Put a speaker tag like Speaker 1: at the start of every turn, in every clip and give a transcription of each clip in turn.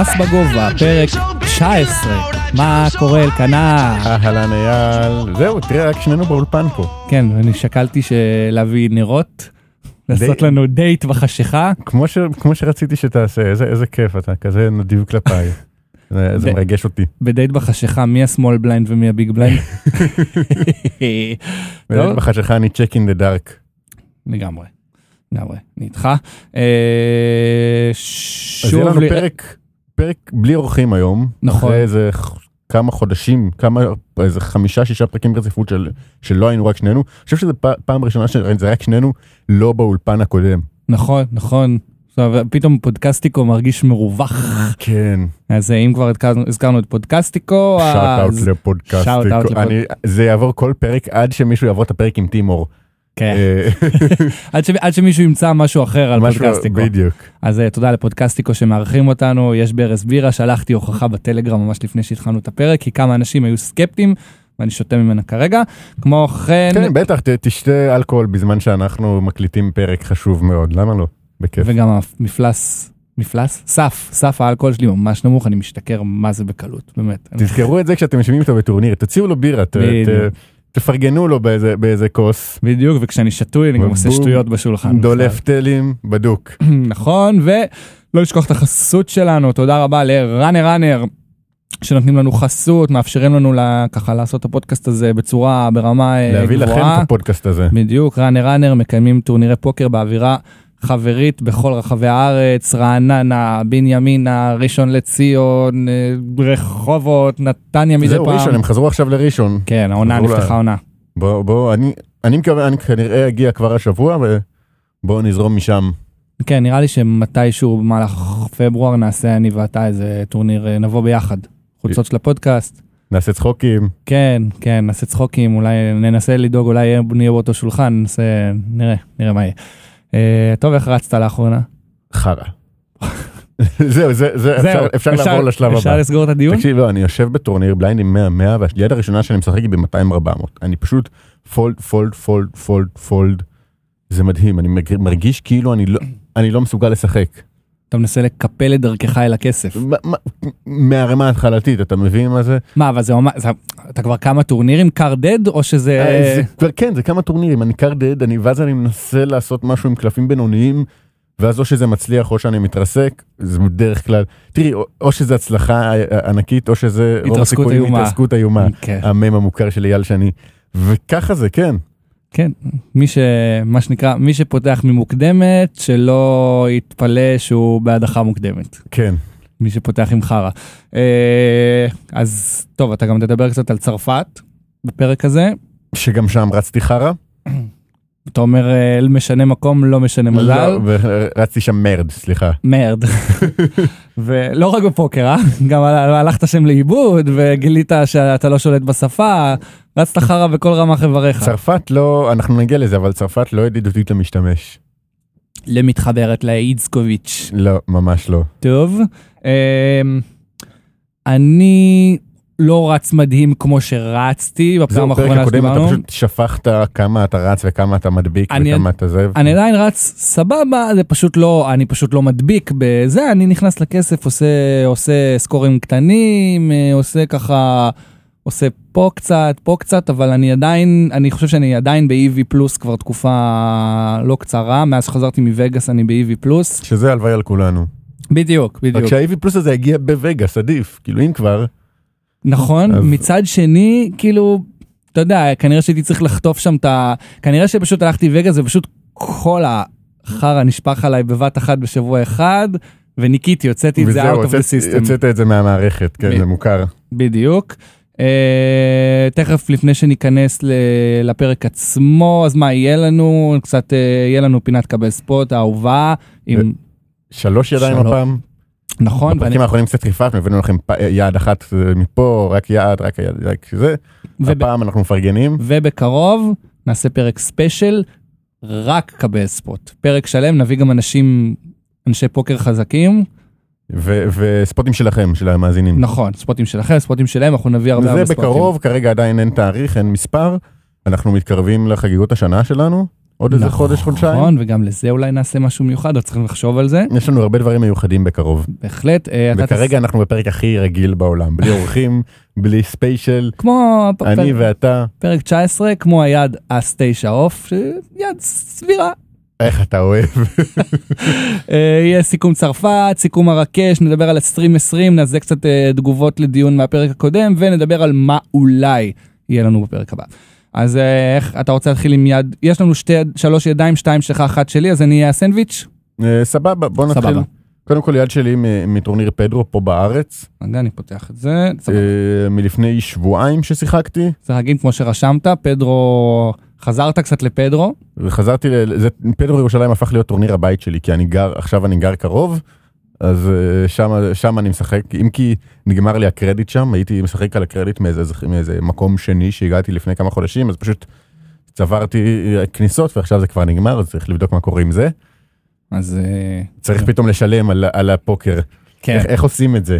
Speaker 1: אף בגובה, פרק 19. מה קורה, אלקנה?
Speaker 2: אהלן אייל, זהו, תראה, רק שנינו באולפן פה.
Speaker 1: כן, אני שקלתי של- להביא נרות, לעשות לנו דייט בחשיכה.
Speaker 2: כמו, ש, כמו שרציתי שתעשה, איזה, איזה כיף אתה, כזה נדיב כלפיי. זה, זה
Speaker 1: ו-
Speaker 2: מרגש אותי.
Speaker 1: בדייט בחשיכה, מי השמאל בליינד ומי הביג בליינד? טוב.
Speaker 2: בחשך אני צ'ק אין דה דארק.
Speaker 1: לגמרי. לגמרי, אני איתך. אה, שוב
Speaker 2: אז יהיה לנו
Speaker 1: לי-
Speaker 2: פרק, פרק בלי אורחים היום.
Speaker 1: נכון.
Speaker 2: אחרי איזה ח- כמה חודשים, כמה, איזה חמישה, שישה פרקים ברציפות של, שלא היינו רק שנינו. אני חושב שזו פ- פעם ראשונה שזה רק שנינו, לא באולפן הקודם.
Speaker 1: נכון, נכון. עכשיו, פתאום פודקסטיקו מרגיש מרווח.
Speaker 2: כן.
Speaker 1: אז אה, אם כבר הזכרנו- הזכרנו את פודקסטיקו,
Speaker 2: שאוט
Speaker 1: אז...
Speaker 2: אאוט לפודקאסט.
Speaker 1: Shout out
Speaker 2: אני- זה יעבור כל פרק עד שמישהו יעבור את הפרק עם טימור.
Speaker 1: כן.
Speaker 2: אה,
Speaker 1: עד, ש... עד שמישהו ימצא משהו אחר על
Speaker 2: משהו-
Speaker 1: פודקסטיקו.
Speaker 2: בדיוק.
Speaker 1: אז אה, תודה לפודקסטיקו שמארחים אותנו, יש ברז בירה, שלחתי הוכחה בטלגרם ממש לפני שהתחלנו את הפרק, כי כמה אנשים היו סקפטיים, ואני שותה ממנה כרגע. כמו כן,
Speaker 2: כן, בטח, ת- תשתה אלכוהול בזמן שאנחנו מקליטים פרק חשוב מאוד, למה לא? בכיף.
Speaker 1: וגם המפלס, מפלס? סף, סף האלכוהול שלי ממש נמוך, אני משתכר מה זה בקלות, באמת. אני-
Speaker 2: תזכרו את זה כשאתם יושבים איתו בטורניר, תציעו לו בירה, ת-
Speaker 1: בדיוק.
Speaker 2: ת- תפרגנו לו באיזה- באיזה כוס,
Speaker 1: בדיוק, וכשאני שתוי אני גם עושה
Speaker 2: ובום,
Speaker 1: שטויות בשולחן.
Speaker 2: דולף טלים, בדוק.
Speaker 1: נכון, ולא לשכוח את החסות שלנו, תודה רבה לראנר ראנר, שנותנים לנו חסות, מאפשרים לנו לה, ככה לעשות את הפודקאסט הזה בצורה, ברמה אה,
Speaker 2: להביא לכם את
Speaker 1: גבוהה.
Speaker 2: הפודקאסט הזה.
Speaker 1: בדיוק, ראנר ראנר מקיימים טורנירי פוקר באווירה חברית בכל רחבי הארץ, רעננה, בנימינה, ראשון לציון, אה, רחובות, נתניה מדי
Speaker 2: זהו
Speaker 1: פעם.
Speaker 2: ראשון, הם חזרו עכשיו לראשון.
Speaker 1: כן, העונה
Speaker 2: חזרו ל-
Speaker 1: נפתחה עונה.
Speaker 2: בואו, בואו, אני- אני מקווה, אני כנראה אגיע כבר השבוע, ובואו נזרום משם.
Speaker 1: כן, נראה לי שמתישהו במהלך פברואר נעשה אני ואתה איזה טורניר, אה, נבוא ביחד. חולצות של הפודקאסט.
Speaker 2: נעשה צחוקים,
Speaker 1: כן, כן, נעשה צחוקים, אולי ננסה לדאוג, אולי יהיה- נהיה באותו שולחן, ננסה, נראה, נראה מה יהיה. אה, טוב, איך רצת לאחרונה?
Speaker 2: חרא. זהו, זה, זה, אפשר- אפשר לעבור לשלב הבא.
Speaker 1: אפשר לסגור את הדיון?
Speaker 2: תקשיב, לא, אני יושב בטורניר בליינד עם 100-100, והיד הראשונה שאני משחק היא ב-200-400. אני פשוט פולד, פולד, פולד, פולד, פולד. זה מדהים, אני מג- מרגיש כאילו אני לא, אני לא מסוגל לשחק.
Speaker 1: אתה מנסה לקפל את דרכך אל הכסף.
Speaker 2: מה- מה- מהרמה ההתחלתית, אתה מבין מה זה?
Speaker 1: מה, אבל זה ממש, זה- אתה כבר כמה טורנירים קרדד, או שזה...
Speaker 2: אה, זה כבר- כן, זה כמה טורנירים, אני קר דד, אני- ואז אני מנסה לעשות משהו עם קלפים בינוניים, ואז או שזה מצליח או שאני מתרסק, זה בדרך כלל, תראי, או- או שזה הצלחה אה, ענקית, או שזה רוב
Speaker 1: התרסקות
Speaker 2: הסיכויים
Speaker 1: איומה.
Speaker 2: התרסקות איומה.
Speaker 1: כן,
Speaker 2: המם המוכר של אייל שני, וככה זה, כן.
Speaker 1: כן, מי ש... מה שנקרא, מי שפותח ממוקדמת, שלא יתפלא שהוא בהדחה מוקדמת.
Speaker 2: כן.
Speaker 1: מי שפותח עם חרא. אה, אז טוב, אתה גם תדבר קצת על צרפת בפרק הזה.
Speaker 2: שגם שם רצתי חרא.
Speaker 1: אתה אומר אה, משנה מקום, לא משנה מזל.
Speaker 2: לא, ו- רצתי שם מרד, סליחה.
Speaker 1: מרד. ולא רק בפוקר, אה? גם הל- הלכת שם לאיבוד וגילית שאתה לא שולט בשפה, רצת חרא בכל רמ"ח איבריך.
Speaker 2: צרפת לא, אנחנו נגיע לזה, אבל צרפת לא ידידותית למשתמש.
Speaker 1: למתחברת לאיצקוביץ'.
Speaker 2: לא, ממש לא.
Speaker 1: טוב. אמ, אני לא רץ מדהים כמו שרצתי בפעם
Speaker 2: זהו, פרק
Speaker 1: האחרונה
Speaker 2: הקודם אתה
Speaker 1: שדיברנו.
Speaker 2: פשוט שפכת כמה אתה רץ וכמה אתה מדביק
Speaker 1: אני-
Speaker 2: וכמה אתה זה.
Speaker 1: אני עדיין רץ סבבה, זה פשוט לא, אני פשוט לא מדביק בזה, אני נכנס לכסף, עושה, עושה סקורים קטנים, אה, עושה ככה, עושה פה קצת, פה קצת, אבל אני עדיין, אני חושב שאני עדיין ב-EV פלוס כבר תקופה לא קצרה, מאז שחזרתי מווגאס אני ב-EV פלוס.
Speaker 2: שזה הלוואי על כולנו.
Speaker 1: בדיוק,
Speaker 2: רק
Speaker 1: בדיוק.
Speaker 2: שה-AV פלוס הזה הגיע בווגאס, עדיף. כאילו אם כבר,
Speaker 1: נכון,
Speaker 2: אז-
Speaker 1: מצד שני, כאילו, אתה יודע, כנראה שהייתי צריך לחטוף שם את ה... כנראה שפשוט הלכתי וגאס ופשוט כל החרא נשפך עליי בבת אחת בשבוע אחד, וניקיתי, הוצאתי את זה out of the
Speaker 2: הוצאת-
Speaker 1: system.
Speaker 2: הוצאת את זה מהמערכת,
Speaker 1: מי-
Speaker 2: כן, זה מוכר.
Speaker 1: בדיוק. אה, תכף לפני שניכנס ל- לפרק עצמו, אז מה יהיה לנו? קצת אה, יהיה לנו פינת קבל ספוט האהובה, עם...
Speaker 2: שלוש ידיים
Speaker 1: שלוש.
Speaker 2: הפעם.
Speaker 1: נכון, ואני-
Speaker 2: בפרקים האחרונים קצת חיפפנו, הבאנו לכם פ- יעד אחת אה, מפה, רק יעד, רק יעד, רק זה.
Speaker 1: וב-
Speaker 2: הפעם אנחנו מפרגנים.
Speaker 1: ובקרוב נעשה פרק ספיישל, רק קבל ספוט. פרק שלם, נביא גם אנשים, אנשי פוקר חזקים.
Speaker 2: Mm. ו- וספוטים שלכם, של המאזינים.
Speaker 1: נכון, ספוטים שלכם, ספוטים שלהם, אנחנו נביא הרבה הרבה
Speaker 2: זה
Speaker 1: ספוטים.
Speaker 2: בקרוב, כרגע עדיין אין תאריך, אין מספר. אנחנו מתקרבים לחגיגות השנה שלנו, עוד איזה חודש, חודשיים.
Speaker 1: נכון, וגם לזה אולי נעשה משהו מיוחד, אז צריכים לחשוב על זה.
Speaker 2: יש לנו הרבה דברים מיוחדים בקרוב.
Speaker 1: בהחלט. אה, אתה
Speaker 2: וכרגע אנחנו בפרק הכי רגיל בעולם, בלי אורחים, בלי ספיישל,
Speaker 1: תס- כמו הפ-
Speaker 2: אני
Speaker 1: פרק-
Speaker 2: ואתה.
Speaker 1: פרק 19, כמו היד אס 9 עוף, שיד סבירה.
Speaker 2: איך אתה אוהב.
Speaker 1: אה, יהיה סיכום צרפת, סיכום מרקש, נדבר על 2020, נעשה קצת אה, תגובות לדיון מהפרק הקודם, ונדבר על מה אולי יהיה לנו בפרק הבא. אז אה, איך, אתה רוצה להתחיל עם יד, יש לנו שתי, יד- שלוש ידיים, שתיים שלך, אחת שלי, אז אני אהיה הסנדוויץ'?
Speaker 2: אה, סבבה, בוא נתחיל.
Speaker 1: סבבה.
Speaker 2: קודם כל יד שלי מ- מטורניר פדרו פה בארץ,
Speaker 1: רגע, אני פותח את זה. סבבה.
Speaker 2: אה, מלפני שבועיים ששיחקתי,
Speaker 1: צריך להגיד, כמו שרשמת, פדרו, חזרת קצת לפדרו,
Speaker 2: וחזרתי, ל... זה... פדרו ירושלים הפך להיות טורניר הבית שלי, כי אני גר, עכשיו אני גר קרוב, אז אה, שם, שם אני משחק, אם כי נגמר לי הקרדיט שם, הייתי משחק על הקרדיט מאיזה, מאיזה מקום שני שהגעתי לפני כמה חודשים, אז פשוט צברתי אה, כניסות ועכשיו זה כבר נגמר, אז צריך לבדוק מה קורה עם זה.
Speaker 1: אז... אה,
Speaker 2: צריך פתאום לשלם על, על הפוקר,
Speaker 1: כן.
Speaker 2: איך, איך עושים את זה?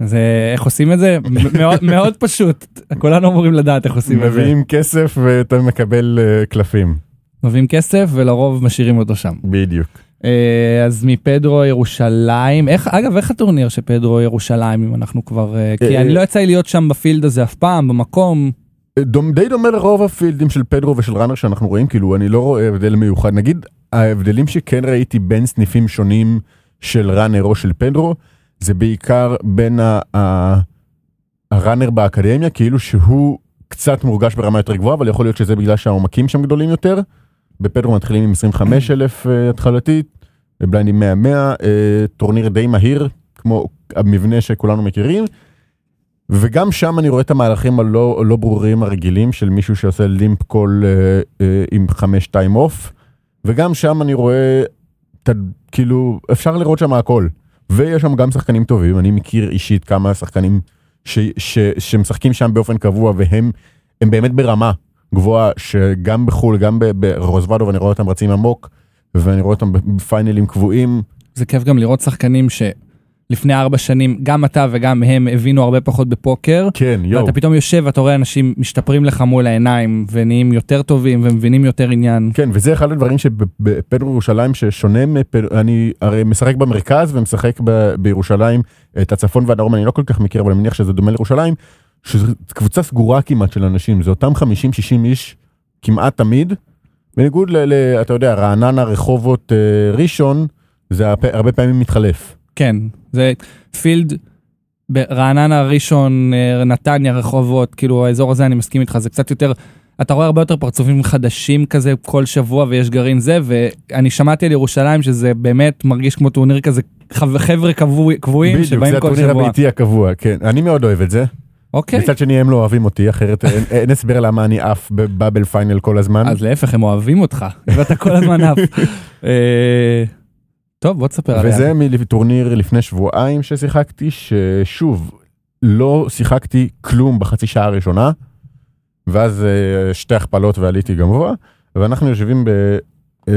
Speaker 1: אז אה, איך עושים את זה? מאוד- מאוד פשוט, כולנו אמורים לדעת איך עושים את זה.
Speaker 2: מביאים כסף ואתה מקבל אה, קלפים,
Speaker 1: מביאים כסף ולרוב משאירים אותו שם.
Speaker 2: בדיוק.
Speaker 1: אה, אז מפדרו ירושלים, איך, אגב, איך הטורניר שפדרו ירושלים, אם אנחנו כבר, אה, כי
Speaker 2: אה,
Speaker 1: אני לא יצא לי להיות שם בפילד הזה אף פעם, במקום,
Speaker 2: אה, דומ, די דומה לרוב הפילדים של פדרו ושל ראנר שאנחנו רואים, כאילו אני לא רואה הבדל מיוחד. נגיד ההבדלים שכן ראיתי בין סניפים שונים של ראנר או של פדרו, זה בעיקר בין ה- ה- הראנר באקדמיה, כאילו שהוא קצת מורגש ברמה יותר גבוהה, אבל יכול להיות שזה בגלל שהעומקים שם גדולים יותר. בפדרו מתחילים עם 25 אלף אה, התחלתית, בבליינדים 100 100, אה, טורניר די מהיר, כמו המבנה שכולנו מכירים. וגם שם אני רואה את המהלכים הלא לא ברורים הרגילים של מישהו שעושה לימפ קול אה, אה, עם חמש טיים אוף, וגם שם אני רואה, ת, כאילו, אפשר לראות שם הכל. ויש שם גם שחקנים טובים, אני מכיר אישית כמה שחקנים ש, ש, שמשחקים שם באופן קבוע, והם הם באמת ברמה גבוהה, שגם בחו"ל, גם ב- ברוזוודו, ואני רואה אותם רצים עמוק, ואני רואה אותם בפיינלים קבועים,
Speaker 1: זה כיף גם לראות שחקנים שלפני ארבע שנים, גם אתה וגם הם הבינו הרבה פחות בפוקר,
Speaker 2: כן, יואו.
Speaker 1: ואתה פתאום יושב ואתה רואה אנשים משתפרים לך מול העיניים, ונהיים יותר טובים ומבינים יותר עניין.
Speaker 2: כן, וזה אחד הדברים שבפדרו ירושלים ששונה, מפד... אני הרי משחק במרכז ומשחק ב... בירושלים, את הצפון והדרום אני לא כל כך מכיר, אבל אני מניח שזה דומה לירושלים, שזו קבוצה סגורה כמעט של אנשים, זה אותם 50-60 איש כמעט תמיד, בניגוד ל... ל... אתה יודע, רעננה, רחובות, אה, ראשון, זה הפ... הרבה פעמים מתחלף.
Speaker 1: כן, זה פילד ברעננה, ראשון, אה, נתניה, רחובות, כאילו האזור הזה, אני מסכים איתך, זה קצת יותר, אתה רואה הרבה יותר פרצופים חדשים כזה כל שבוע ויש גרעין זה, ואני שמעתי על ירושלים שזה באמת מרגיש כמו טורניר כזה, חב- חבר'ה קבוע- קבועים
Speaker 2: בדיוק, זה
Speaker 1: שבאים כל
Speaker 2: הטורניר
Speaker 1: שבוע.
Speaker 2: הביתי הקבוע, כן. אני מאוד אוהב את זה.
Speaker 1: אוקיי,
Speaker 2: מצד שני, הם לא אוהבים אותי, אחרת אין, אין הסבר למה אני עף בבאבל פיינל כל הזמן.
Speaker 1: אז להפך, הם אוהבים אותך, ואתה כל הזמן עף. אה, טוב, בוא תספר עליה.
Speaker 2: וזה מטורניר לפני שבועיים ששיחקתי, ששוב, לא שיחקתי כלום בחצי שעה הראשונה, ואז אה, שתי הכפלות ועליתי גבוה, ואנחנו יושבים ב... אה,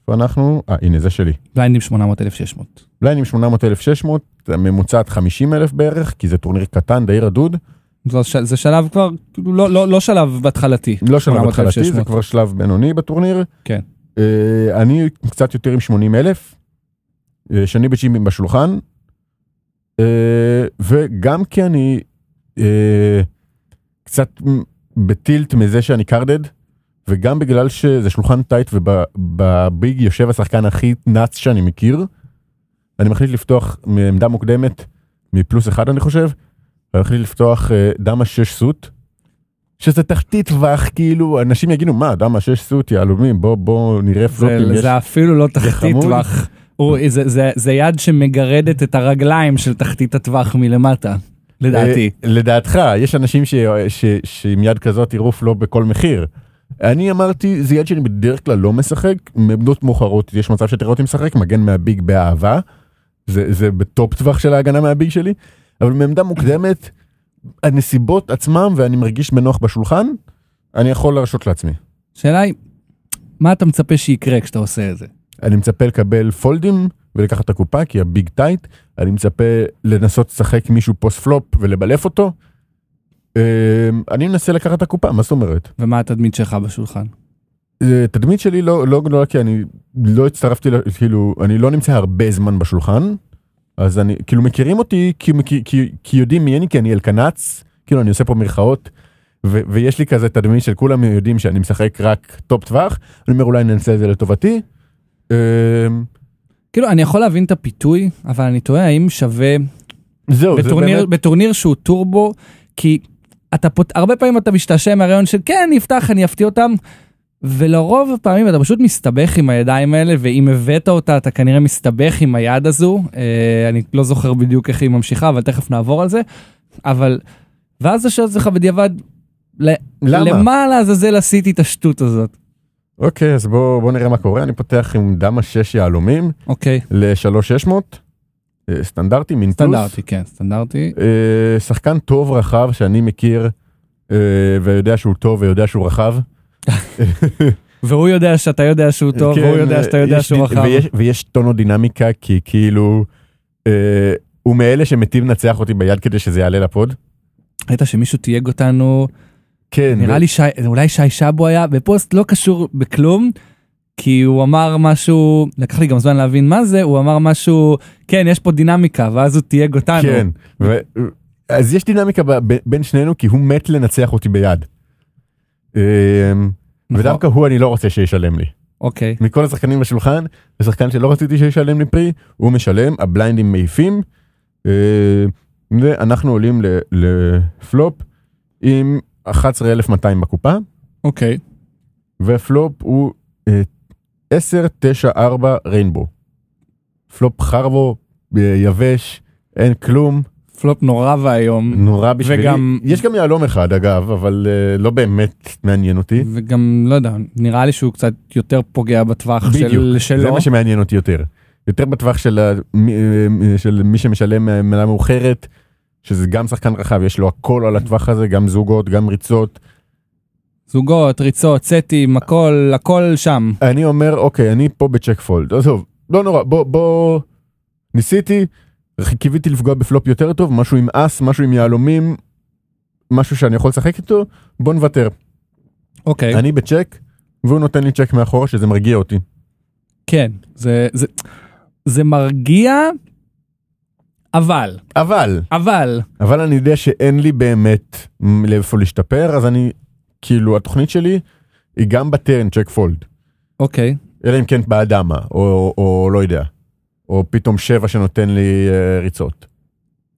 Speaker 2: איפה אנחנו? אה, הנה, זה שלי.
Speaker 1: בליינדים 800,600.
Speaker 2: בליינים 800,600, ממוצעת 50,000 בערך, כי זה טורניר קטן, די רדוד.
Speaker 1: זה ש- זה שלב כבר, כאילו, לא- לא לא שלב בהתחלתי.
Speaker 2: לא שלב
Speaker 1: 800,600.
Speaker 2: התחלתי, זה כבר שלב בינוני בטורניר.
Speaker 1: כן.
Speaker 2: אה, אני קצת יותר עם 80,000, אה, שני בצ'ימים בשולחן, אה, וגם כי אני אה, קצת מ- בטילט מזה שאני קרדד, וגם בגלל שזה שולחן טייט ובביג יושב השחקן הכי נאץ שאני מכיר, אני מחליט לפתוח מעמדה מוקדמת, מפלוס אחד אני חושב, ואני מחליט לפתוח אה, דמה שש סוט, שזה תחתית טווח, כאילו, אנשים יגידו, מה, דמה שש סוט, יהלומים, בוא, בוא נראה פלופים.
Speaker 1: זה,
Speaker 2: יש-
Speaker 1: זה אפילו לא תחתית
Speaker 2: חמוד.
Speaker 1: טווח. הוא- זה, זה, זה יד שמגרדת את הרגליים של תחתית הטווח מלמטה, לדעתי.
Speaker 2: אה, לדעתך, יש אנשים ש... ש... שעם יד כזאת ירוף לא בכל מחיר. אני אמרתי, זה יד שאני בדרך כלל לא משחק, מעמדות מאוחרות, יש מצב שתראה אותי משחק, מגן מהביג באהבה, זה, זה בטופ טווח של ההגנה מהביג שלי, אבל מעמדה מוקדמת, הנסיבות עצמם ואני מרגיש בנוח בשולחן, אני יכול להרשות לעצמי.
Speaker 1: השאלה היא, מה אתה מצפה שיקרה כשאתה עושה את זה?
Speaker 2: אני מצפה לקבל פולדים ולקחת את הקופה כי הביג טייט, אני מצפה לנסות לשחק מישהו פוסט פלופ ולבלף אותו. אה, אמ, אני מנסה לקחת את הקופה, מה זאת אומרת?
Speaker 1: ומה התדמית שלך בשולחן?
Speaker 2: זה- תדמית שלי לא, לא גדולה כי אני לא הצטרפתי, ל- כאילו, אני לא נמצא הרבה זמן בשולחן, אז אני, כאילו מכירים אותי כי, כי, כי, כי יודעים מי אני, כי אני אלקנץ, כאילו אני עושה פה מירכאות, ו, ויש לי כזה תדמית של כולם יודעים שאני משחק רק טופ טווח, אני אומר אולי ננצל את זה לטובתי. אה,
Speaker 1: כאילו, אני יכול להבין את הפיתוי, אבל אני תוהה האם שווה
Speaker 2: זהו, זה
Speaker 1: בטורניר,
Speaker 2: באמת,
Speaker 1: בטורניר שהוא טורבו, כי אתה פות... הרבה פעמים אתה משתעשע מהרעיון של כן, אני אפתח, אני אפתיע אותם, ולרוב הפעמים אתה פשוט מסתבך עם הידיים האלה, ואם הבאת אותה, אתה כנראה מסתבך עם היד הזו. אה, אני לא זוכר בדיוק איך היא ממשיכה, אבל תכף נעבור על זה. אבל, ואז אתה שואל את עצמך בדיעבד, ל...
Speaker 2: למה?
Speaker 1: למה לעזאזל עשיתי את השטות הזאת?
Speaker 2: אוקיי, אז בואו בוא נראה מה קורה, אני פותח עם דמה 6 יהלומים
Speaker 1: אוקיי,
Speaker 2: ל-3600, אה, סטנדרטי, מינטוס.
Speaker 1: סטנדרטי, כן, סטנדרטי.
Speaker 2: אה, שחקן טוב רחב שאני מכיר אה, ויודע שהוא טוב ויודע שהוא רחב.
Speaker 1: והוא יודע שאתה יודע שהוא טוב,
Speaker 2: כן,
Speaker 1: והוא יודע שאתה יודע
Speaker 2: יש
Speaker 1: שהוא
Speaker 2: די-
Speaker 1: רחב.
Speaker 2: ויש, ויש טונודינמיקה כי כאילו אה, הוא מאלה שמתים לנצח אותי ביד כדי שזה יעלה לפוד.
Speaker 1: ראית שמישהו תייג אותנו
Speaker 2: כן.
Speaker 1: נראה
Speaker 2: ו-
Speaker 1: לי שי, אולי שי שבו היה בפוסט לא קשור בכלום, כי הוא אמר משהו, לקח לי גם זמן להבין מה זה, הוא אמר משהו, כן, יש פה דינמיקה, ואז הוא תייג אותנו.
Speaker 2: כן. ו... אז יש דינמיקה ב- ב- בין שנינו כי הוא מת לנצח אותי ביד. אה,
Speaker 1: נכון.
Speaker 2: ודווקא הוא אני לא רוצה שישלם לי.
Speaker 1: אוקיי.
Speaker 2: מכל השחקנים בשולחן, השחקן שלא רציתי שישלם לי פרי, הוא משלם, הבליינדים מעיפים, אה, ואנחנו עולים ל- לפלופ עם 11,200 בקופה,
Speaker 1: אוקיי.
Speaker 2: ופלופ הוא אה, 10, 9, 4 ריינבו. פלופ חרבו, אה, יבש, אין כלום,
Speaker 1: פלופ נורא ואיום,
Speaker 2: נורא בשבילי.
Speaker 1: וגם-
Speaker 2: יש גם יהלום אחד אגב, אבל אה, לא באמת מעניין אותי.
Speaker 1: וגם, לא יודע, נראה לי שהוא קצת יותר פוגע בטווח של,
Speaker 2: בדיוק, זה
Speaker 1: שלו.
Speaker 2: מה שמעניין אותי יותר. יותר בטווח של, ה- מ- אה, של מי שמשלם אה, מנה מאוחרת, שזה גם שחקן רחב, יש לו הכל על הטווח הזה, גם זוגות, גם ריצות.
Speaker 1: זוגות, ריצות, סטים, הכל, הכל שם.
Speaker 2: אני אומר, אוקיי, אני פה בצ'ק פולד, עזוב, לא נורא, בוא, בוא, ניסיתי, קיוויתי לפגוע בפלופ יותר טוב, משהו עם אס, משהו עם יהלומים, משהו שאני יכול לשחק איתו, בוא נוותר.
Speaker 1: אוקיי.
Speaker 2: אני בצ'ק, והוא נותן לי צ'ק מאחורה, שזה מרגיע אותי.
Speaker 1: כן, זה, זה, זה מרגיע, אבל,
Speaker 2: אבל,
Speaker 1: אבל,
Speaker 2: אבל אני יודע שאין לי באמת לאיפה להשתפר אז אני כאילו התוכנית שלי היא גם בטרן צ'ק פולד
Speaker 1: אוקיי.
Speaker 2: אלא אם כן באדמה או, או לא יודע או פתאום שבע שנותן לי אה, ריצות.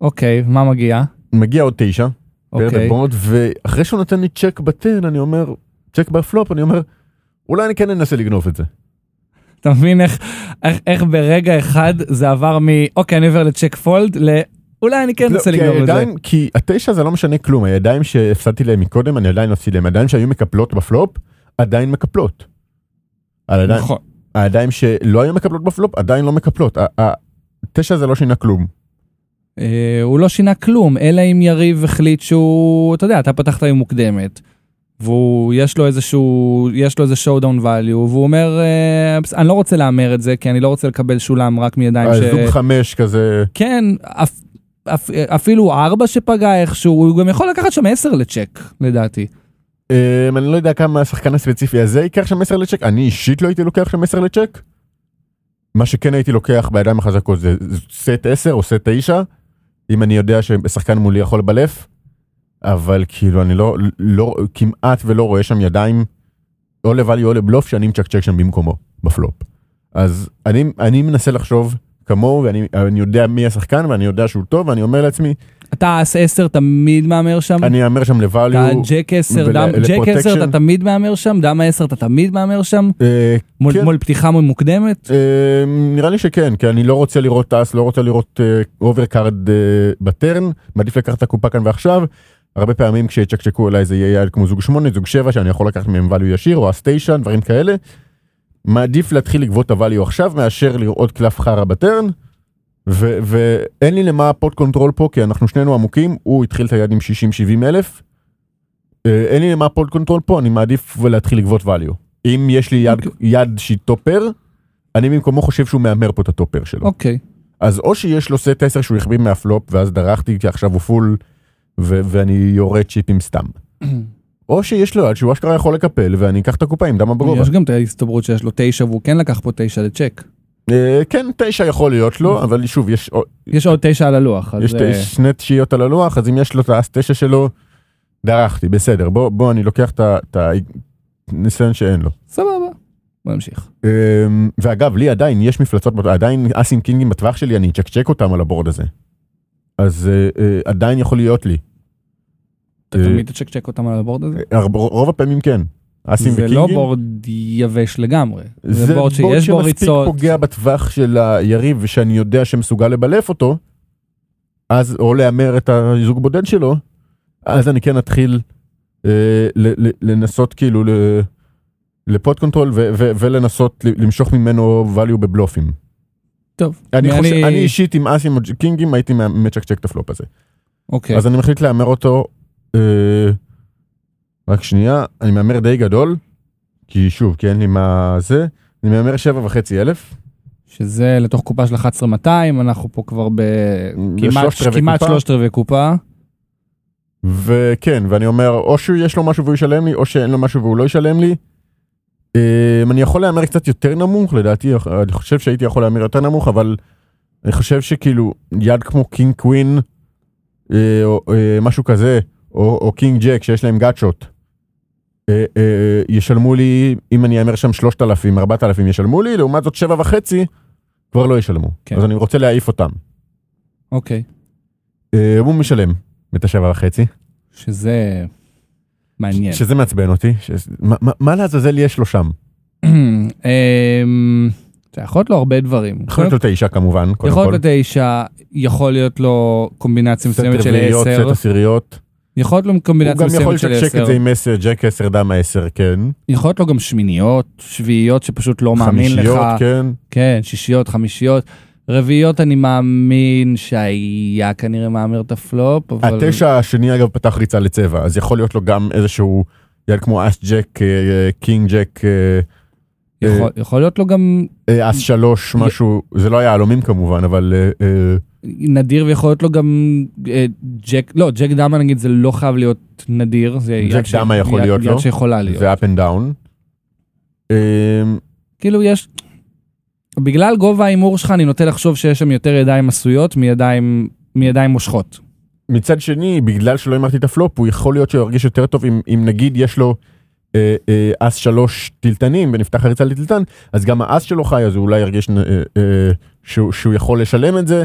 Speaker 1: אוקיי, מה מגיע? מגיע
Speaker 2: עוד תשע פרד
Speaker 1: אוקיי,
Speaker 2: הבורד, ואחרי שהוא נותן לי צ'ק בטרן אני אומר צ'ק בפלופ אני אומר אולי אני כן אנסה לגנוב את זה.
Speaker 1: אתה מבין איך, איך, איך ברגע אחד זה עבר מ, אוקיי, אני עובר לצ'ק פולד, ל... אולי אני כן
Speaker 2: לא,
Speaker 1: אנסה
Speaker 2: כי
Speaker 1: לגנוב את זה.
Speaker 2: הידיים- כי התשע זה לא משנה כלום הידיים שהפסדתי להם מקודם אני עדיין מפסיד להם הידיים שהיו מקפלות בפלופ עדיין מקפלות. על הידיים-
Speaker 1: נכון.
Speaker 2: הידיים שלא היו מקפלות בפלופ עדיין לא מקפלות. ה- ה- תשע זה לא שינה כלום.
Speaker 1: אה, הוא לא שינה כלום, אלא אם יריב החליט שהוא, אתה יודע, אתה פתחת עם מוקדמת. והוא, יש לו איזשהו, יש לו איזה showdown value, והוא אומר, אה, "בס- אני לא רוצה להמר את זה, כי אני לא רוצה לקבל שולם רק מידיים ש...
Speaker 2: אה, זוג חמש כזה,
Speaker 1: כן, אפ, אפ, אפילו ארבע שפגע איכשהו, הוא גם יכול לקחת שם עשר לצ'ק, לדעתי.
Speaker 2: אמ, אני לא יודע כמה השחקן הספציפי הזה ייקח שם 10 לצ'ק, אני אישית לא הייתי לוקח שם 10 לצ'ק. מה שכן הייתי לוקח בידיים החזקות זה סט 10 או סט 9, אם אני יודע ששחקן מולי יכול לבלף, אבל כאילו אני לא, לא, כמעט ולא רואה שם ידיים, או לוואלי או לבלוף, שאני מצ'קצ'ק שם במקומו, בפלופ. אז אני, אני מנסה לחשוב כמוהו, ואני אני יודע מי השחקן, ואני יודע שהוא טוב, ואני אומר לעצמי,
Speaker 1: אתה אס עשר תמיד מהמר שם?
Speaker 2: אני אאמר שם לוואלי,
Speaker 1: אתה ג'ק 10,
Speaker 2: ול-
Speaker 1: דם, ג'ק 10
Speaker 2: לפרוטקשן.
Speaker 1: אתה תמיד מהמר שם, דם ה-10 אתה תמיד מהמר שם,
Speaker 2: אה,
Speaker 1: מול,
Speaker 2: כן.
Speaker 1: מול פתיחה מול מוקדמת.
Speaker 2: אה, נראה לי שכן, כי אני לא רוצה לראות טס, לא רוצה לראות אוברקארד בטרן, מעדיף לקחת את הקופה כאן ועכשיו. הרבה פעמים כשיצ'קצ'קו אליי זה יהיה יעד כמו זוג 8, זוג 7, שאני יכול לקחת מהם value ישיר, או אס 9, דברים כאלה. מעדיף להתחיל לגבות את הvalue עכשיו, מאשר לראות קלף חרא בטרן. ו- ואין לי למה פוט קונטרול פה, כי אנחנו שנינו עמוקים, הוא התחיל את היד עם 60-70 אלף. אה, אין לי למה פוט קונטרול פה, אני מעדיף להתחיל לגבות value. אם יש לי יד,
Speaker 1: אוקיי.
Speaker 2: יד שהיא טופר, אני במקומו חושב שהוא מהמר פה את הטופר שלו.
Speaker 1: אוקיי,
Speaker 2: אז או שיש לו סט 10 שהוא החביא מהפלופ ואז דרכתי כי עכשיו הוא פול ו- ואני יורה צ'יפים סתם. או שיש לו יד שהוא אשכרה יכול לקפל ואני אקח את הקופה עם דם הבגובה.
Speaker 1: יש גם את ההסתברות שיש לו תשע והוא כן לקח פה תשע לצ'ק.
Speaker 2: אה, כן, תשע יכול להיות
Speaker 1: אוקיי.
Speaker 2: לו, אבל שוב, יש עוד-
Speaker 1: יש עוד תשע על הלוח. אז,
Speaker 2: יש
Speaker 1: אה,
Speaker 2: ת- שני תשיעיות על הלוח, אז אם יש לו את האס תשע שלו, דרכתי, בסדר, בוא בוא, אני לוקח את ה- את הניסיון שאין לו.
Speaker 1: סבבה. בוא נמשיך.
Speaker 2: אמ, ואגב, לי עדיין יש מפלצות, בת- עדיין אסים קינגים בטווח שלי, אני אצ'קצ'ק אותם על הבורד הזה. אז אה, אה, עדיין יכול להיות לי.
Speaker 1: אתה
Speaker 2: אה,
Speaker 1: תמיד תצ'קצ'ק אותם על הבורד הזה?
Speaker 2: אה, הרב- רוב הפעמים כן. אסים
Speaker 1: זה
Speaker 2: וקינגים.
Speaker 1: לא בורד יבש לגמרי. זה בורד שיש בו
Speaker 2: שמספיק
Speaker 1: ריצות.
Speaker 2: פוגע בטווח של היריב ושאני יודע שמסוגל לבלף אותו, אז או להמר את הזוג בודד שלו, אז אני כן אתחיל אה, ל- ל- לנסות כאילו ל- לפוט קונטרול ו- ו- ולנסות ל- למשוך ממנו value בבלופים.
Speaker 1: טוב.
Speaker 2: אני,
Speaker 1: אני-
Speaker 2: חושב, אני אישית עם אסים או קינגים הייתי מה- מצ'קצ'ק את הפלופ הזה.
Speaker 1: אוקיי.
Speaker 2: אז אני מחליט להמר אותו, אה, רק שנייה, אני מהמר די גדול, כי שוב, כי אין לי מה זה, אני מהמר שבע וחצי אלף,
Speaker 1: שזה לתוך קופה של 11,200, אנחנו פה כבר בכמעט
Speaker 2: בשלושת רבעי
Speaker 1: כמעט
Speaker 2: קופה.
Speaker 1: שלושת רבעי קופה.
Speaker 2: וכן, ואני אומר, או שיש לו משהו והוא ישלם לי, או שאין לו משהו והוא לא ישלם לי. אה, אני יכול להמר קצת יותר נמוך, לדעתי, אני חושב שהייתי יכול להמר יותר נמוך, אבל אני חושב שכאילו, יד כמו קינג קווין, אה, או אה, משהו כזה, או או קינג ג'ק, שיש להם גאצ'ות, אה, אה, ישלמו לי, אם אני אאמר שם 3,000, 4,000 ישלמו לי, לעומת זאת 7.5 כבר לא ישלמו.
Speaker 1: כן.
Speaker 2: אז אני רוצה להעיף אותם.
Speaker 1: אוקיי.
Speaker 2: אה, הוא משלם את השבע וחצי.
Speaker 1: שזה מעניין.
Speaker 2: שזה מעצבן אותי, ש- מה- מה- מה לעזאזל יש לו שם?
Speaker 1: אמ, זה יכול להיות לו הרבה דברים.
Speaker 2: יכול להיות לו תשע כמובן, קודם
Speaker 1: יכול
Speaker 2: כל.
Speaker 1: להיות לו תשע, יכול להיות לו קומבינציה מסוימת של
Speaker 2: רביעיות,
Speaker 1: עשר,
Speaker 2: סט עשיריות.
Speaker 1: יכול להיות לו
Speaker 2: הוא
Speaker 1: קומבינציה
Speaker 2: גם יכול
Speaker 1: מסוימת של
Speaker 2: לשקשק
Speaker 1: עשר,
Speaker 2: את זה עם עשר, ג'ק עשר, דם עשר, כן.
Speaker 1: יכול להיות לו גם שמיניות, שביעיות שפשוט לא מאמין לך,
Speaker 2: חמישיות, כן.
Speaker 1: כן, שישיות, חמישיות, רביעיות אני מאמין שהיה כנראה מהמר את הפלופ, אבל
Speaker 2: התשע השני אגב פתח ריצה לצבע, אז יכול להיות לו גם איזשהו יד כמו אס ג'ק, אה, קינג ג'ק, אה,
Speaker 1: יכול- יכול להיות לו גם
Speaker 2: אה, אס שלוש, משהו, זה לא יהלומים כמובן, אבל אה, אה,
Speaker 1: נדיר ויכול להיות לו גם אה, ג'ק, לא, ג'ק דמה נגיד זה לא חייב להיות נדיר, זה
Speaker 2: ג'ק
Speaker 1: יד ש-
Speaker 2: דמה יכול
Speaker 1: יד-
Speaker 2: להיות לו.
Speaker 1: יד שיכולה להיות.
Speaker 2: זה up and down. אה,
Speaker 1: כאילו יש, בגלל גובה ההימור שלך אני נוטה לחשוב שיש שם יותר ידיים עשויות מידיים, מידיים מושכות.
Speaker 2: מצד שני, בגלל שלא אמרתי את הפלופ, הוא יכול להיות שהוא ירגיש יותר טוב אם, אם נגיד יש לו אה, אה, אס שלוש טילטנים ונפתח הריצה לטילטן, אז גם האס שלו חי, אז הוא אולי ירגיש אה, אה, שהוא, שהוא יכול לשלם את זה.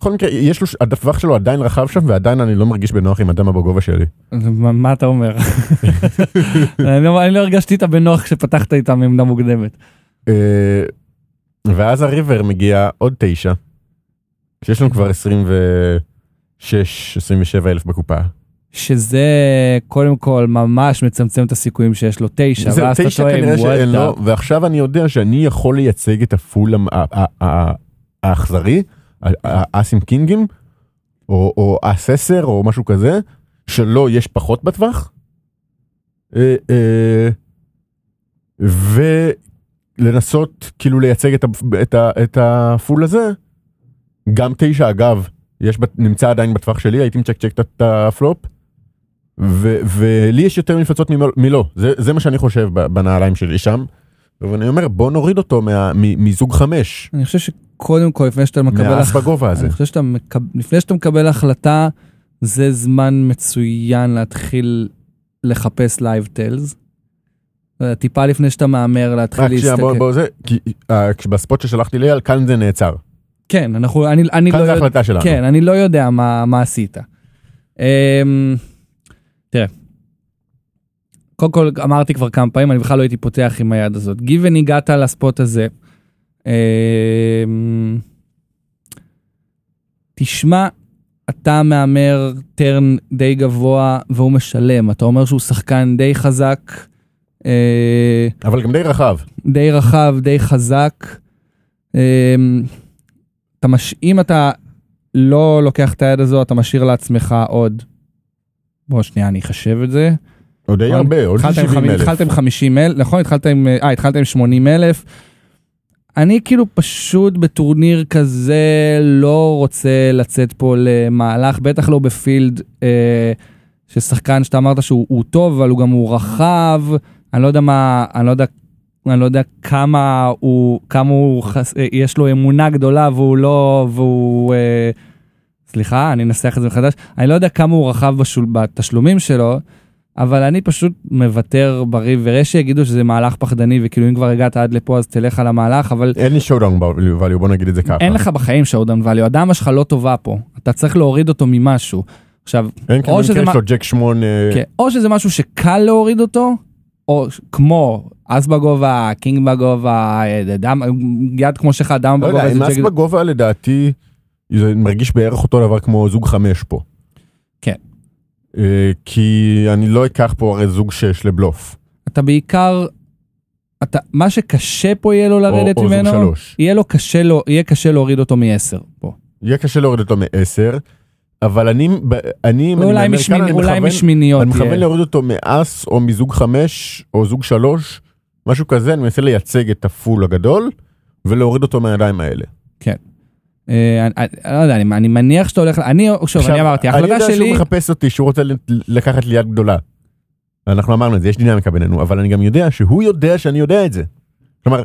Speaker 2: בכל מקרה, יש לו, הטווח שלו עדיין רחב שם, ועדיין אני לא מרגיש בנוח עם הדם בגובה שלי.
Speaker 1: אז מה מה אתה אומר? אני לא- אני לא הרגשתי איתה בנוח כשפתחת איתה מעמדה מוקדמת.
Speaker 2: אה, ואז הריבר מגיע עוד תשע, שיש לנו כבר 26, 27 אלף בקופה.
Speaker 1: שזה קודם כל ממש מצמצם את הסיכויים שיש לו תשע,
Speaker 2: זה
Speaker 1: ואז אתה
Speaker 2: תשע
Speaker 1: טועה
Speaker 2: כנראה
Speaker 1: אם הוא
Speaker 2: שאין לו,
Speaker 1: אוהד
Speaker 2: ועכשיו אני יודע שאני יכול לייצג את הפול המ- ה- ה- ה- האכזרי, ה- ה- האסים קינגים, או או אס עשר, או משהו כזה, שלו יש פחות בטווח. אה, אה, ולנסות כאילו לייצג את ה- את ה- את הפול הזה, גם תשע אגב, יש, בת- נמצא עדיין בטווח שלי, הייתי מצ'קצ'ק את- את הפלופ. ו- ולי יש יותר מפלצות ממ- מלא, זה, זה מה שאני חושב ב- בנעליים שלי שם. ואני אומר בוא נוריד אותו מה, מ, מזוג חמש,
Speaker 1: אני חושב שקודם כל לפני שאתה מקבל
Speaker 2: מהאס בגובה הזה.
Speaker 1: אני חושב שאתה מקב- לפני שאתה מקבל החלטה, זה זמן מצוין להתחיל לחפש לייב טיילס. טיפה לפני שאתה מהמר להתחיל
Speaker 2: רק שנייה
Speaker 1: להסתכל.
Speaker 2: בוא, בוא זה, כי אה, כש- בספוט ששלחתי לאייל כאן זה נעצר,
Speaker 1: כן, אנחנו, אני, אני לא
Speaker 2: כאן זה
Speaker 1: יודע,
Speaker 2: החלטה שלנו.
Speaker 1: כן, אני לא יודע מה, מה עשית. אמ, תראה, קודם כל אמרתי כבר כמה פעמים, אני בכלל לא הייתי פותח עם היד הזאת. גיוון הגעת לספוט הזה. אמ, תשמע, אתה מהמר טרן די גבוה והוא משלם, אתה אומר שהוא שחקן די חזק, אה,
Speaker 2: אבל גם די רחב,
Speaker 1: די רחב, די חזק. אמ, אתה מש... אם אתה לא לוקח את היד הזו, אתה משאיר לעצמך עוד... בוא שנייה, אני אחשב את זה.
Speaker 2: עוד די
Speaker 1: נכון?
Speaker 2: הרבה, עוד
Speaker 1: התחלת עם
Speaker 2: 70
Speaker 1: חמ-
Speaker 2: אלף.
Speaker 1: התחלת עם 50 אלף, נכון? התחלת עם... אה, התחלת עם 80 אלף. אני כאילו פשוט בטורניר כזה לא רוצה לצאת פה למהלך, בטח לא בפילד אה, ששחקן שאתה אמרת שהוא הוא טוב, אבל הוא גם הוא רחב, אני לא יודע מה, אני לא יודע, אני לא יודע כמה הוא, כמה הוא, חס, אה, יש לו אמונה גדולה והוא לא, והוא, אה, סליחה, אני אנסח את זה מחדש, אני לא יודע כמה הוא רחב בשול, בתשלומים שלו, אבל אני פשוט מוותר בריא, ויש שיגידו שזה מהלך פחדני, וכאילו אם כבר הגעת עד לפה אז תלך על המהלך, אבל
Speaker 2: אין לי showdown value, בוא נגיד את זה ככה.
Speaker 1: אין לך בחיים שעודן ואליו, הדמה שלך לא טובה פה, אתה צריך להוריד אותו ממשהו. עכשיו,
Speaker 2: אין
Speaker 1: או
Speaker 2: כאילו
Speaker 1: שזה
Speaker 2: מקרה
Speaker 1: מה-
Speaker 2: שלו ג'ק שמונה,
Speaker 1: כן, או שזה משהו שקל להוריד אותו, או ש- כמו אס בגובה, קינג בגובה, אה, דם, יד כמו שלך, דם
Speaker 2: לא
Speaker 1: בגובה,
Speaker 2: יודע,
Speaker 1: זה
Speaker 2: עם מס
Speaker 1: ג'ק-
Speaker 2: בגובה לדעתי, זה מרגיש בערך אותו דבר כמו זוג חמש פה.
Speaker 1: כן.
Speaker 2: אה, כי אני לא אקח פה הרי זוג שש לבלוף.
Speaker 1: אתה בעיקר, אתה, מה שקשה פה יהיה לו
Speaker 2: או-
Speaker 1: לא לרדת
Speaker 2: או זוג
Speaker 1: ממנו,
Speaker 2: שלוש.
Speaker 1: יהיה לו קשה, לו, יהיה קשה להוריד אותו מ-10 פה.
Speaker 2: יהיה קשה להוריד אותו מ-10, אבל אני, ב- אני, אם אני
Speaker 1: לא אולי,
Speaker 2: מהמר כאן,
Speaker 1: משמיני,
Speaker 2: אני
Speaker 1: אולי
Speaker 2: מכוון-
Speaker 1: משמיניות
Speaker 2: אני מכוון
Speaker 1: יהיה.
Speaker 2: להוריד אותו מאס או מזוג חמש או זוג שלוש, משהו כזה, אני מנסה לייצג את הפול הגדול ולהוריד אותו מהידיים האלה.
Speaker 1: אה, אני- אני לא יודע, אני- אני מניח שאתה הולך, אני, שוב, אני אמרתי,
Speaker 2: אני
Speaker 1: ההחלטה
Speaker 2: יודע
Speaker 1: שלי,
Speaker 2: שהוא מחפש אותי, שהוא רוצה ל- לקחת לי יד גדולה. אנחנו אמרנו את זה, יש דינמיקה בינינו, אבל אני גם יודע שהוא יודע שאני יודע את זה. כלומר,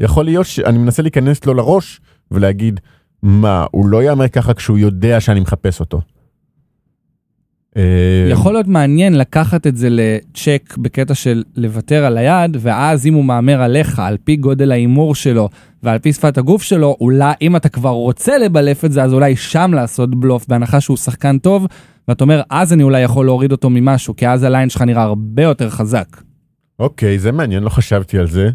Speaker 2: יכול להיות שאני מנסה להיכנס לו לראש ולהגיד, מה, הוא לא יאמר ככה כשהוא יודע שאני מחפש אותו. אה,
Speaker 1: יכול להיות מעניין לקחת את זה לצ'ק בקטע של לוותר על היד, ואז אם הוא מהמר עליך, על פי גודל ההימור שלו ועל פי שפת הגוף שלו, אולי אם אתה כבר רוצה לבלף את זה, אז אולי שם לעשות בלוף, בהנחה שהוא שחקן טוב, ואתה אומר, אז אני אולי יכול להוריד אותו ממשהו, כי אז הליין שלך נראה הרבה יותר חזק.
Speaker 2: אוקיי, זה מעניין, לא חשבתי על זה.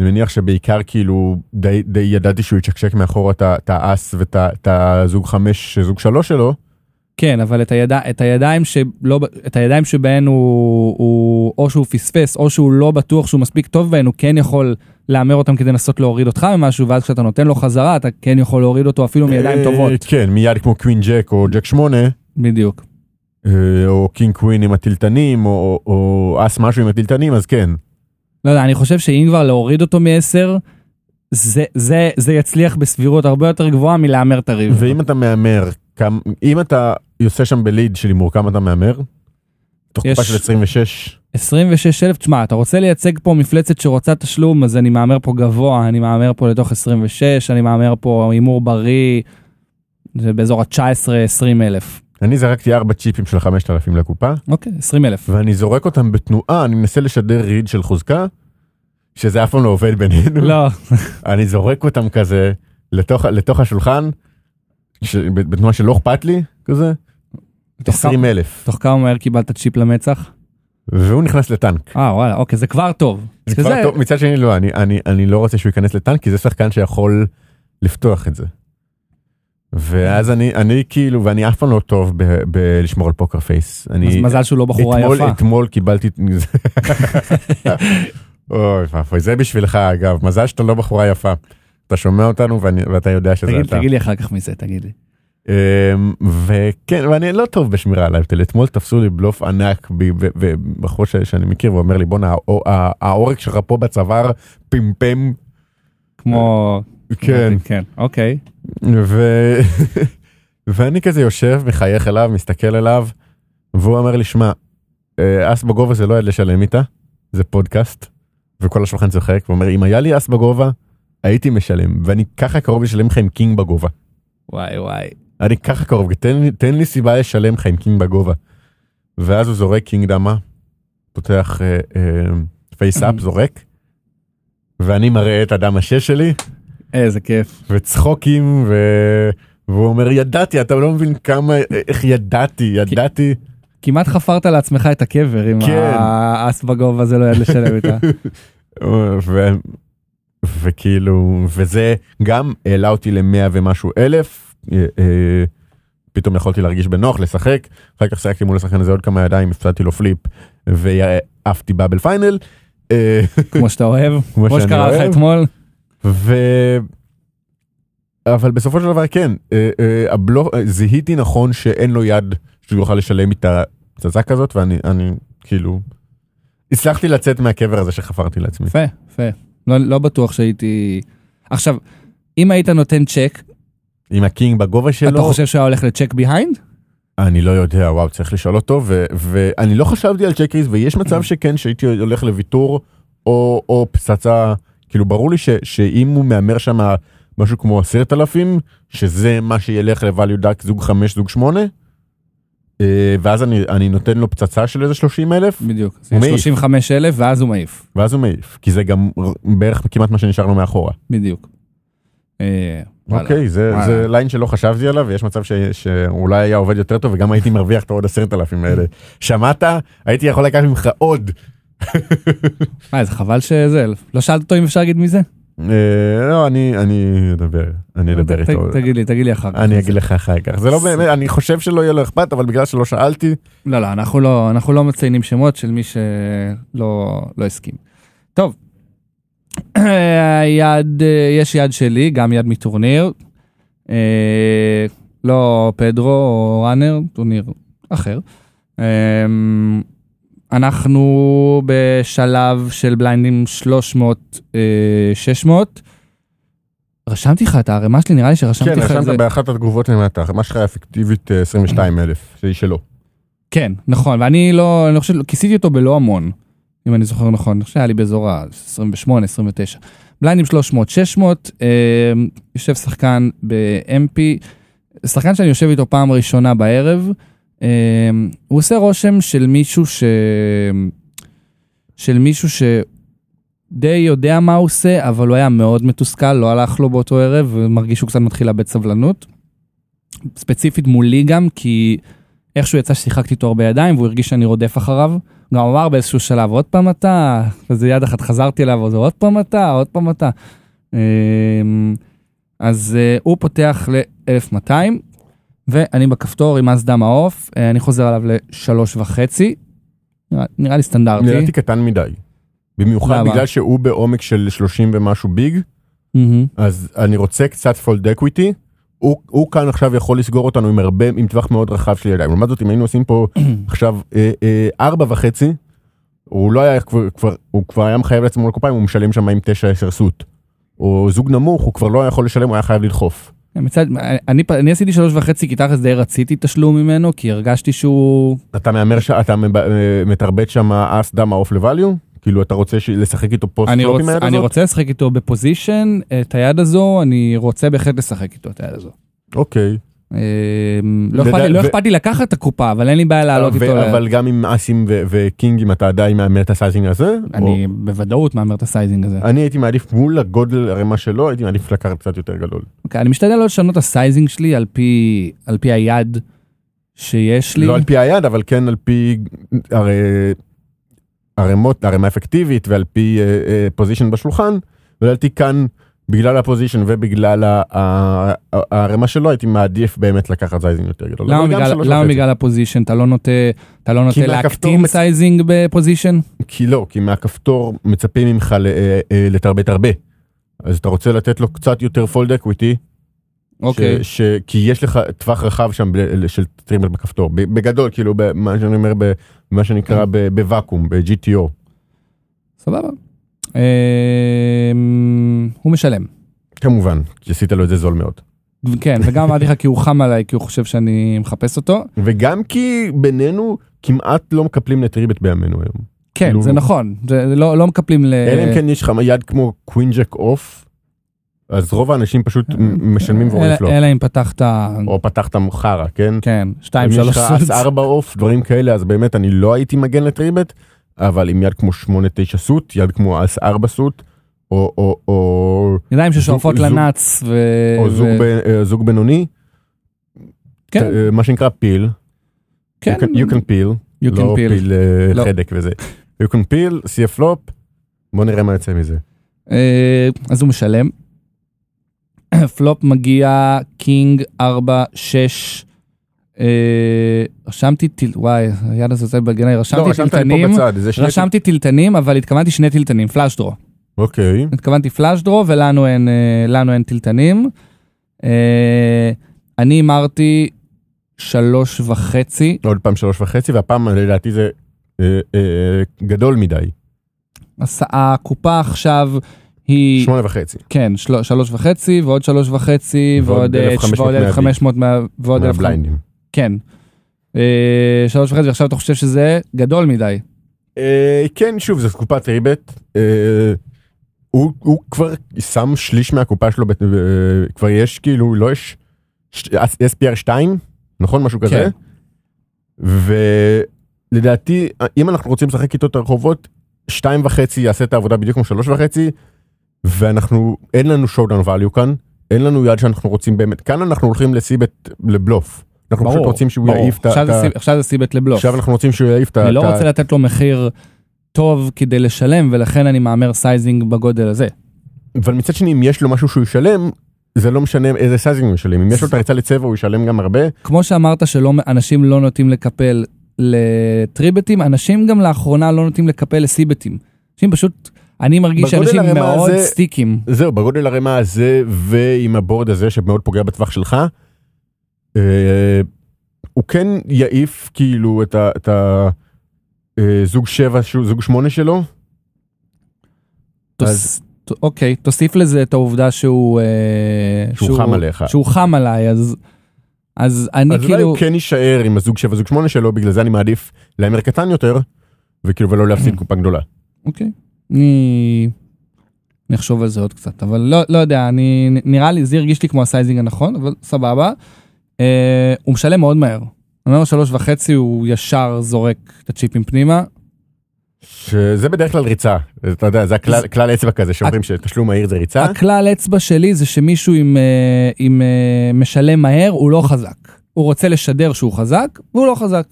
Speaker 2: אני מניח שבעיקר כאילו די, די ידעתי שהוא יצ'קשק מאחורה את ה- את האס ואת ה- את הזוג חמש, זוג שלוש שלו.
Speaker 1: כן, אבל את, היד... את, הידיים, שלא... את הידיים שבהן הוא... הוא או שהוא פספס או שהוא לא בטוח שהוא מספיק טוב בהן, הוא כן יכול להמר אותם כדי לנסות להוריד אותך ממשהו, ואז כשאתה נותן לו חזרה אתה כן יכול להוריד אותו אפילו מידיים
Speaker 2: אה,
Speaker 1: טובות.
Speaker 2: כן, מיד כמו קווין ג'ק או ג'ק שמונה,
Speaker 1: בדיוק.
Speaker 2: אה, או קינג קווין עם הטילטנים, או, או, או אס משהו עם הטילטנים, אז כן.
Speaker 1: לא יודע, אני חושב שאם כבר להוריד אותו מ-10, זה, זה, זה יצליח בסבירות הרבה יותר גבוהה מלהמר את הריב.
Speaker 2: ואם אתה מהמר, כמה- אם אתה יוצא שם בליד של הימור, כמה אתה מהמר? תוך
Speaker 1: יש-
Speaker 2: תקופה של 26.
Speaker 1: 26,000, תשמע, אתה רוצה לייצג פה מפלצת שרוצה תשלום, אז אני מהמר פה גבוה, אני מהמר פה לתוך 26, אני מהמר פה הימור בריא, זה באזור ה-19-20 אלף.
Speaker 2: אני זרקתי ארבע צ'יפים של 5,000 לקופה.
Speaker 1: אוקיי, 20 אלף.
Speaker 2: ואני זורק אותם בתנועה, אני מנסה לשדר ריד של חוזקה, שזה אף פעם לא עובד בינינו.
Speaker 1: לא,
Speaker 2: אני זורק אותם כזה לתוך, לתוך השולחן, ש, בתנועה שלא אכפת לי, כזה,
Speaker 1: תוך כמה-
Speaker 2: 20 אלף.
Speaker 1: תוך כמה מהר קיבלת צ'יפ למצח?
Speaker 2: והוא נכנס לטנק.
Speaker 1: אה, וואלה, אוקיי, זה כבר טוב.
Speaker 2: זה כבר
Speaker 1: שזה-
Speaker 2: טוב, מצד שני לא, אני, אני, אני לא רוצה שהוא ייכנס לטנק, כי זה שחקן שיכול לפתוח את זה. ואז אני, אני כאילו, ואני אף פעם לא טוב ב- בלשמור על פוקר פייס.
Speaker 1: אז
Speaker 2: אני,
Speaker 1: מזל שהוא לא בחורה
Speaker 2: אתמול,
Speaker 1: יפה.
Speaker 2: אתמול קיבלתי... אוי ואבוי, זה בשבילך אגב, מזל שאתה לא בחורה יפה. אתה שומע אותנו ואני, ואתה יודע שזה
Speaker 1: תגיד
Speaker 2: אתה.
Speaker 1: תגיד לי אחר כך מזה, תגיד לי.
Speaker 2: אמ, וכן, ואני לא טוב בשמירה על ההבדל. אתמול תפסו לי בלוף ענק ב- ב- ב- בחור ש- שאני מכיר, והוא אומר לי, בואנה, האו- הא- העורק שלך פה בצוואר פמפם.
Speaker 1: כמו...
Speaker 2: כן.
Speaker 1: כן, אוקיי.
Speaker 2: ו... ואני כזה יושב, מחייך אליו, מסתכל אליו, והוא אומר לי, שמע, אה, אס בגובה זה לא יד לשלם איתה, זה פודקאסט, וכל השולחן צוחק, ואומר, אם היה לי אס בגובה, הייתי משלם, ואני ככה קרוב לשלם לך עם קינג בגובה.
Speaker 1: וואי וואי.
Speaker 2: אני ככה קרוב, תן, לי- תן לי סיבה לשלם לך עם קינג בגובה. ואז הוא זורק קינג דמה, פותח אה, אה, פייסאפ, זורק, ואני מראה את הדם השש שלי,
Speaker 1: איזה כיף.
Speaker 2: וצחוקים ו... והוא אומר ידעתי אתה לא מבין כמה איך ידעתי ידעתי
Speaker 1: כמעט חפרת לעצמך את הקבר עם
Speaker 2: כן.
Speaker 1: האס בגובה זה לא יד לשלם איתה.
Speaker 2: ו... וכאילו וזה גם העלה אותי למאה ומשהו אלף אה, אה, פתאום יכולתי להרגיש בנוח לשחק אחר כך שיחקתי מול השחקן הזה עוד כמה ידיים הפסדתי לו פליפ ועפתי באבל פיינל. אה,
Speaker 1: כמו שאתה אוהב,
Speaker 2: כמו
Speaker 1: כמו
Speaker 2: שאני
Speaker 1: שקרה לך
Speaker 2: אוהב.
Speaker 1: אתמול.
Speaker 2: ו... אבל בסופו של דבר כן, אה, אה, הבלו... אה, זיהיתי נכון שאין לו יד שהוא יוכל לשלם איתה פצצה כזאת, ואני אני, כאילו... הצלחתי לצאת מהקבר הזה שחפרתי לעצמי.
Speaker 1: יפה, יפה. לא, לא בטוח שהייתי... עכשיו, אם היית נותן צ'ק,
Speaker 2: עם הקינג בגובה שלו,
Speaker 1: אתה חושב שהוא היה הולך לצ'ק ביהיינד?
Speaker 2: אני לא יודע, וואו, צריך לשאול אותו, ו- ואני לא חשבתי על צ'קריס, ויש מצב שכן, שהייתי הולך לוויתור או, או פצצה, כאילו ברור לי ש- שאם הוא מהמר שם משהו כמו עשרת אלפים, שזה מה שילך לvalue duck זוג חמש, זוג שמונה, אה, ואז אני, אני נותן לו פצצה של איזה שלושים אלף,
Speaker 1: בדיוק.
Speaker 2: הוא מעיף.
Speaker 1: 35 אלף ואז הוא מעיף.
Speaker 2: ואז הוא מעיף, כי זה גם בערך כמעט מה שנשאר לו מאחורה.
Speaker 1: בדיוק. אה, וואלה.
Speaker 2: אוקיי, זה,
Speaker 1: וואלה.
Speaker 2: זה ליין שלא חשבתי עליו, ויש מצב ש, שאולי היה עובד יותר טוב, וגם הייתי מרוויח את העוד עשרת אלפים האלה. שמעת? הייתי יכול לקחת ממך עוד.
Speaker 1: מה, אה, זה חבל שזה, לא שאלת אותו אם אפשר להגיד מי זה?
Speaker 2: אה, לא, אני, אני אדבר, אני אדבר
Speaker 1: לא, ת-
Speaker 2: איתו.
Speaker 1: ת- תגיד לי, תגיד לי אחר כך.
Speaker 2: אני אגיד לך אחר כך. זה לא באמת, אני חושב שלא יהיה לו אכפת, אבל בגלל שלא שאלתי,
Speaker 1: לא, לא, אנחנו לא, אנחנו לא מציינים שמות של מי שלא לא הסכים. טוב, היד, אה, יש יד שלי, גם יד מטורניר. אה, לא פדרו או ראנר, טורניר אחר. אה, אנחנו בשלב של בליינדים 300-600. רשמתי לך את הערימה שלי, נראה לי שרשמתי
Speaker 2: כן,
Speaker 1: לך את זה.
Speaker 2: רשמת באחת התגובות למטה, מה שלך אפקטיבית 22 אלף, שהיא שלו.
Speaker 1: כן, נכון, ואני לא, אני חושב, כיסיתי אותו בלא המון, אם אני זוכר נכון, אני חושב שהיה לי באזור ה-28-29. בליינדים 300-600, אה, יושב שחקן ב-MP, שחקן שאני יושב איתו פעם ראשונה בערב, אה, הוא עושה רושם של מישהו ש... של מישהו ש... די יודע מה הוא עושה, אבל הוא היה מאוד מתוסכל, לא הלך לו באותו ערב, ומרגיש שהוא קצת מתחיל לאבד סבלנות. ספציפית מולי גם, כי איכשהו יצא ששיחקתי איתו הרבה ידיים והוא הרגיש שאני רודף אחריו. גם אמר באיזשהו שלב עוד פעם אתה, וזה יד אחת חזרתי אליו, אז עוד פעם אתה, עוד פעם אתה. אמ, אז אה, הוא פותח ל-1200 ואני בכפתור עם אז דם העוף, אה, אני חוזר עליו לשלוש וחצי. נראה- נראה לי סטנדרטי.
Speaker 2: נראיתי קטן מדי. במיוחד
Speaker 1: למה?
Speaker 2: בגלל שהוא בעומק של 30 ומשהו ביג,
Speaker 1: מהמם.
Speaker 2: אז אני רוצה קצת פולד אקוויטי. הוא, הוא כאן עכשיו יכול לסגור אותנו עם הרבה, עם טווח מאוד רחב של ידיים. לעומת זאת, אם היינו עושים פה עכשיו אה, אה, ארבע וחצי, הוא לא היה כבר, כבר, הוא כבר היה מחייב לעצמו לקופיים, הוא משלם שם עם תשע עשר סוט. או זוג נמוך, הוא כבר לא היה יכול לשלם, הוא היה חייב לדחוף.
Speaker 1: כן, מצד, אני, פ- אני עשיתי שלוש וחצי כי תכלס די רציתי תשלום ממנו כי הרגשתי שהוא
Speaker 2: אתה מהמר, ש... אתה מב- אה, מתרבט שם אס דם העוף לvalue? כאילו אתה רוצה ש... לשחק איתו פוסט
Speaker 1: אני
Speaker 2: פלופ עם
Speaker 1: רוצה,
Speaker 2: היד
Speaker 1: אני
Speaker 2: הזאת?
Speaker 1: רוצה לשחק איתו בפוזיישן, את היד הזו, אני רוצה בהחלט לשחק איתו את היד הזו.
Speaker 2: אוקיי.
Speaker 1: אמ, לא
Speaker 2: לדע-
Speaker 1: אכפת לי- לא
Speaker 2: ו-
Speaker 1: אכפת לי לקחת את הקופה, אבל אין לי בעיה לעלות
Speaker 2: ו-
Speaker 1: איתו. אה. ל-
Speaker 2: אבל גם עם אסים ו- וקינגים אתה עדיין מהמר את הסייזינג הזה? או-
Speaker 1: אני בוודאות מהמר את הסייזינג הזה.
Speaker 2: אני הייתי מעדיף מול הגודל הרמה שלו, הייתי מעדיף לקחת קצת יותר גדול.
Speaker 1: אוקיי, אני משתדל לא לשנות את הסייזינג שלי על פי על פי היד שיש לי.
Speaker 2: לא על פי היד, אבל כן על פי הרי, הרמות, הרמה אפקטיבית ועל פי פוזיישן בשולחן, ולדעתי כאן, בגלל הפוזיישן ובגלל ה- ה- ה- הרמה שלו, הייתי מעדיף באמת לקחת סייזינג יותר גדול.
Speaker 1: למה
Speaker 2: אבל גם
Speaker 1: בגלל-
Speaker 2: שלוש
Speaker 1: למה
Speaker 2: וחצי.
Speaker 1: בגלל הפוזיישן? אתה לא נוטה אתה לא נוטה
Speaker 2: מהכפתור
Speaker 1: להקטין
Speaker 2: מצ-
Speaker 1: סייזינג בפוזיישן?
Speaker 2: כי לא, כי מהכפתור מצפים ממך ל- אה, אה, לתרבט הרבה. אז אתה רוצה לתת לו קצת יותר פולד אקוויטי,
Speaker 1: אוקיי.
Speaker 2: ש, ש, כי יש לך טווח רחב שם ב, של טרימר בכפתור, ב, בגדול, כאילו, במה שאני אומר, ב- במה שנקרא ב, בוואקום, ב-GTO.
Speaker 1: סבבה. אמ, הוא משלם.
Speaker 2: כמובן, כי עשית לו את זה זול מאוד.
Speaker 1: כן, וגם אמרתי לך כי הוא חם עליי, כי הוא חושב שאני מחפש אותו.
Speaker 2: וגם כי בינינו כמעט לא מקפלים לטריבט בימינו היום.
Speaker 1: כן,
Speaker 2: לא,
Speaker 1: זה
Speaker 2: לא.
Speaker 1: נכון, זה זה לא לא מקפלים ל...
Speaker 2: אלא אם כן יש לך יד כמו קווינג'ק אוף, אז רוב האנשים פשוט מ- משלמים ועורף
Speaker 1: אלא-
Speaker 2: לו.
Speaker 1: אלא אם פתחת,
Speaker 2: או פתחת חרא, כן?
Speaker 1: אה. כן,
Speaker 2: אם
Speaker 1: שתיים,
Speaker 2: יש
Speaker 1: שלוש
Speaker 2: לך אס
Speaker 1: סוס.
Speaker 2: ארבע עוף, דברים כאלה, אז באמת אני לא הייתי מגן לטריבט, אבל עם יד כמו שמונה תשע סוט, יד כמו אס ארבע סוט, או, או, או,
Speaker 1: ידיים ששואפות
Speaker 2: זוג-
Speaker 1: לנץ ו...
Speaker 2: או
Speaker 1: ו-
Speaker 2: זוג, ב, אה, זוג בינוני, ת-
Speaker 1: כן,
Speaker 2: אה, מה שנקרא פיל,
Speaker 1: כן,
Speaker 2: you can- you can peel,
Speaker 1: you can
Speaker 2: לא
Speaker 1: peel.
Speaker 2: פיל אה,
Speaker 1: לא.
Speaker 2: חדק וזה, you can peel, see a flop, בוא נראה מה יוצא מזה.
Speaker 1: אה, אז הוא משלם. פלופ מגיע קינג 4, 6. רשמתי טיל... וואי, היד הזאת זה בגנאי,
Speaker 2: לא,
Speaker 1: רשמתי
Speaker 2: רשמת לי פה
Speaker 1: טילטנים.
Speaker 2: בצד, זה שני...
Speaker 1: רשמתי טילטנים, אבל התכוונתי שני טילטנים, פלאשדרו.
Speaker 2: אוקיי,
Speaker 1: התכוונתי פלאש דרו ולנו אין, אה, לנו אין טילטנים. אה, אני הימרתי שלוש וחצי,
Speaker 2: עוד פעם שלוש וחצי, והפעם לדעתי זה אה, אה, גדול מדי,
Speaker 1: הס- הקופה עכשיו היא,
Speaker 2: שמונה וחצי.
Speaker 1: כן, של, שלוש וחצי ועוד שלוש וחצי
Speaker 2: ועוד
Speaker 1: ועוד אה, ועוד
Speaker 2: 1,500 מהביג.
Speaker 1: 1,500 מה- ועוד 1,500,
Speaker 2: מהבליינדים.
Speaker 1: כן, אה, שלוש וחצי, ועכשיו אתה חושב שזה גדול מדי.
Speaker 2: אה, כן, שוב, זו קופת ריבט. אה, הוא, הוא כבר שם שליש מהקופה שלו, בת- אה, כבר יש כאילו, לא יש ש- SPR 2, נכון? משהו כזה.
Speaker 1: כן.
Speaker 2: ולדעתי, אם אנחנו רוצים לשחק איתו את הרחובות, שתיים וחצי יעשה את העבודה בדיוק כמו שלוש וחצי, ואנחנו, אין לנו showdown value כאן, אין לנו יד שאנחנו רוצים באמת, כאן אנחנו הולכים לסיבט, לבלוף. אנחנו פשוט רוצים שהוא
Speaker 1: ברור.
Speaker 2: יעיף את ה...
Speaker 1: עכשיו
Speaker 2: את ה-
Speaker 1: זה סי- עכשיו זה סיבט לבלוף.
Speaker 2: עכשיו אנחנו רוצים שהוא יעיף את ה...
Speaker 1: אני לא
Speaker 2: את ה-
Speaker 1: רוצה לתת לו מחיר טוב כדי לשלם, ולכן אני מהמר סייזינג בגודל הזה.
Speaker 2: אבל מצד שני אם יש לו משהו שהוא ישלם זה לא משנה איזה סייזינג הוא ישלם אם יש לו את הריצה לצבע הוא ישלם גם הרבה
Speaker 1: כמו שאמרת שאנשים לא נוטים לקפל לטריבטים, אנשים גם לאחרונה לא נוטים לקפל לסיבטים. אנשים פשוט, אני מרגיש
Speaker 2: בגודל
Speaker 1: שאנשים
Speaker 2: הרמה
Speaker 1: מאוד
Speaker 2: הזה-
Speaker 1: סטיקים.
Speaker 2: זהו בגודל הרמה הזה ועם הבורד הזה שמאוד פוגע בטווח שלך. אה, הוא כן יעיף כאילו את ה- את ה... אה, זוג שבע שהוא זוג שמונה שלו
Speaker 1: תוס-
Speaker 2: אז-
Speaker 1: ת- אוקיי, תוסיף לזה את העובדה שהוא... אה,
Speaker 2: שהוא חם עליך.
Speaker 1: שהוא חם עליי, אז... אז אני
Speaker 2: אז אולי
Speaker 1: כאילו...
Speaker 2: הוא כן יישאר עם הזוג שבע זוג שמונה שלו בגלל זה אני מעדיף להמר קטן יותר וכאילו ולא להפסיד קופה גדולה.
Speaker 1: אוקיי. אני... נחשוב על זה עוד קצת, אבל לא, לא יודע, אני... נראה לי, זה הרגיש לי כמו הסייזינג הנכון, אבל סבבה. אה, הוא משלם מאוד מהר. אני אומר שלוש וחצי, הוא ישר זורק את הצ'יפים פנימה.
Speaker 2: שזה בדרך כלל ריצה אתה יודע זה הכלל כלל אצבע כזה שאומרים שתשלום מהיר זה ריצה.
Speaker 1: הכלל אצבע שלי זה שמישהו עם, אה, עם אה, משלם מהר הוא לא חזק. הוא רוצה לשדר שהוא חזק והוא לא חזק.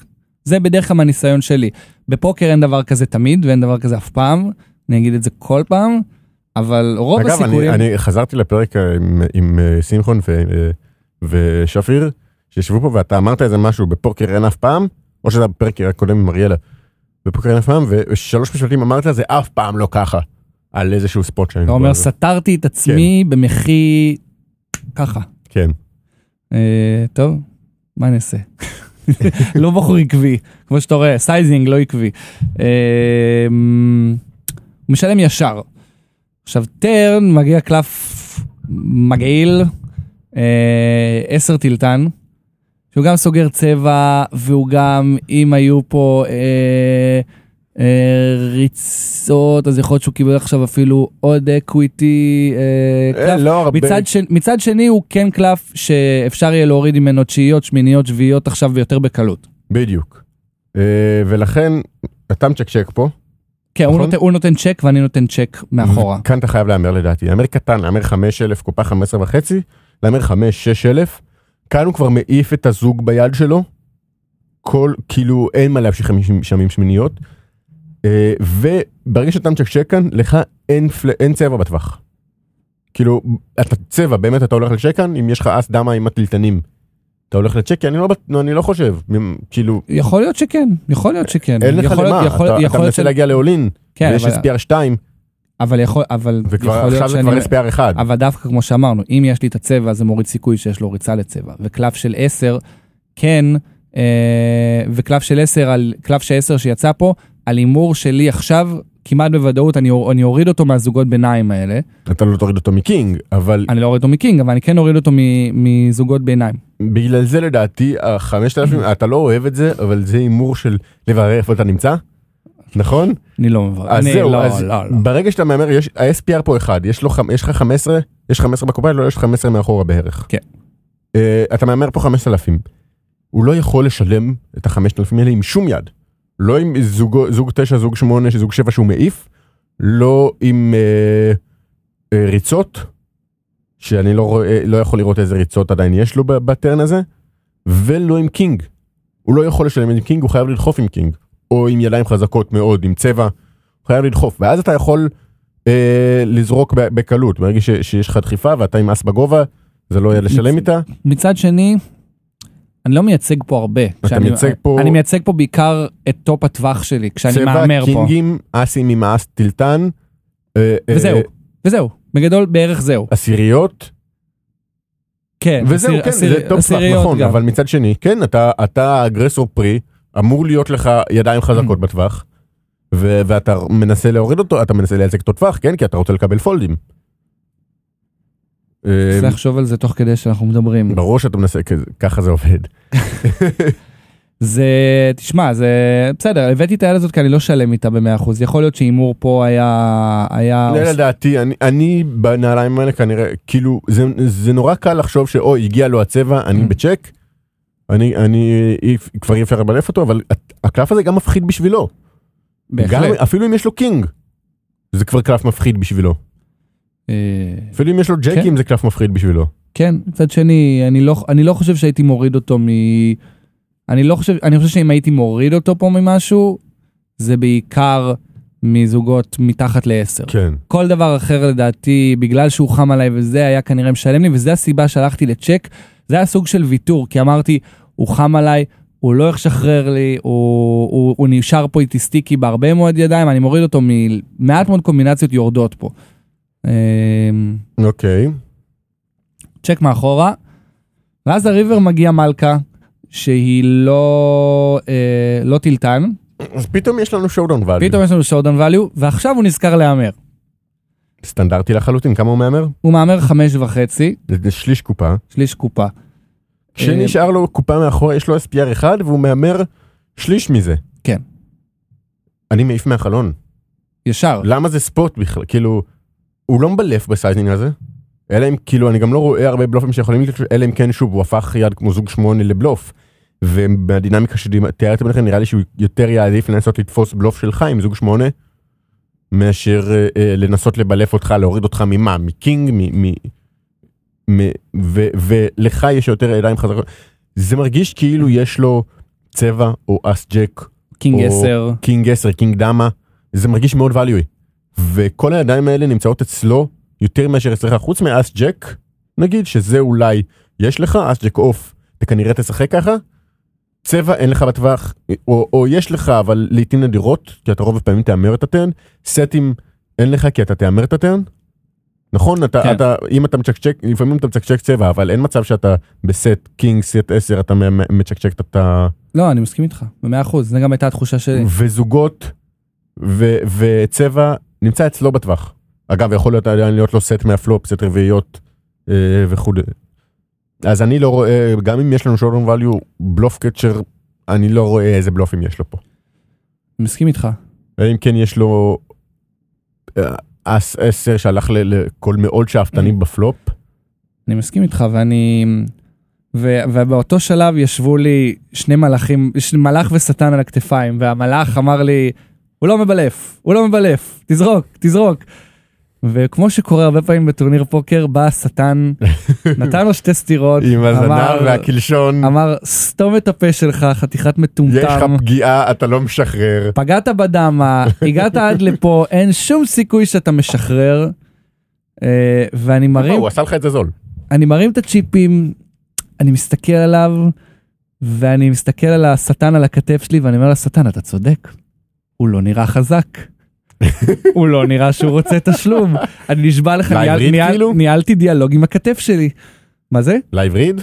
Speaker 1: זה בדרך כלל מהניסיון שלי. בפוקר אין דבר כזה תמיד ואין דבר כזה אף פעם. אני אגיד את זה כל פעם. אבל רוב
Speaker 2: אגב,
Speaker 1: הסיכויים...
Speaker 2: אני, אני חזרתי לפרק אה, עם, עם אה, שמחון ו, אה, ושפיר, שישבו פה ואתה אמרת איזה משהו בפוקר אין אף פעם, או שזה היה בפרק הקודם עם אריאלה, בפוקר אין אף פעם, ושלוש משפטים אמרת זה אף פעם לא ככה, על איזשהו ספוט שאני...
Speaker 1: אתה אומר, סתרתי את עצמי במחי... ככה.
Speaker 2: כן.
Speaker 1: אה, טוב, מה אני אעשה? לא בחור עקבי, כמו שאתה רואה, סייזינג לא עקבי. אה, הוא משלם ישר. עכשיו טרן מגיע קלף מגעיל, אה, עשר טילטן, שהוא גם סוגר צבע והוא גם, אם היו פה אה, אה, ריצות, אז יכול להיות שהוא קיבל עכשיו אפילו עוד אקוויטי, אה,
Speaker 2: אה,
Speaker 1: קלף
Speaker 2: לא הרבה.
Speaker 1: מצד, ש... מצד שני הוא כן קלף שאפשר יהיה להוריד ממנו תשיעיות, שמיניות, שביעיות עכשיו ויותר בקלות.
Speaker 2: בדיוק. אה, ולכן, אתה מצ'קשק פה,
Speaker 1: כן, הוא
Speaker 2: נכון.
Speaker 1: נותן, הוא נותן צ'ק ואני נותן צ'ק מאחורה.
Speaker 2: כאן אתה חייב להמר לדעתי, להמר קטן, להמר 5,000, קופה 15 וחצי, להמר 5-6,000, כאן הוא כבר מעיף את הזוג ביד שלו, כל, כאילו אין מה להמשיך עם שם- שמים שמיניות, אה, וברגע שאתה מצ'קשק כאן, לך אין, פל... אין צבע בטווח. כאילו, אתה צבע, באמת אתה הולך לצ'ק כאן, אם יש לך אס דמה עם הטלטנים, אתה הולך לצ'ק, כי אני לא, בט- אני לא חושב, מ- כאילו,
Speaker 1: יכול להיות שכן, יכול להיות שכן.
Speaker 2: אין לך
Speaker 1: יכול להיות-
Speaker 2: למה,
Speaker 1: יכול-
Speaker 2: אתה, אתה
Speaker 1: יכול להיות
Speaker 2: מנסה
Speaker 1: ש-
Speaker 2: להגיע לאולין,
Speaker 1: כן,
Speaker 2: ויש
Speaker 1: אבל-
Speaker 2: SPR 2,
Speaker 1: אבל יכול, אבל
Speaker 2: וכבר
Speaker 1: יכול
Speaker 2: עכשיו
Speaker 1: להיות
Speaker 2: זה
Speaker 1: שאני...
Speaker 2: כבר SPR 1.
Speaker 1: אבל דווקא כמו שאמרנו, אם יש לי את הצבע, אז זה מוריד סיכוי שיש לו ריצה לצבע. וקלף של 10, כן, אה, וקלף של 10, על קלף של 10 שיצא פה, על הימור שלי עכשיו, כמעט בוודאות אני אור- אני אוריד אותו מהזוגות ביניים האלה.
Speaker 2: אתה לא תוריד אותו מקינג, אבל
Speaker 1: אני לא אוריד אותו מקינג, אבל אני כן אוריד אותו מ- מזוגות ביניים.
Speaker 2: בגלל זה לדעתי החמשת אלפים אתה לא אוהב את זה אבל זה הימור של לברר איפה אתה נמצא. נכון?
Speaker 1: אני לא מבין.
Speaker 2: אז
Speaker 1: אני-
Speaker 2: זהו,
Speaker 1: לא,
Speaker 2: אז
Speaker 1: לא, לא.
Speaker 2: ברגע שאתה מהמר, יש, ה-SPR פה אחד, יש, לו, חמ- יש לך 15, יש 15 בקופה, לא, יש 15 מאחורה בערך.
Speaker 1: כן.
Speaker 2: אה, אתה מהמר פה 5,000. הוא לא יכול לשלם את ה-5,000 האלה עם שום יד. לא עם זוג, זוג 9, זוג 8, זוג 7 שהוא מעיף, לא עם אה, אה, ריצות, שאני לא, רואה, לא יכול לראות איזה ריצות עדיין יש לו ב- בטרן הזה, ולא עם קינג. הוא לא יכול לשלם עם קינג, הוא חייב לדחוף עם קינג. או עם ידיים חזקות מאוד, עם צבע, הוא חייב לדחוף, ואז אתה יכול אה, לזרוק ב- בקלות, ברגע ש- שיש לך דחיפה ואתה עם אס בגובה, זה לא יהיה לשלם איתה,
Speaker 1: מצד שני, אני לא מייצג פה הרבה. כשאני-
Speaker 2: מייצג פה-
Speaker 1: אני מייצג פה בעיקר את טופ הטווח שלי, כשאני
Speaker 2: צבע,
Speaker 1: מהמר פה.
Speaker 2: קינגים, אסים עם אס טילטן, אה, אה,
Speaker 1: וזהו, וזהו. בגדול בערך זהו.
Speaker 2: עשיריות,
Speaker 1: כן,
Speaker 2: וזהו,
Speaker 1: עשיר-
Speaker 2: כן,
Speaker 1: עשיר-
Speaker 2: זה טופ סלאק,
Speaker 1: עשיריות
Speaker 2: נכון,
Speaker 1: גם.
Speaker 2: אבל מצד שני, כן, אתה- אתה אגרסור פרי, אמור להיות לך ידיים
Speaker 1: Mm.
Speaker 2: חזקות בטווח, ו- ואתה מנסה להוריד אותו, אתה מנסה לייצג אותו טווח, כן, כי אתה רוצה לקבל פולדים. אה, לא.
Speaker 1: צריך לחשוב על זה תוך כדי שאנחנו מדברים.
Speaker 2: ברור שאתה מנסה, כזה- ככה זה עובד.
Speaker 1: זה, תשמע, זה בסדר, הבאתי את היד הזאת כי אני לא שלם איתה ב-100%, יכול להיות שהימור פה היה... היה...
Speaker 2: לא, לדעתי, אני- אני בנעליים האלה כנראה, כאילו, זה- זה נורא קל לחשוב שאוי, הגיע לו הצבע, אני
Speaker 1: Mm.
Speaker 2: בצ'ק, אני, אני, אי- כבר אי אפשר לבלף אותו, אבל הת- הקלף הזה גם מפחיד בשבילו. לא. גם,
Speaker 1: בהחלט.
Speaker 2: אפילו אם יש לו קינג, זה כבר קלף מפחיד בשבילו.
Speaker 1: אה,
Speaker 2: אפילו אם יש לו ג'קים,
Speaker 1: כן.
Speaker 2: זה קלף מפחיד בשבילו.
Speaker 1: כן, מצד שני, אני לא, אני לא חושב שהייתי מוריד אותו מ... אני לא חושב, אני חושב שאם הייתי מוריד אותו פה ממשהו, זה בעיקר מזוגות מתחת ל-10.
Speaker 2: כן.
Speaker 1: כל דבר אחר לדעתי, בגלל שהוא חם עליי וזה היה כנראה משלם לי, וזו הסיבה שהלכתי לצ'ק. זה היה סוג של ויתור, כי אמרתי, הוא חם עליי, הוא לא ישחרר לי, הוא, הוא, הוא נשאר פה איתי סטיקי בהרבה מאוד ידיים, אני מוריד אותו ממעט מאוד קומבינציות יורדות פה. אמ,
Speaker 2: אוקיי.
Speaker 1: צ'ק מאחורה, ואז הריבר מגיע מלכה, שהיא לא, אה, לא טילטן,
Speaker 2: אז פתאום יש לנו שואודון ואליו.
Speaker 1: פתאום יש לנו שורדון ואליו, ועכשיו הוא נזכר להמר.
Speaker 2: סטנדרטי לחלוטין, כמה הוא מהמר?
Speaker 1: הוא מהמר חמש וחצי,
Speaker 2: זה- זה שליש קופה.
Speaker 1: שליש קופה. אה,
Speaker 2: כשנשאר לו קופה מאחורה, יש לו SPR אחד, והוא מהמר שליש מזה.
Speaker 1: כן.
Speaker 2: אני מעיף מהחלון.
Speaker 1: ישר.
Speaker 2: למה זה ספוט בכלל? כאילו, הוא לא מבלף בסייזינג הזה. אלא אם, כאילו, אני גם לא רואה הרבה בלופים שיכולים לקרות, אלא אם כן, שוב, הוא הפך יד כמו זוג שמונה לבלוף. ובדינמיקה שתיארתם לכם, נראה לי שהוא יותר יעדיף לנסות לתפוס בלוף שלך עם זוג שמונה, מאשר אה, אה, לנסות לבלף אותך, להוריד אותך ממה? מקינג? מ... מ... מ... ו... ולך יש יותר ידיים חזקות. זה מרגיש כאילו יש לו צבע או אס ג'ק
Speaker 1: קינג
Speaker 2: או-
Speaker 1: 10.
Speaker 2: קינג 10, קינג דמה, זה מרגיש מאוד value. וכל הידיים האלה נמצאות אצלו יותר מאשר אצלך, חוץ מאס ג'ק, נגיד שזה אולי יש לך, אס ג'ק אוף, אתה כנראה תשחק ככה, צבע אין לך בטווח, או, או יש לך אבל לעיתים נדירות, כי אתה רוב הפעמים תהמר את הטרן, סטים אין לך כי אתה תהמר את הטרן. נכון, אתה,
Speaker 1: כן.
Speaker 2: כן. אתה, אם אתה מצ'קצ'ק, לפעמים אתה מצ'קצ'ק צבע, אבל אין מצב שאתה בסט קינג, סט 10, אתה מ- מ- מצ'קצ'ק את ה...
Speaker 1: לא, אני מסכים איתך, במאה אחוז, זו גם הייתה התחושה שלי.
Speaker 2: וזוגות ו- וצבע נמצא אצלו בטווח. אגב, יכול להיות עדיין להיות לו סט מהפלופ, סט רביעיות אה, וכו'. אז אני לא רואה, גם אם יש לנו שורדון value, בלוף קצ'ר, אני לא רואה איזה בלופים יש לו פה.
Speaker 1: אני מסכים איתך.
Speaker 2: אלא אם כן יש לו אה, אס עשר שהלך ל- לכל מאוד
Speaker 1: אה.
Speaker 2: שאפתני בפלופ.
Speaker 1: אני מסכים איתך, ואני... ו, ובאותו שלב ישבו לי שני מלאכים, ש- מלאך ושטן על הכתפיים, והמלאך אמר לי, הוא לא מבלף, הוא לא מבלף, תזרוק, תזרוק. וכמו שקורה הרבה פעמים בטורניר פוקר, בא השטן, נתן לו שתי סטירות,
Speaker 2: עם
Speaker 1: אמר-
Speaker 2: הזנב והקלשון,
Speaker 1: אמר, סתום את הפה שלך, חתיכת מטומטם.
Speaker 2: יש לך פגיעה, אתה לא משחרר.
Speaker 1: פגעת בדמה, הגעת עד לפה, אין שום סיכוי שאתה משחרר. אה, ואני
Speaker 2: לא,
Speaker 1: מרים,
Speaker 2: הוא עשה לך את זה זול.
Speaker 1: אני מרים את הצ'יפים, אני מסתכל עליו, ואני מסתכל על השטן על הכתף שלי, ואני אומר לשטן, אתה צודק, הוא לא נראה חזק. הוא לא נראה שהוא רוצה תשלום. אני נשבע לך, ניהל-
Speaker 2: לעברית
Speaker 1: ניהל-
Speaker 2: כאילו?
Speaker 1: ניהלתי דיאלוג עם הכתף שלי. מה זה?
Speaker 2: לייב ריד?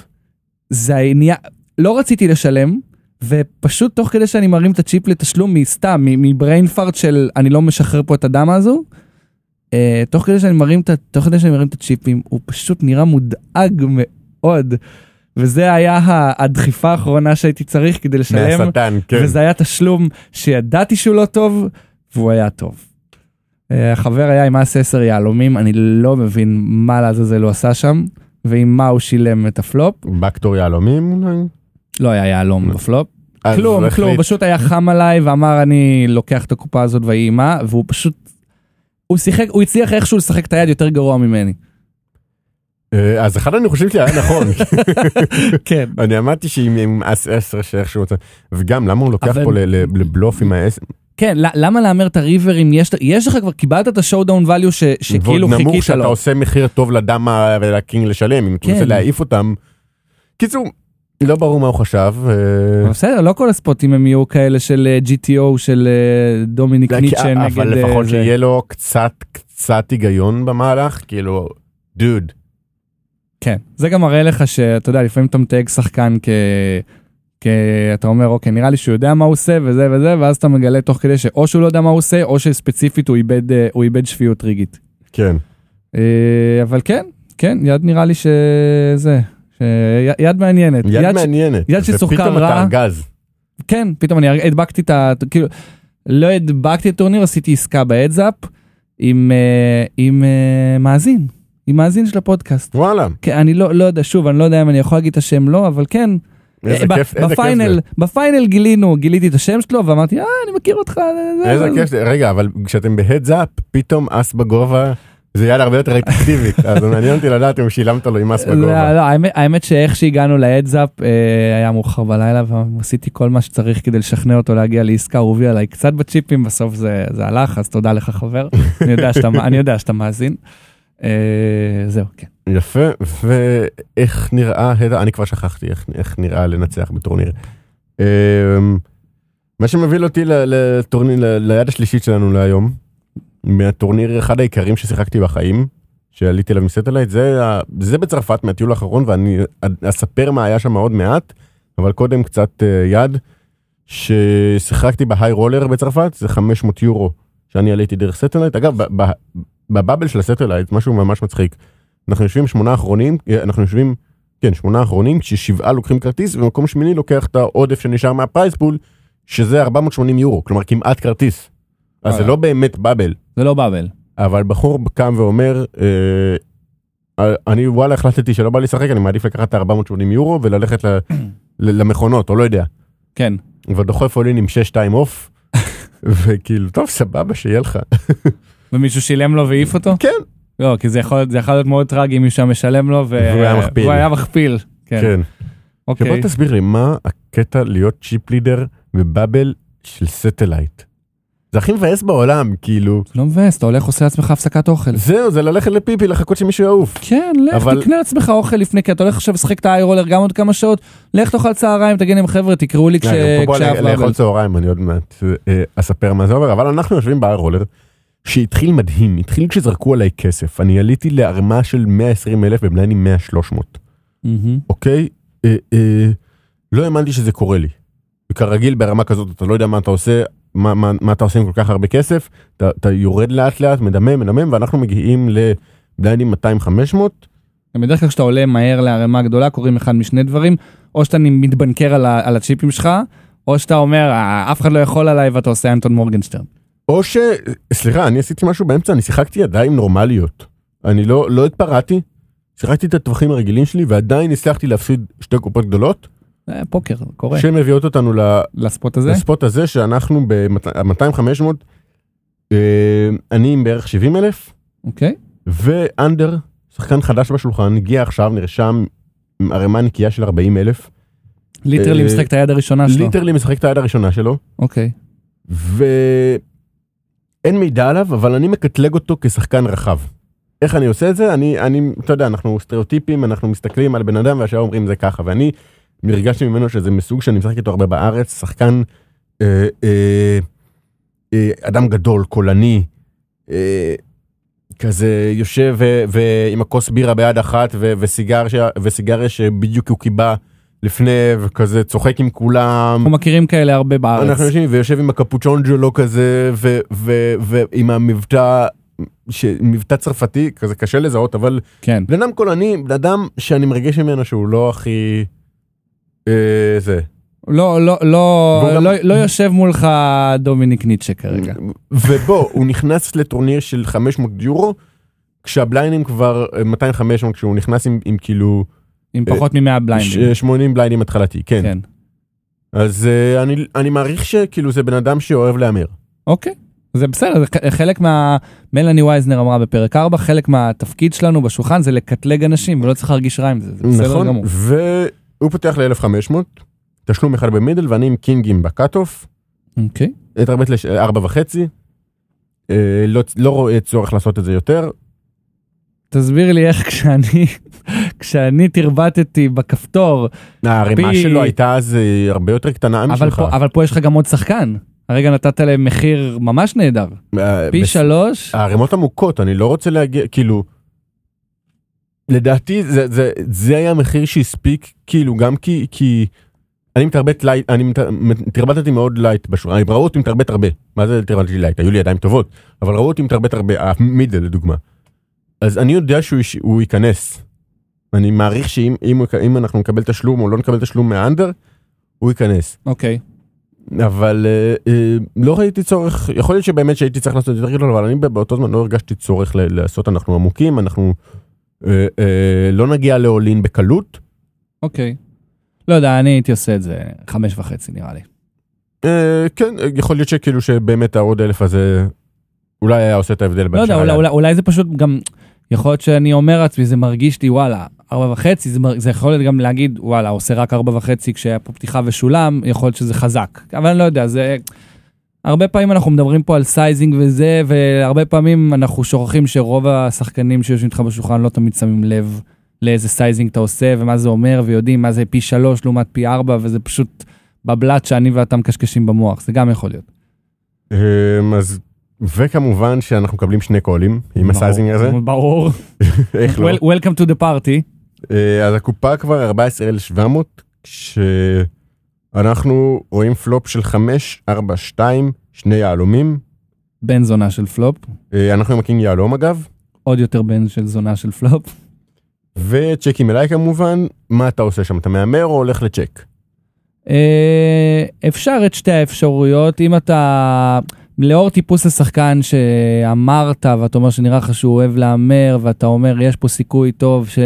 Speaker 1: זה העניין, לא רציתי לשלם, ופשוט תוך כדי שאני מרים את הצ'יפ לתשלום מסתם, מ- מבריין פארט של אני לא משחרר פה את הדמה הזו, אה, תוך כדי שאני מרים את, ה- תוך כדי שאני מרים את הצ'יפים, הוא פשוט נראה מודאג מאוד. וזה היה ה- הדחיפה האחרונה שהייתי צריך כדי לשלם,
Speaker 2: מהשטן, כן.
Speaker 1: וזה היה תשלום שידעתי שהוא לא טוב, והוא היה טוב. אה, החבר היה עם מס 10 יהלומים, אני לא מבין מה לעזאזל הוא עשה שם, ועם מה הוא שילם את הפלופ.
Speaker 2: בקטור יהלומים אולי?
Speaker 1: לא היה יהלום
Speaker 2: לא.
Speaker 1: בפלופ.
Speaker 2: אז הוא
Speaker 1: כלום,
Speaker 2: החליט-
Speaker 1: כלום, פשוט היה חם עליי ואמר אני לוקח את הקופה הזאת ויהי מה, והוא פשוט... הוא שיחק, הוא הצליח איכשהו לשחק את היד יותר גרוע ממני.
Speaker 2: אה, אז אחד אני חושב שהיה נכון,
Speaker 1: כן.
Speaker 2: אני אמרתי שעם עם אס 10 שאיכשהו רוצה, וגם למה הוא לוקח
Speaker 1: אבל-
Speaker 2: פה ל- ל- לבלוף עם האס,
Speaker 1: כן, ל- למה להמר את הריבר אם יש, יש לך כבר, קיבלת את השואודאון ואליו ש-
Speaker 2: ועוד
Speaker 1: שכאילו
Speaker 2: נמוך
Speaker 1: חיכית
Speaker 2: שאתה
Speaker 1: לו.
Speaker 2: עושה מחיר טוב לדם ה- ולקינג לשלם, אם אתה
Speaker 1: כן.
Speaker 2: רוצה להעיף אותם. קיצור, לא ברור מה הוא חשב, אה,
Speaker 1: אבל בסדר, לא כל הספוטים הם יהיו כאלה של אה, GTO, של אה, דומיניק
Speaker 2: כי-
Speaker 1: ניטשה נגד...
Speaker 2: אבל
Speaker 1: אה,
Speaker 2: לפחות
Speaker 1: זה.
Speaker 2: שיהיה לו קצת קצת היגיון במהלך, כאילו, דוד,
Speaker 1: כן, זה גם מראה לך שאתה יודע, לפעמים אתה מתייג שחקן כ... כ... אתה אומר, אוקיי, נראה לי שהוא יודע מה הוא עושה וזה וזה, ואז אתה מגלה תוך כדי שאו שהוא לא יודע מה הוא עושה, או שספציפית הוא איבד, אה, הוא איבד שפיות ריגית.
Speaker 2: כן,
Speaker 1: אה, אבל כן, כן, יד נראה לי שזה, ש... י- יד מעניינת.
Speaker 2: יד מעניינת,
Speaker 1: יד ששוחקן
Speaker 2: ופתאום
Speaker 1: רע.
Speaker 2: אתה ארגז,
Speaker 1: כן, פתאום אני הדבקתי את ה... כאילו, לא הדבקתי את הטורניר, עשיתי עסקה באדזאפ עם, אה, עם אה, מאזין, עם מאזין של הפודקאסט.
Speaker 2: וואלה,
Speaker 1: כן, אני לא, לא יודע, שוב, אני לא יודע אם אני יכול להגיד את השם לא, אבל כן.
Speaker 2: איזה
Speaker 1: אה, ב-
Speaker 2: כיף, איזה כיף
Speaker 1: בפיינל,
Speaker 2: זה.
Speaker 1: בפיינל גילינו, גיליתי את השם שלו ואמרתי, אה, אני מכיר אותך. זה- זה-
Speaker 2: איזה
Speaker 1: זה-
Speaker 2: כיף זה. רגע, אבל כשאתם בהדזאפ, פתאום אס בגובה זה יד הרבה יותר אטרקטיבי, אז מעניין אותי לדעת אם שילמת לו עם אס
Speaker 1: לא, לא,
Speaker 2: בגובה.
Speaker 1: האמת- האמת שאיך שהגענו להדזאפ אה, היה מאוחר בלילה ועשיתי כל מה שצריך כדי לשכנע אותו להגיע לעסקה, הוא הביא עליי קצת בצ'יפים, בסוף זה זה הלך, אז תודה לך חבר, אני יודע שאתה- אני יודע שאתה מאזין. אה, זהו, כן.
Speaker 2: יפה, ואיך נראה, הד- אני כבר שכחתי איך- איך נראה לנצח בטורניר. אמ, מה שמוביל אותי ל- לטורניר, ל- ליד השלישית שלנו להיום, מהטורניר אחד העיקרים ששיחקתי בחיים, שעליתי אליו מסטלייט, זה ה- זה בצרפת מהטיול האחרון, ואני אד- אספר מה היה שם עוד מעט, אבל קודם קצת אה, יד, ששיחקתי בהיי רולר בצרפת, זה 500 יורו, שאני עליתי דרך סטלייט. אגב, ב- ב- בבאבל של הסטלייט, משהו ממש מצחיק. אנחנו יושבים שמונה אחרונים, אה, אנחנו יושבים, כן, שמונה אחרונים, כששבעה לוקחים כרטיס, ובמקום שמיני לוקח את העודף שנשאר מהפרייס פול, שזה 480 יורו, כלומר כמעט כרטיס. אז זה
Speaker 1: וואלה.
Speaker 2: לא באמת באבל.
Speaker 1: זה לא באבל.
Speaker 2: אבל בחור קם ואומר, אה, אני וואלה החלטתי שלא בא לי לשחק, אני מעדיף לקחת את ה-480 יורו וללכת ל- ל- למכונות, או לא יודע.
Speaker 1: כן.
Speaker 2: ודוחף עולין עם 6-2 אוף, וכאילו, טוב, סבבה, שיהיה לך.
Speaker 1: ומישהו שילם לו והעיף אותו?
Speaker 2: כן.
Speaker 1: לא, כי זה יכול זה יכול להיות מאוד טרגי אם מישהו היה משלם לו ו-
Speaker 2: והוא היה מכפיל.
Speaker 1: והוא היה מכפיל. כן.
Speaker 2: כן.
Speaker 1: אוקיי.
Speaker 2: שבוא תסביר לי, מה הקטע להיות צ'יפ לידר בבאבל של סטלייט? זה הכי מבאס בעולם, כאילו.
Speaker 1: לא מבאס, אתה הולך עושה לעצמך הפסקת אוכל.
Speaker 2: זהו, זה ללכת לפיפי, לחכות שמישהו יעוף.
Speaker 1: כן, לך
Speaker 2: אבל-
Speaker 1: תקנה לעצמך אוכל לפני, כי אתה הולך עכשיו לשחק את האי רולר גם עוד כמה שעות, לך תאכל צהריים, תגיד להם חבר'ה, תקראו לי כש-
Speaker 2: לא, גם פה בוא
Speaker 1: כשאף
Speaker 2: לא- לאכול
Speaker 1: באבל.
Speaker 2: צהריים אני עוד מעט אה, אספר מה זה אומר אבל אנחנו יושבים בהר רולר שהתחיל מדהים התחיל כשזרקו עליי כסף אני עליתי לערמה של 120 אלף במליינים 100 300
Speaker 1: מהמם.
Speaker 2: אוקיי אה, אה, לא האמנתי שזה קורה לי. כרגיל ברמה כזאת אתה לא יודע מה אתה עושה מה, מה, מה אתה עושה עם כל כך הרבה כסף אתה, אתה יורד לאט לאט מדמם מדמם ואנחנו מגיעים למליינים 200 500
Speaker 1: גם בדרך כלל כשאתה עולה מהר לערימה גדולה, קורים אחד משני דברים, או שאתה מתבנקר על ה- על הצ'יפים שלך, או שאתה אומר, "אה, אף אחד לא יכול עליי ואתה עושה אנטון מורגנשטרן.
Speaker 2: או ש... סליחה, אני עשיתי משהו באמצע, אני שיחקתי ידיים נורמליות. אני לא, לא התפרעתי, שיחקתי את הטווחים הרגילים שלי, ועדיין הצלחתי להפסיד שתי קופות גדולות,
Speaker 1: זה פוקר, קורה.
Speaker 2: שמביאות אותנו ל-
Speaker 1: לספוט הזה?
Speaker 2: לספוט הזה שאנחנו ב-200-500, אה, אני עם בערך 70 אלף,
Speaker 1: אוקיי.
Speaker 2: ואנדר, שחקן חדש בשולחן, הגיע עכשיו, נרשם עם ערימה נקייה של 40 אלף,
Speaker 1: ליטרלי
Speaker 2: אה,
Speaker 1: משחק את היד הראשונה שלו.
Speaker 2: ליטרלי משחק את היד הראשונה שלו,
Speaker 1: אוקיי.
Speaker 2: ואין מידע עליו, אבל אני מקטלג אותו כשחקן רחב. איך אני עושה את זה? אני, אני, אתה יודע, אנחנו סטריאוטיפים, אנחנו מסתכלים על בן אדם והשאר אומרים זה ככה, ואני הרגשתי ממנו שזה מסוג שאני משחק איתו הרבה בארץ, שחקן אה, אה, אה, אדם גדול, קולני, אה, כזה יושב ו, ועם הכוס בירה ביד אחת ו, וסיגר, ש- וסיגריה שבדיוק הוא קיבה לפני, וכזה צוחק עם כולם.
Speaker 1: אנחנו מכירים כאלה הרבה בארץ.
Speaker 2: אנחנו יושבים ויושב עם הקפוצ'ונג'לו כזה ו- ו- ועם המבטא. ש... מבטא צרפתי כזה קשה לזהות אבל
Speaker 1: כן.
Speaker 2: בן אדם קולני בן אדם שאני מרגיש ממנו שהוא לא הכי אה, זה
Speaker 1: לא, לא, לא,
Speaker 2: והוא גם- אה,
Speaker 1: לא- לא יושב מולך דומיניק ניטשה כרגע.
Speaker 2: ובוא הוא נכנס לטורניר של 500 יורו כשהבליינים כבר אה, 200-500 כשהוא נכנס עם, עם כאילו
Speaker 1: עם פחות מ-100
Speaker 2: ש-
Speaker 1: בליינדים.
Speaker 2: 80 בליינים התחלתי כן,
Speaker 1: כן.
Speaker 2: אז אה, אני אני מעריך שכאילו זה בן אדם שאוהב להמר
Speaker 1: אוקיי. זה בסדר, זה ח- חלק מה... מלאני וייזנר אמרה בפרק 4, חלק מהתפקיד שלנו בשולחן זה לקטלג אנשים, ולא צריך להרגיש רע עם זה, זה
Speaker 2: נכון.
Speaker 1: בסדר גמור.
Speaker 2: והוא פותח ל-1500, תשלום אחד במידל ואני עם קינגים בקאט-אוף,
Speaker 1: אוקיי.
Speaker 2: התרבית לארבע וחצי, אה, לא, לא רואה צורך לעשות את זה יותר,
Speaker 1: תסביר לי איך כשאני, כשאני תרבטתי בכפתור,
Speaker 2: הערימה
Speaker 1: פי-
Speaker 2: שלו הייתה אז אה, הרבה יותר קטנה
Speaker 1: אבל
Speaker 2: משלך.
Speaker 1: פה, אבל פה יש לך גם עוד שחקן. הרגע נתת להם מחיר ממש נהדר.
Speaker 2: אה,
Speaker 1: פי
Speaker 2: בס-
Speaker 1: שלוש,
Speaker 2: הערימות עמוקות, אני לא רוצה להגיע, כאילו, לדעתי זה, זה, זה היה המחיר שהספיק, כאילו, גם כי, כי אני מתרבט לייט, אני מת- תרבטתי מאוד לייט בשורה, ראו אותי מתרבט הרבה, מה זה תרבטתי לייט? היו לי ידיים טובות, אבל ראו אותי מתרבט הרבה, המידל לדוגמה. אז אני יודע שהוא יש- הוא ייכנס. אני מעריך שאם אם, הוא- אם אנחנו נקבל תשלום או לא נקבל תשלום מהאנדר, הוא ייכנס.
Speaker 1: אוקיי.
Speaker 2: אבל אה, אה, לא ראיתי צורך, יכול להיות שבאמת שהייתי צריך לעשות את זה יותר גדול, אבל אני באותו זמן לא הרגשתי צורך ל- לעשות אנחנו עמוקים, אנחנו אה, אה, לא נגיע לאולין בקלות.
Speaker 1: אוקיי. לא יודע, אני הייתי עושה את זה חמש וחצי נראה לי.
Speaker 2: אה, כן, אה, יכול להיות שכאילו שבאמת העוד אלף הזה אולי היה עושה את ההבדל. בין
Speaker 1: לא יודע,
Speaker 2: שעה
Speaker 1: אולי,
Speaker 2: לאלף.
Speaker 1: אולי, אולי זה פשוט גם, יכול להיות שאני אומר לעצמי, זה מרגיש לי וואלה, ארבע וחצי, זה, מר- זה יכול להיות גם להגיד וואלה, עושה רק ארבע וחצי כשהיה פה פתיחה ושולם, יכול להיות שזה חזק. אבל אני לא יודע, זה... הרבה פעמים אנחנו מדברים פה על סייזינג וזה, והרבה פעמים אנחנו שוכחים שרוב השחקנים שיושבים איתך בשולחן לא תמיד שמים לב לאיזה סייזינג אתה עושה ומה זה אומר, ויודעים מה זה פי שלוש לעומת פי ארבע, וזה פשוט בבלת שאני ואתה מקשקשים במוח, זה גם יכול להיות.
Speaker 2: אמ, אז וכמובן שאנחנו מקבלים שני קולים עם הסייזינג הזה
Speaker 1: ברור.
Speaker 2: איך לא
Speaker 1: Well- Welcome to the party.
Speaker 2: אה, אז הקופה כבר 14,700 כשאנחנו רואים פלופ של 5 4 2 שני יהלומים
Speaker 1: בן זונה של פלופ,
Speaker 2: אה, אנחנו עם הקינג יהלום אגב
Speaker 1: עוד יותר בן של זונה של פלופ.
Speaker 2: וצ'קים אליי כמובן מה אתה עושה שם אתה מהמר או הולך לצ'ק.
Speaker 1: אה, אפשר את שתי האפשרויות, אם אתה... לאור טיפוס השחקן שאמרת, ואתה אומר שנראה לך שהוא אוהב להמר, ואתה אומר, יש פה סיכוי טוב ש...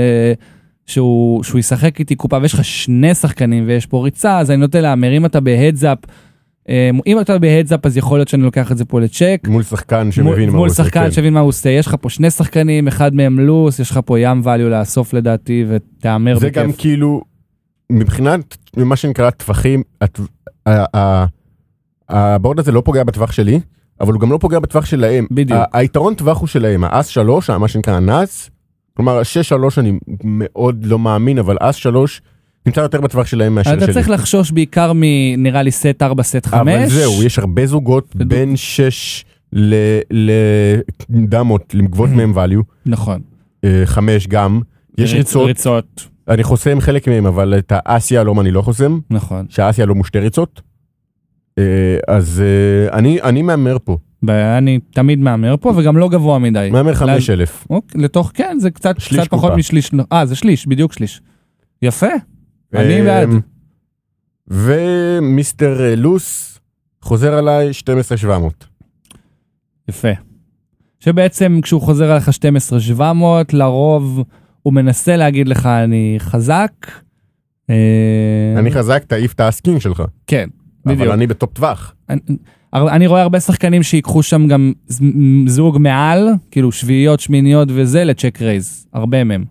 Speaker 1: שהוא, שהוא ישחק איתי קופה, ויש לך שני שחקנים ויש פה ריצה, אז אני נוטה להמר. אם אתה בהדזאפ, אה, אם אתה בהדזאפ, אז יכול להיות שאני לוקח את זה פה לצ'ק.
Speaker 2: מול שחקן
Speaker 1: מול-
Speaker 2: שמבין מה הוא
Speaker 1: מול
Speaker 2: עושה.
Speaker 1: שחקן
Speaker 2: כן.
Speaker 1: שמבין מה הוא עושה, יש לך פה שני שחקנים, אחד מהם לוס, יש לך פה ים value לאסוף לדעתי, ותהמר
Speaker 2: זה גם
Speaker 1: בכיף.
Speaker 2: כאילו מבחינת מה שנקרא טווחים הט- ה- ה- הבורד הזה לא פוגע בטווח שלי אבל הוא גם לא פוגע בטווח שלהם
Speaker 1: בדיוק.
Speaker 2: ה- היתרון טווח הוא שלהם האס שלוש מה שנקרא הנאס כלומר שש שלוש אני מאוד לא מאמין אבל אס שלוש נמצא יותר בטווח שלהם מאשר
Speaker 1: אתה
Speaker 2: שלי.
Speaker 1: צריך לחשוש בעיקר מנראה לי סט 4, סט 5.
Speaker 2: אבל זהו יש הרבה זוגות
Speaker 1: בדיוק.
Speaker 2: בין שש ל- לדמות לגבות מהם value
Speaker 1: נכון.
Speaker 2: אה, חמש גם יש
Speaker 1: ריצ-
Speaker 2: ריצות
Speaker 1: ריצות,
Speaker 2: אני חוסם חלק מהם אבל את האס יהלום אני לא חוסם.
Speaker 1: נכון.
Speaker 2: שאסיה לא מושתי ריצות. אה, אז אה, אני אני מהמר פה
Speaker 1: ואני תמיד מהמר פה, וגם לא גבוה מדי.
Speaker 2: מהמר
Speaker 1: לל-
Speaker 2: 5000
Speaker 1: אוקיי, לתוך, כן, זה קצת
Speaker 2: שליש
Speaker 1: קצת פחות
Speaker 2: קופה.
Speaker 1: משליש. אה, זה שליש, בדיוק שליש. יפה, אני
Speaker 2: אה,
Speaker 1: בעד.
Speaker 2: ומיסטר אה, לוס חוזר עליי 12700
Speaker 1: יפה. שבעצם כשהוא חוזר עליך 12,700, לרוב הוא מנסה להגיד לך, אני חזק. אה,
Speaker 2: אני חזק תעיף את האסקינג שלך
Speaker 1: כן, בדיוק.
Speaker 2: אבל אני בטופ טווח
Speaker 1: אני, הר- אני רואה הרבה שחקנים שיקחו שם גם ז- מ- זוג מעל, כאילו שביעיות, שמיניות וזה, לצ'ק רייז, הרבה מהם.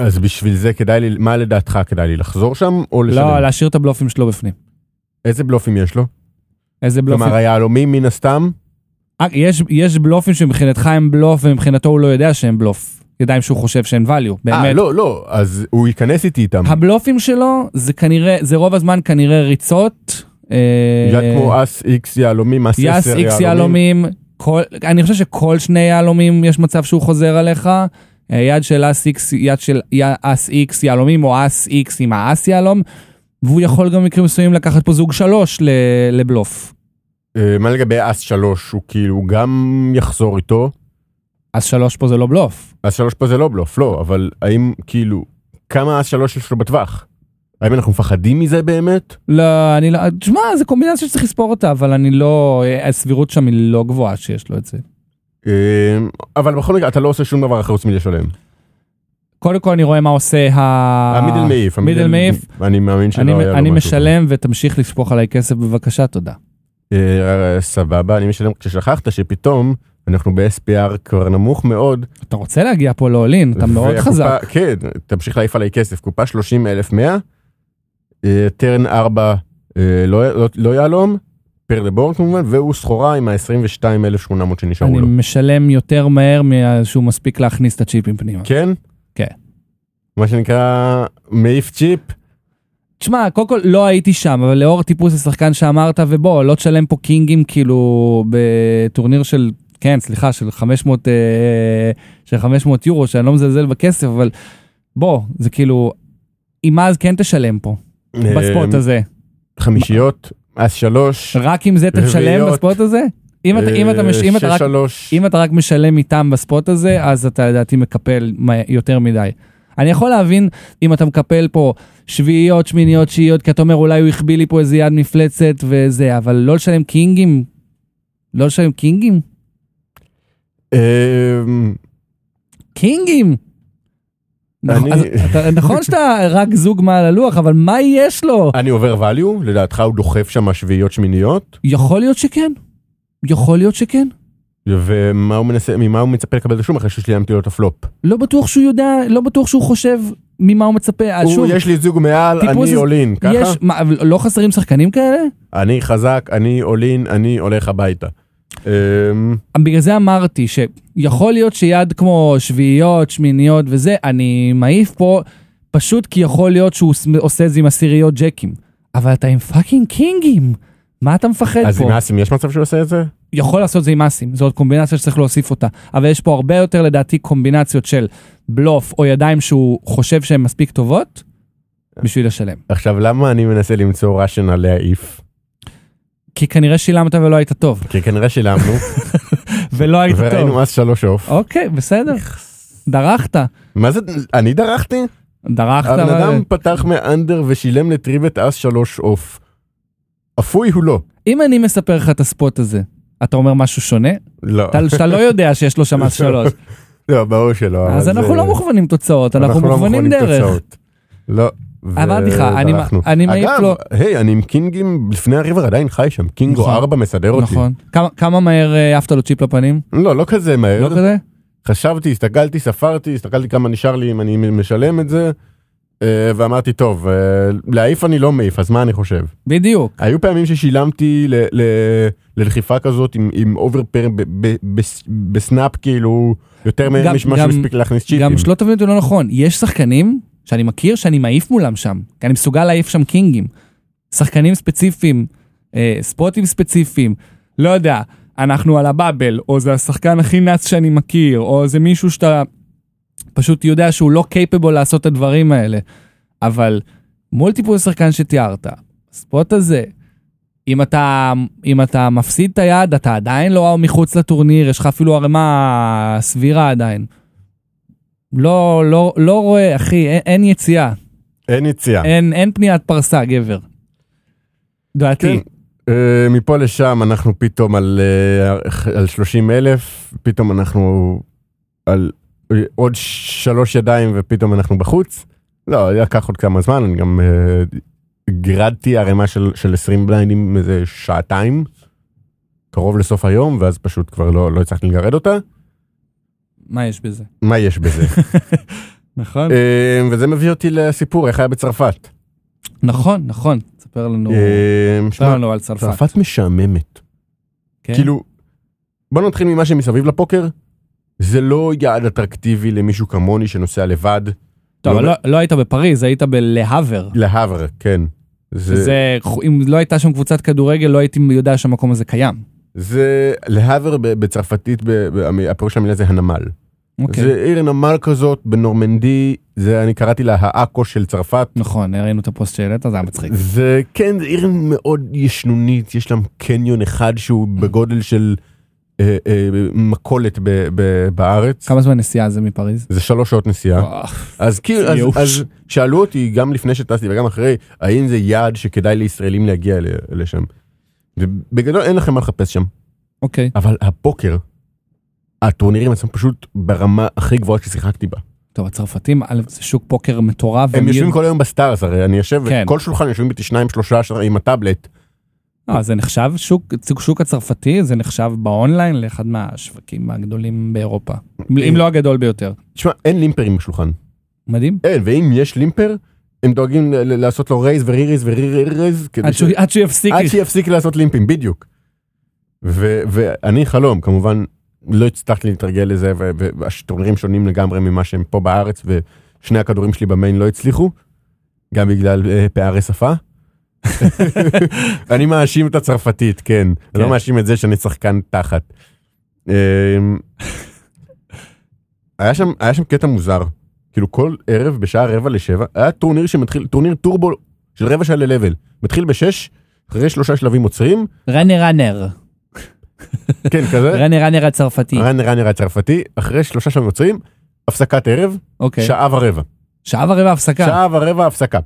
Speaker 2: אז בשביל זה כדאי לי מה לדעתך כדאי לי לחזור שם או
Speaker 1: לא,
Speaker 2: לשלם
Speaker 1: להשאיר את הבלופים שלו בפנים.
Speaker 2: איזה בלופים יש לו
Speaker 1: איזה בלופים?
Speaker 2: כלומר היהלומים מן הסתם
Speaker 1: אה, יש, יש בלופים שמבחינתך הם בלוף ומבחינתו הוא לא יודע שהם בלוף. ידיים שהוא חושב שהם value,
Speaker 2: אה,
Speaker 1: באמת.
Speaker 2: לא לא אז הוא ייכנס איתי איתם
Speaker 1: אמ. הבלופים שלו זה כנראה, זה רוב הזמן כנראה ריצות. אה,
Speaker 2: בגלל כמו אס איקס יהלומים אס
Speaker 1: יס
Speaker 2: עשר
Speaker 1: איקס
Speaker 2: יהלומים
Speaker 1: יהלומים, כל- אני חושב שכל שני יהלומים יש מצב שהוא חוזר עליך. אה, יד של אס איקס, יד של י- אס איקס יהלומים או אס איקס עם האס יהלום. והוא יכול גם במקרים מסוימים לקחת פה זוג שלוש ל- לבלוף.
Speaker 2: אה, מה לגבי אס שלוש הוא כאילו גם יחזור איתו
Speaker 1: אז שלוש פה זה לא בלוף.
Speaker 2: אז שלוש פה זה לא בלוף לא אבל האם כאילו כמה אז שלוש יש לו בטווח. האם אנחנו מפחדים מזה באמת?
Speaker 1: לא, אני לא, תשמע, זה קומבינציה שצריך לספור אותה, אבל אני לא, אה, הסבירות שם היא לא גבוהה שיש לו את זה.
Speaker 2: אה, אבל בכל מקרה אתה לא עושה שום דבר אחר חוץ מלשלם.
Speaker 1: קודם כל אני רואה מה עושה ה...
Speaker 2: המידל מעיף. המידל-
Speaker 1: אה, מידל מעיף.
Speaker 2: אני מאמין שלא
Speaker 1: אני,
Speaker 2: היה לו
Speaker 1: אני
Speaker 2: משהו.
Speaker 1: משלם ותמשיך לשפוך עליי כסף בבקשה, תודה.
Speaker 2: אה, סבבה אני משלם כששכחת שפתאום אנחנו ב-SPR כבר נמוך מאוד.
Speaker 1: אתה רוצה להגיע פה לאולין, אתה מאוד
Speaker 2: והקופה-
Speaker 1: חזק.
Speaker 2: כן תמשיך להעיף עליי כסף קופה 30 אלף 100. טרן 4 לא לא- לא יהלום. פר דה בורד כמובן והוא סחורה עם ה-22,800 שנשארו
Speaker 1: אני
Speaker 2: לו.
Speaker 1: משלם יותר מהר משהוא מספיק להכניס את הצ'יפים פנימה.
Speaker 2: כן?
Speaker 1: כן.
Speaker 2: מה שנקרא מעיף צ'יפ.
Speaker 1: תשמע, קודם כל לא הייתי שם, אבל לאור טיפוס השחקן שאמרת, ובוא, לא תשלם פה קינגים כאילו בטורניר של, כן, סליחה, של 500, אה, של 500 יורו, שאני לא מזלזל בכסף, אבל בוא, זה כאילו, אם אז כן תשלם פה, בספוט
Speaker 2: אה,
Speaker 1: הזה.
Speaker 2: חמישיות, אס שלוש.
Speaker 1: רק עם זה תשלם
Speaker 2: רביעיות.
Speaker 1: בספוט הזה? אם אתה- אם אתה מש- אם אתה
Speaker 2: אה, שש
Speaker 1: רק
Speaker 2: שלוש.
Speaker 1: אם אתה רק משלם איתם בספוט הזה, אז אתה לדעתי מקפל מה- יותר מדי. אני יכול להבין אם אתה מקפל פה שביעיות, שמיניות, שיעיות, כי אתה אומר אולי הוא החביא לי פה איזה יד מפלצת וזה, אבל לא לשלם קינגים? לא לשלם קינגים?
Speaker 2: אמ,
Speaker 1: קינגים!
Speaker 2: אני-
Speaker 1: נכון- אז אתה- נכון שאתה רק זוג מעל הלוח, אבל מה יש לו?
Speaker 2: אני עובר value, לדעתך הוא דוחף שם שביעיות שמיניות,
Speaker 1: יכול להיות שכן. יכול להיות שכן.
Speaker 2: ומה הוא מנסה, ממה הוא מצפה לקבל את השום אחרי ששילמתי לו את הפלופ.
Speaker 1: לא בטוח שהוא יודע, לא בטוח שהוא חושב ממה הוא מצפה. אז
Speaker 2: הוא,
Speaker 1: שוב,
Speaker 2: יש לי זוג מעל,
Speaker 1: טיפוס-
Speaker 2: אני עולין, ככה?
Speaker 1: יש, מה, אבל לא חסרים שחקנים כאלה?
Speaker 2: אני חזק, אני עולין, אני הולך הביתה. אמ,
Speaker 1: בגלל זה אמרתי שיכול להיות שיד כמו שביעיות, שמיניות וזה, אני מעיף פה פשוט כי יכול להיות שהוא עוש- עושה את זה עם עשיריות ג'קים. אבל אתה עם פאקינג קינגים, מה אתה מפחד
Speaker 2: אז
Speaker 1: פה?
Speaker 2: עם אסים יש מצב שהוא עושה את זה?
Speaker 1: יכול לעשות זה עם אסים, זו עוד קומבינציה שצריך להוסיף אותה. אבל יש פה הרבה יותר לדעתי קומבינציות של בלוף או ידיים שהוא חושב שהן מספיק טובות
Speaker 2: אה.
Speaker 1: בשביל לשלם.
Speaker 2: עכשיו, למה אני מנסה למצוא ראשנה להעיף?
Speaker 1: כי כנראה שילמת ולא היית טוב.
Speaker 2: כי כנראה שילמנו,
Speaker 1: ולא היית טוב.
Speaker 2: וראינו אז שלוש עוף.
Speaker 1: אוקיי, בסדר. דרכת.
Speaker 2: מה זה, אני דרכתי?
Speaker 1: דרכת.
Speaker 2: הבן
Speaker 1: אבל-
Speaker 2: אדם פתח מאנדר ושילם לטריבט אס שלוש עוף. אפוי הוא לא.
Speaker 1: אם אני מספר לך את הספוט הזה, אתה אומר משהו שונה?
Speaker 2: לא,
Speaker 1: אתה- שאתה לא יודע שיש לו שם מס שלוש.
Speaker 2: לא, ברור שלא.
Speaker 1: אז
Speaker 2: אבל
Speaker 1: אנחנו
Speaker 2: זה-
Speaker 1: לא מוכוונים תוצאות, אנחנו
Speaker 2: לא
Speaker 1: מוכוונים דרך.
Speaker 2: תוצאות. לא. ו-
Speaker 1: אמרתי לך, אני-
Speaker 2: דרכנו.
Speaker 1: אני מעיף
Speaker 2: אגב,
Speaker 1: לו-
Speaker 2: היי, אני עם קינגים לפני הריבר עדיין חי שם, קינגו
Speaker 1: נכון.
Speaker 2: 4 מסדר אותי.
Speaker 1: נכון. כמה- כמה מהר אה, העפת לו צ'יפ לפנים?
Speaker 2: לא, לא כזה
Speaker 1: לא
Speaker 2: מהר.
Speaker 1: כזה?
Speaker 2: חשבתי, הסתכלתי, ספרתי, הסתכלתי כמה נשאר לי אם אני משלם את זה, אה, ואמרתי, טוב, אה, להעיף אני לא מעיף, אז מה אני חושב?
Speaker 1: בדיוק.
Speaker 2: היו פעמים ששילמתי ל- ל- ללחיפה כזאת עם- עם אובר פר ב- ב- בס- בסנאפ, כאילו, יותר
Speaker 1: גם-
Speaker 2: ממה
Speaker 1: גם-
Speaker 2: שהספיק להכניס צ'יפים.
Speaker 1: גם שלא תבין אותי לא נכון, יש שחקנים שאני מכיר שאני מעיף מולם שם, כי אני מסוגל להעיף שם קינגים. שחקנים ספציפיים, אה, ספוטים ספציפיים, לא יודע, אנחנו על הבאבל, או זה השחקן הכי נאץ שאני מכיר, או זה מישהו שאתה פשוט יודע שהוא לא קייפבול לעשות את הדברים האלה. אבל מול טיפול שחקן שתיארת, הספוט הזה, אם אתה, אם אתה מפסיד את היד, אתה עדיין לא מחוץ לטורניר, יש לך אפילו ערימה סבירה עדיין. לא, לא, לא רואה, אחי, אין, אין יציאה,
Speaker 2: אין יציאה.
Speaker 1: אין, אין פניית פרסה, גבר. דעתי.
Speaker 2: אה, מפה לשם אנחנו פתאום על, אה, על 30 אלף, פתאום אנחנו על אה, עוד שלוש ידיים ופתאום אנחנו בחוץ. לא, לקח עוד כמה זמן, אני גם אה, גירדתי ערימה של, של 20 בליינדים איזה שעתיים, קרוב לסוף היום, ואז פשוט כבר לא, לא הצלחתי לגרד אותה.
Speaker 1: מה יש בזה?
Speaker 2: מה יש בזה?
Speaker 1: נכון.
Speaker 2: אה, וזה מביא אותי לסיפור, איך היה בצרפת.
Speaker 1: נכון, נכון. תספר לנו,
Speaker 2: אה,
Speaker 1: תספר
Speaker 2: שמע,
Speaker 1: לנו על צרפת.
Speaker 2: צרפת משעממת.
Speaker 1: כן?
Speaker 2: כאילו, בוא נתחיל ממה שמסביב לפוקר. זה לא יעד אטרקטיבי למישהו כמוני שנוסע לבד
Speaker 1: טוב,
Speaker 2: לא-
Speaker 1: אבל לא, לא היית בפריז, היית בלהאבר.
Speaker 2: להאבר, כן. זה, זה...
Speaker 1: זה, אם לא הייתה שם קבוצת כדורגל, לא הייתי יודע שהמקום הזה קיים.
Speaker 2: זה להאבר ב- בצרפתית, ב- ב- המ- הפירוש של המילה זה הנמל.
Speaker 1: אוקיי.
Speaker 2: זה עיר נמל כזאת בנורמנדי, זה אני קראתי לה העכו של צרפת.
Speaker 1: נכון, ראינו את הפוסט שהעלית, זה היה מצחיק.
Speaker 2: זה כן, זה עיר מאוד ישנונית, יש להם קניון אחד שהוא בגודל של אה, אה, מכולת ב- ב- בארץ.
Speaker 1: כמה זמן נסיעה זה מפריז?
Speaker 2: זה שלוש שעות נסיעה. אז כאילו, אז,
Speaker 1: יאוש.
Speaker 2: אז שאלו אותי גם לפני שטסתי וגם אחרי, האם זה יעד שכדאי לישראלים להגיע ל- לשם. ובגדול אין לכם מה לחפש שם,
Speaker 1: אוקיי.
Speaker 2: אבל הפוקר, הטורנירים עצמם פשוט ברמה הכי גבוהה ששיחקתי בה.
Speaker 1: טוב, הצרפתים, א', זה שוק פוקר מטורף.
Speaker 2: הם
Speaker 1: ומי-
Speaker 2: יושבים כל היום בסטארס, הרי אני יושב,
Speaker 1: כן.
Speaker 2: כל שולחן יושבים איתי שניים שלושה ש- עם הטאבלט.
Speaker 1: אה, זה נחשב, שוק, שוק הצרפתי, זה נחשב באונליין לאחד מהשווקים הגדולים באירופה. אם לא הגדול ביותר.
Speaker 2: תשמע, אין לימפרים בשולחן.
Speaker 1: מדהים.
Speaker 2: אין, ואם יש לימפר, הם דואגים ל- ל- לעשות לו רייז וריריז וריריז, כדי
Speaker 1: עד
Speaker 2: ש-
Speaker 1: שהוא- עד שהוא יפסיק.
Speaker 2: עד שיפסיק לעשות לימפים, בדיוק. ו- ואני חלום, כמובן, לא הצלחתי להתרגל לזה, ו- ו- והטורנירים שונים לגמרי ממה שהם פה בארץ, ושני הכדורים שלי במיין לא הצליחו, גם בגלל אה, פערי שפה. אני מאשים את הצרפתית, כן. אני לא
Speaker 1: כן.
Speaker 2: מאשים את זה שאני שחקן תחת. אה, היה שם, היה שם קטע מוזר, כאילו כל ערב בשעה רבע לשבע, היה טורניר שמתחיל, טורניר טורבו של רבע שעה ל-level, מתחיל בשש, אחרי שלושה שלבים עוצרים,
Speaker 1: ראנר ראנר.
Speaker 2: אה? כן כזה,
Speaker 1: ראנר ראנר
Speaker 2: אה?
Speaker 1: הצרפתי.
Speaker 2: רן ראנר הצרפתי, אחרי שלושה שלבים עוצרים, הפסקת ערב,
Speaker 1: אוקיי.
Speaker 2: שעה ורבע.
Speaker 1: שעה ורבע הפסקה.
Speaker 2: שעה ורבע הפסקה.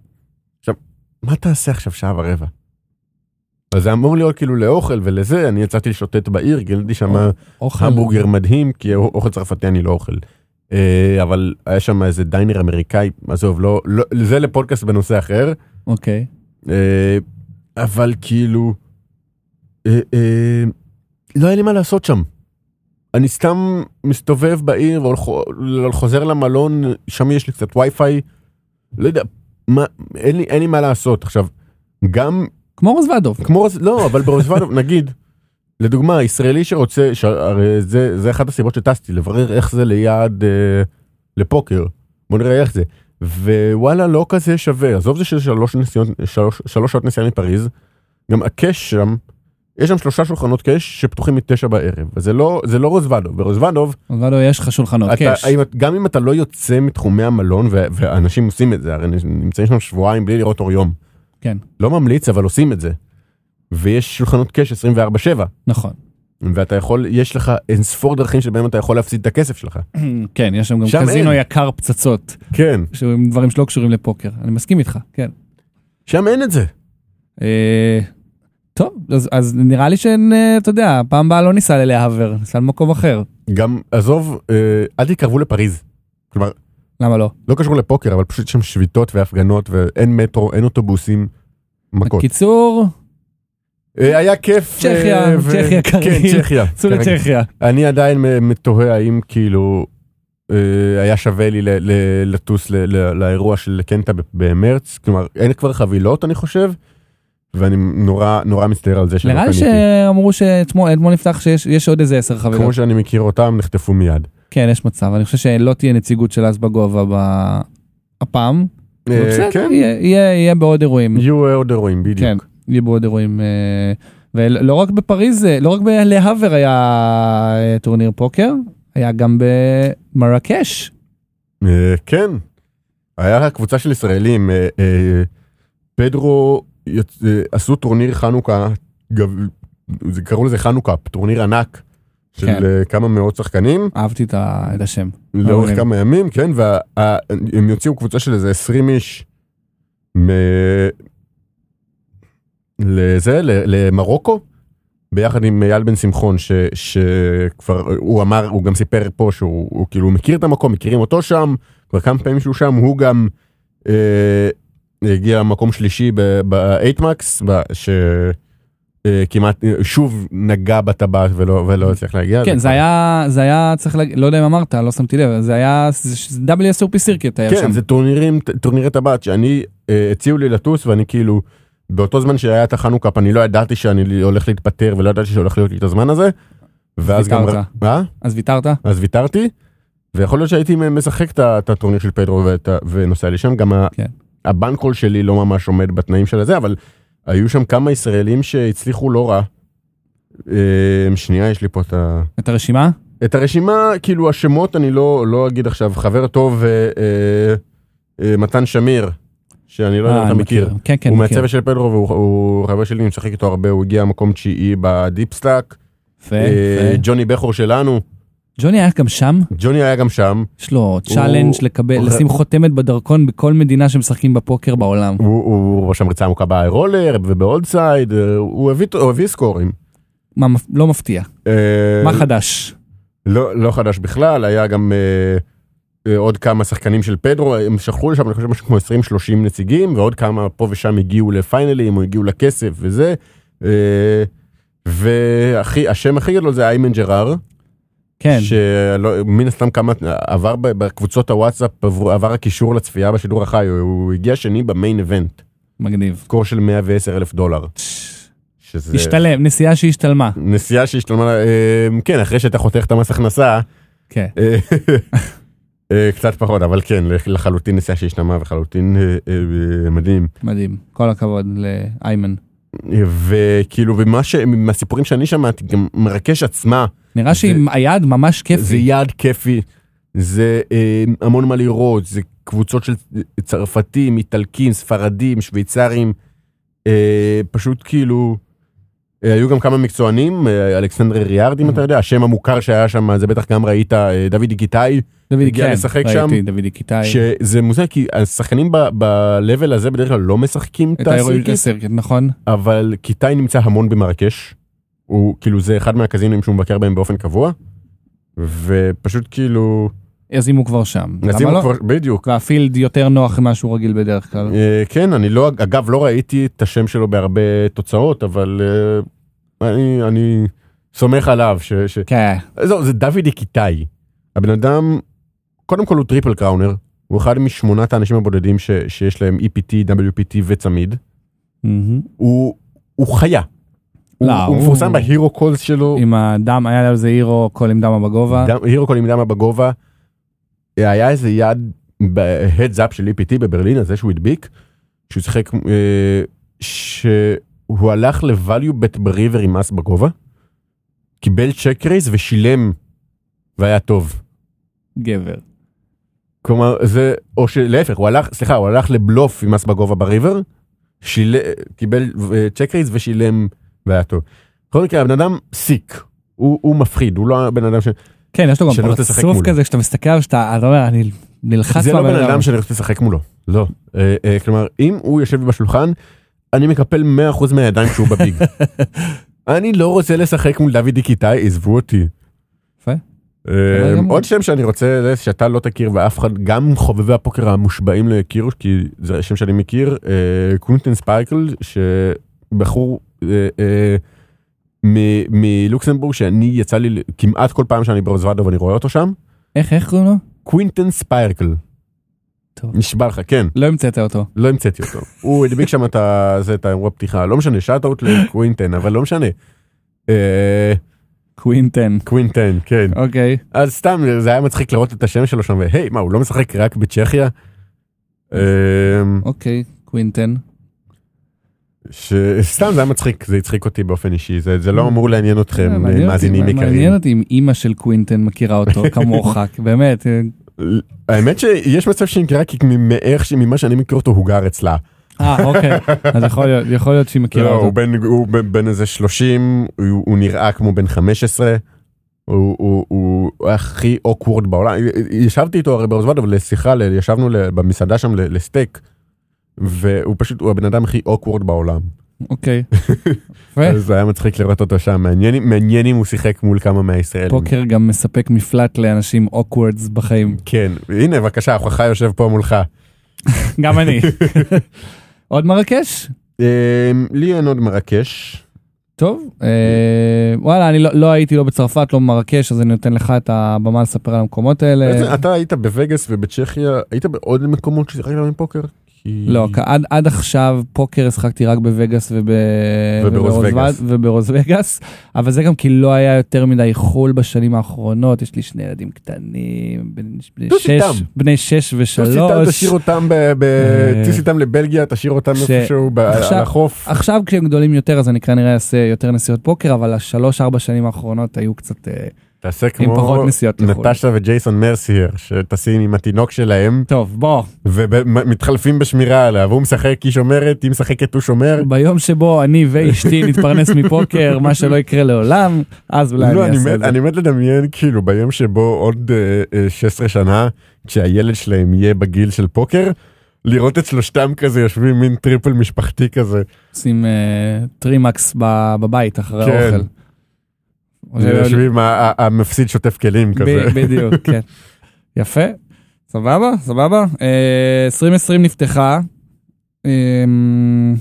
Speaker 2: עכשיו, מה תעשה עכשיו שעה ורבע? אז זה אמור להיות כאילו לאוכל ולזה, אני יצאתי לשוטט בעיר, גיליתי שם
Speaker 1: אוכל.
Speaker 2: המבורגר מדהים, כי אוכל צרפתי אני לא אוכל. אה, אבל היה שם איזה דיינר אמריקאי, עזוב, לא, לא, זה לפודקאסט בנושא אחר,
Speaker 1: אוקיי.
Speaker 2: אה, אבל כאילו, אה, אה, לא היה לי מה לעשות שם. אני סתם מסתובב בעיר, והול- חוזר למלון, שם יש לי קצת וי-פיי, לא יודע, מה, אין, לי, אין לי מה לעשות. עכשיו, גם
Speaker 1: כמו רוזוודוב.
Speaker 2: כמו, רוז- לא, אבל ברוזוולדוב, נגיד, לדוגמה, ישראלי שרוצה, שהרי זה, זה אחת הסיבות שטסתי, לברר איך זה ליד, אה, לפוקר, בוא נראה איך זה. ווואלה, לא כזה שווה, עזוב זה שזה שלוש, נסיעות, שלוש, שלוש שעות נסיעה מפריז, גם הקש שם, יש שם שלושה שולחנות קש שפתוחים מתשע בערב, וזה לא, זה לא רוזוולדוב, ברוזוולדוב,
Speaker 1: רוזוודוב יש לך שולחנות,
Speaker 2: אתה-
Speaker 1: קאש.
Speaker 2: האם- גם אם אתה לא יוצא מתחומי המלון, ו- ואנשים עושים את זה, הרי נמצאים שם שבועיים בלי לראות אור יום.
Speaker 1: כן.
Speaker 2: לא ממליץ, אבל עושים את זה. ויש שולחנות קאש 24/7,
Speaker 1: נכון.
Speaker 2: ואתה יכול, יש לך אין ספור דרכים שבהם אתה יכול להפסיד את הכסף שלך.
Speaker 1: כן, יש שם גם
Speaker 2: שם
Speaker 1: קזינו
Speaker 2: אין.
Speaker 1: יקר פצצות,
Speaker 2: כן.
Speaker 1: שהוא עם דברים שלא קשורים לפוקר. אני מסכים איתך, כן.
Speaker 2: שם אין את זה.
Speaker 1: אה, טוב, אז- אז נראה לי שהן, אה, אתה יודע, פעם באה לא ניסע ללהבר, ניסע למקום אחר.
Speaker 2: גם, עזוב, אה, אל תתקרבו לפריז. כלומר,
Speaker 1: למה לא?
Speaker 2: לא קשור לפוקר, אבל פשוט יש שם שביתות והפגנות, ואין מטרו, אין אוטובוסים, מכות.
Speaker 1: קיצור,
Speaker 2: אה, היה כיף.
Speaker 1: צ'כיה,
Speaker 2: אה, ו-
Speaker 1: צ'כיה
Speaker 2: כן,
Speaker 1: כרגיל.
Speaker 2: צ'כיה.
Speaker 1: צאו
Speaker 2: כרגיל.
Speaker 1: לצ'כיה.
Speaker 2: אני עדיין מ- תוהה האם כאילו אה, היה שווה לי ל- ל- לטוס ל- ל- לאירוע של קנטה ב- במרץ, כלומר אין כבר חבילות אני חושב, ואני נורא נורא מצטער על זה שלא
Speaker 1: נראה לי
Speaker 2: קניתי.
Speaker 1: שאמרו שאתמול אתמול נפתח שיש יש עוד איזה עשר
Speaker 2: כמו
Speaker 1: חבילות.
Speaker 2: שאני מכיר אותם נחטפו מיד.
Speaker 1: כן, יש מצב. אני חושב שלא תהיה נציגות של אז בגובה ב- הפעם. אבל
Speaker 2: אה,
Speaker 1: בסדר,
Speaker 2: כן,
Speaker 1: יהיה- יהיה יהיה בעוד אירועים.
Speaker 2: יהיו אה, עוד אירועים
Speaker 1: כן,
Speaker 2: בדיוק.
Speaker 1: יהיו בעוד אירועים. אה, ולא רק בפריז, אה, לא רק בלהאבר היה אה, טורניר פוקר, היה גם במרקש.
Speaker 2: אה, כן. היה קבוצה של ישראלים, אה, אה, פדרו יצ- אה, עשו טורניר חנוכה, גב- זה- קראו לזה חנוכה, טורניר ענק של
Speaker 1: כן.
Speaker 2: אה, כמה מאות שחקנים.
Speaker 1: אהבתי את ה- את השם.
Speaker 2: לאורך
Speaker 1: מעולים.
Speaker 2: כמה ימים, כן, והם יוציאו קבוצה של איזה 20 איש מ... לזה, ל- למרוקו, ביחד עם אייל בן שמחון, ש, שכבר, הוא אמר, הוא גם סיפר פה שהוא הוא כאילו מכיר את המקום, מכירים אותו שם, כבר כמה פעמים שהוא שם, הוא גם אה, הגיע למקום שלישי ב-8MAX, שכמעט אה, שוב נגע בטבעת ולא, ולא הצליח להגיע.
Speaker 1: כן, זה
Speaker 2: כבר-
Speaker 1: היה, זה היה, צריך להגיד, לא יודע אם אמרת, לא שמתי לב, זה היה, זה WSOP סירקט היה שם.
Speaker 2: כן, זה טורנירים, טורנירי טבעת שאני, אה, הציעו לי לטוס ואני כאילו, באותו זמן שהיה את החנוכאפ, אני לא ידעתי שאני הולך להתפטר ולא ידעתי שהולך להיות לי את הזמן הזה. ואז גם...
Speaker 1: ויתרת.
Speaker 2: מה?
Speaker 1: אז ויתרת?
Speaker 2: אז ויתרתי, ויכול להיות שהייתי משחק את ה- את הטורניר של פדרו ואת ה- ונוסע לשם, גם ה-
Speaker 1: כן.
Speaker 2: הבנקול שלי לא ממש עומד בתנאים של הזה, אבל היו שם כמה ישראלים שהצליחו לא רע. אה, שנייה, יש לי פה את ה...
Speaker 1: את הרשימה?
Speaker 2: את הרשימה, כאילו השמות אני לא, לא אגיד עכשיו, חבר טוב, אה, אה, אה, מתן שמיר, שאני לא יודע
Speaker 1: אה,
Speaker 2: אם אתה
Speaker 1: אני
Speaker 2: מכיר.
Speaker 1: כן, כן,
Speaker 2: הוא
Speaker 1: מכיר.
Speaker 2: מהצוות של פדרו והוא הוא חבר שלי, אני משחק איתו הרבה, הוא הגיע מקום תשיעי בדיפסטאק.
Speaker 1: יפה,
Speaker 2: אה,
Speaker 1: יפה.
Speaker 2: ג'וני בכור שלנו,
Speaker 1: ג'וני היה גם שם,
Speaker 2: ג'וני היה גם שם,
Speaker 1: יש לו צ'אלנג' לקבל,
Speaker 2: הוא-
Speaker 1: לשים חותמת בדרכון בכל מדינה שמשחקים בפוקר בעולם.
Speaker 2: הוא- הוא רשם ריצה עמוקה באיירולר ובאולדסייד, אה, הוא הביא- הוא הביא סקורים.
Speaker 1: מה, לא מפתיע.
Speaker 2: אה,
Speaker 1: מה חדש?
Speaker 2: לא, לא חדש בכלל, היה גם אה, אה, עוד כמה שחקנים של פדרו, הם שלחו לשם, אני חושב, משהו כמו 20-30 נציגים, ועוד כמה פה ושם הגיעו לפיינלים, או הגיעו לכסף וזה. אה, והשם הכי גדול זה איימן ג'רר,
Speaker 1: כן.
Speaker 2: שמן הסתם כמה, עבר ב- בקבוצות הוואטסאפ, עבר, עבר הקישור לצפייה בשידור החי, הוא, הוא הגיע שני במיין איבנט,
Speaker 1: מגניב.
Speaker 2: סקור של 110 אלף דולר, שזה
Speaker 1: השתלם, נסיעה שהשתלמה.
Speaker 2: נסיעה שהשתלמה, לה- אה, כן, אחרי שאתה חותך את המס הכנסה,
Speaker 1: כן.
Speaker 2: אה, אה, קצת פחות אבל כן לח- לחלוטין נסיעה שהשתמעה וחלוטין אה, אה, אה, מדהים
Speaker 1: מדהים. כל הכבוד לאיימן.
Speaker 2: אה, וכאילו ומה ש- מהסיפורים שאני שמעתי גם מרקש עצמה
Speaker 1: נראה שעם היד ממש
Speaker 2: זה
Speaker 1: כיפי.
Speaker 2: יעד כיפי זה אה, המון מה לראות זה קבוצות של צרפתים איטלקים ספרדים שוויצרים אה, פשוט אה, כאילו אה, היו גם כמה מקצוענים, אה, אלכסנדר ריארד אם אתה יודע, השם המוכר שהיה שם, זה בטח גם ראית, אה, דוד גיטאי,
Speaker 1: דודי,
Speaker 2: הגיע
Speaker 1: כן,
Speaker 2: לשחק
Speaker 1: ראיתי,
Speaker 2: שם.
Speaker 1: דודי קיטאי.
Speaker 2: שזה מוזר כי השחקנים ב- ב-level הזה בדרך כלל לא משחקים את
Speaker 1: את האירועים
Speaker 2: הסירקיס,
Speaker 1: לסירקט, נכון?
Speaker 2: אבל קיטאי נמצא המון במרקש. הוא כאילו זה אחד מהקזינים שהוא מבקר בהם באופן קבוע. ופשוט כאילו,
Speaker 1: אז אם הוא כבר שם.
Speaker 2: אז אם
Speaker 1: למה
Speaker 2: הוא
Speaker 1: לא?
Speaker 2: כבר, בדיוק.
Speaker 1: והפילד יותר נוח ממה שהוא רגיל בדרך כלל.
Speaker 2: אה, כן, אני לא, אגב, לא ראיתי את השם שלו בהרבה תוצאות, אבל אה, אני, אני סומך עליו. ש, ש...
Speaker 1: כן.
Speaker 2: זהו, זה דוידי קיטאי. הבן אדם, קודם כל הוא טריפל קראונר, הוא אחד משמונת האנשים הבודדים ש, שיש להם E EPT, WPT וצמיד.
Speaker 1: מהמם.
Speaker 2: הוא, הוא חיה. הוא,
Speaker 1: לא,
Speaker 2: הוא
Speaker 1: הוא-
Speaker 2: מפורסם בהירו קולס שלו,
Speaker 1: עם הדם, היה לו איזה הירו, קול עם דמה בגובה.
Speaker 2: דם- הירו קול עם דמה בגובה. היה איזה יד בהדזאפ של EPT בברלין, הזה שהוא הדביק, שהוא שיחק, אה, שהוא הלך לווליובט בריבר עם מס בגובה, קיבל צ'ק רייס ושילם, והיה טוב.
Speaker 1: גבר.
Speaker 2: כלומר זה או שלהפך הוא הלך סליחה הוא הלך לבלוף עם מס בגובה בריבר שיל... קיבל אה, צ'ק רייס ושילם והיה טוב. בכל מקרה הבן אדם סיק הוא, הוא מפחיד הוא לא הבן אדם ש...
Speaker 1: כן, יש לו גם
Speaker 2: שלא תשחק
Speaker 1: פרצוף
Speaker 2: מולו.
Speaker 1: כזה, כשאתה מסתכל עליו, שאתה אתה אומר, אני נלחץ
Speaker 2: זה לא
Speaker 1: בבן
Speaker 2: בן אדם שאני רוצה לשחק מולו לא אה, אה, כלומר אם הוא יושב בשולחן אני מקפל 100% מהידיים כשהוא בביג. אני לא רוצה לשחק מול דוד דיקיטאי עזבו אותי.
Speaker 1: יפה.
Speaker 2: אה,
Speaker 1: בסדר גמור.
Speaker 2: עוד שם שאני רוצה שאתה לא תכיר ואף אחד גם חובבי הפוקר המושבעים לא יכירו כי זה שם שאני מכיר אה, קווינטין ספייקל שבחור אה, אה, מ- מלוקסמבורג שאני יצא לי ל- כמעט כל פעם שאני ברוזוודו ואני רואה אותו שם
Speaker 1: איך, איך קוראים לו?
Speaker 2: קווינטין ספייקל.
Speaker 1: טוב.
Speaker 2: נשבע לך כן
Speaker 1: לא המצאת אותו.
Speaker 2: לא המצאתי אותו הוא הדביק שם את ה- זה, את האירוע פתיחה לא משנה שאט אאוט לקווינטין אבל לא משנה. אה,
Speaker 1: קווינטן.
Speaker 2: קווינטין כן.
Speaker 1: אוקיי.
Speaker 2: אז סתם זה היה מצחיק לראות את השם שלו שם והי מה הוא לא משחק רק בצ'כיה. אמ,
Speaker 1: אוקיי, קווינטן.
Speaker 2: ש- סתם זה היה מצחיק זה הצחיק אותי באופן אישי זה זה לא אמור לעניין
Speaker 1: אה,
Speaker 2: אתכם
Speaker 1: מעניין אותי-
Speaker 2: מאזינים
Speaker 1: מעניין
Speaker 2: יקרים.
Speaker 1: אותי אם אימא של קווינטן מכירה אותו כמוך, באמת. אה,
Speaker 2: האמת שיש מצב שהיא נקראה כי מאיך ש- ממה שאני מכיר אותו הוא גר אצלה.
Speaker 1: אה, אוקיי. אז יכול להיות- יכול להיות שהיא מכירה
Speaker 2: לא, הוא
Speaker 1: אותו.
Speaker 2: בן הוא בן- בן איזה 30 הוא הוא נראה כמו בן 15. הוא, הוא, הוא הכי אוקוורד בעולם, ישבתי איתו הרי ברוזוודוב לשיחה, ל- ישבנו ל- במסעדה שם ל- לסטייק, והוא פשוט, הוא הבן אדם הכי אוקוורד בעולם.
Speaker 1: אוקיי. יפה.
Speaker 2: אז זה היה מצחיק לראות אותו שם, מעניין, אם- מעניין אם הוא שיחק מול כמה מהישראלים.
Speaker 1: פוקר גם מספק מפלט לאנשים אוקוורדס בחיים.
Speaker 2: כן, הנה בבקשה, הוכחה יושב פה מולך.
Speaker 1: גם אני. עוד מרקש?
Speaker 2: אה, לי אין עוד מרקש.
Speaker 1: טוב, אה, וואלה, אני לא- לא הייתי לא בצרפת, לא במרקש, אז אני נותן לך את הבמה לספר על המקומות האלה.
Speaker 2: בעצם אתה היית בווגאס ובצ'כיה, היית בעוד מקומות ששיחקת בהם פוקר? כי-
Speaker 1: לא, כ- עד- עד עכשיו פוקר השחקתי רק בווגאס וב...
Speaker 2: וברוס
Speaker 1: וברוס
Speaker 2: וגאס.
Speaker 1: ו- וברוס וגאס, אבל זה גם כי לא היה יותר מדי חול בשנים האחרונות, יש לי שני ילדים קטנים, בני- בני
Speaker 2: טוסי
Speaker 1: שש-
Speaker 2: תם.
Speaker 1: בני שש ושלוש.
Speaker 2: טוס איתם, תשאיר אותם, ב- ב-
Speaker 1: אה,
Speaker 2: טוס איתם לבלגיה, תשאיר אותם
Speaker 1: ש-
Speaker 2: איפשהו ב-
Speaker 1: עכשיו-
Speaker 2: על החוף.
Speaker 1: עכשיו כשהם גדולים יותר אז אני כנראה אעשה יותר נסיעות פוקר אבל השלוש ארבע שנים האחרונות היו קצת אה,
Speaker 2: תעשה
Speaker 1: עם פחות
Speaker 2: כמו
Speaker 1: נסיעות לחו"ל.
Speaker 2: נטשה וג'ייסון מרסייר, שטסים עם התינוק שלהם
Speaker 1: טוב בוא
Speaker 2: ומתחלפים בשמירה עליו, הוא משחק, היא שומרת, היא משחקת, הוא שומר.
Speaker 1: ביום שבו אני ואשתי נתפרנס מפוקר מה שלא יקרה לעולם אז אולי
Speaker 2: לא,
Speaker 1: אני
Speaker 2: אני
Speaker 1: אעשה את
Speaker 2: מת,
Speaker 1: זה.
Speaker 2: אני מת לדמיין כאילו ביום שבו עוד אה, אה, 16 שנה כשהילד שלהם יהיה בגיל של פוקר לראות את שלושתם כזה יושבים מין טריפל משפחתי כזה
Speaker 1: עושים אה, טרימקס ב- בבית אחרי
Speaker 2: כן.
Speaker 1: האוכל.
Speaker 2: יושבים ה- ה- המפסיד שוטף כלים כזה.
Speaker 1: ב- בדיוק כן. יפה סבבה סבבה אה, 2020 נפתחה. אה,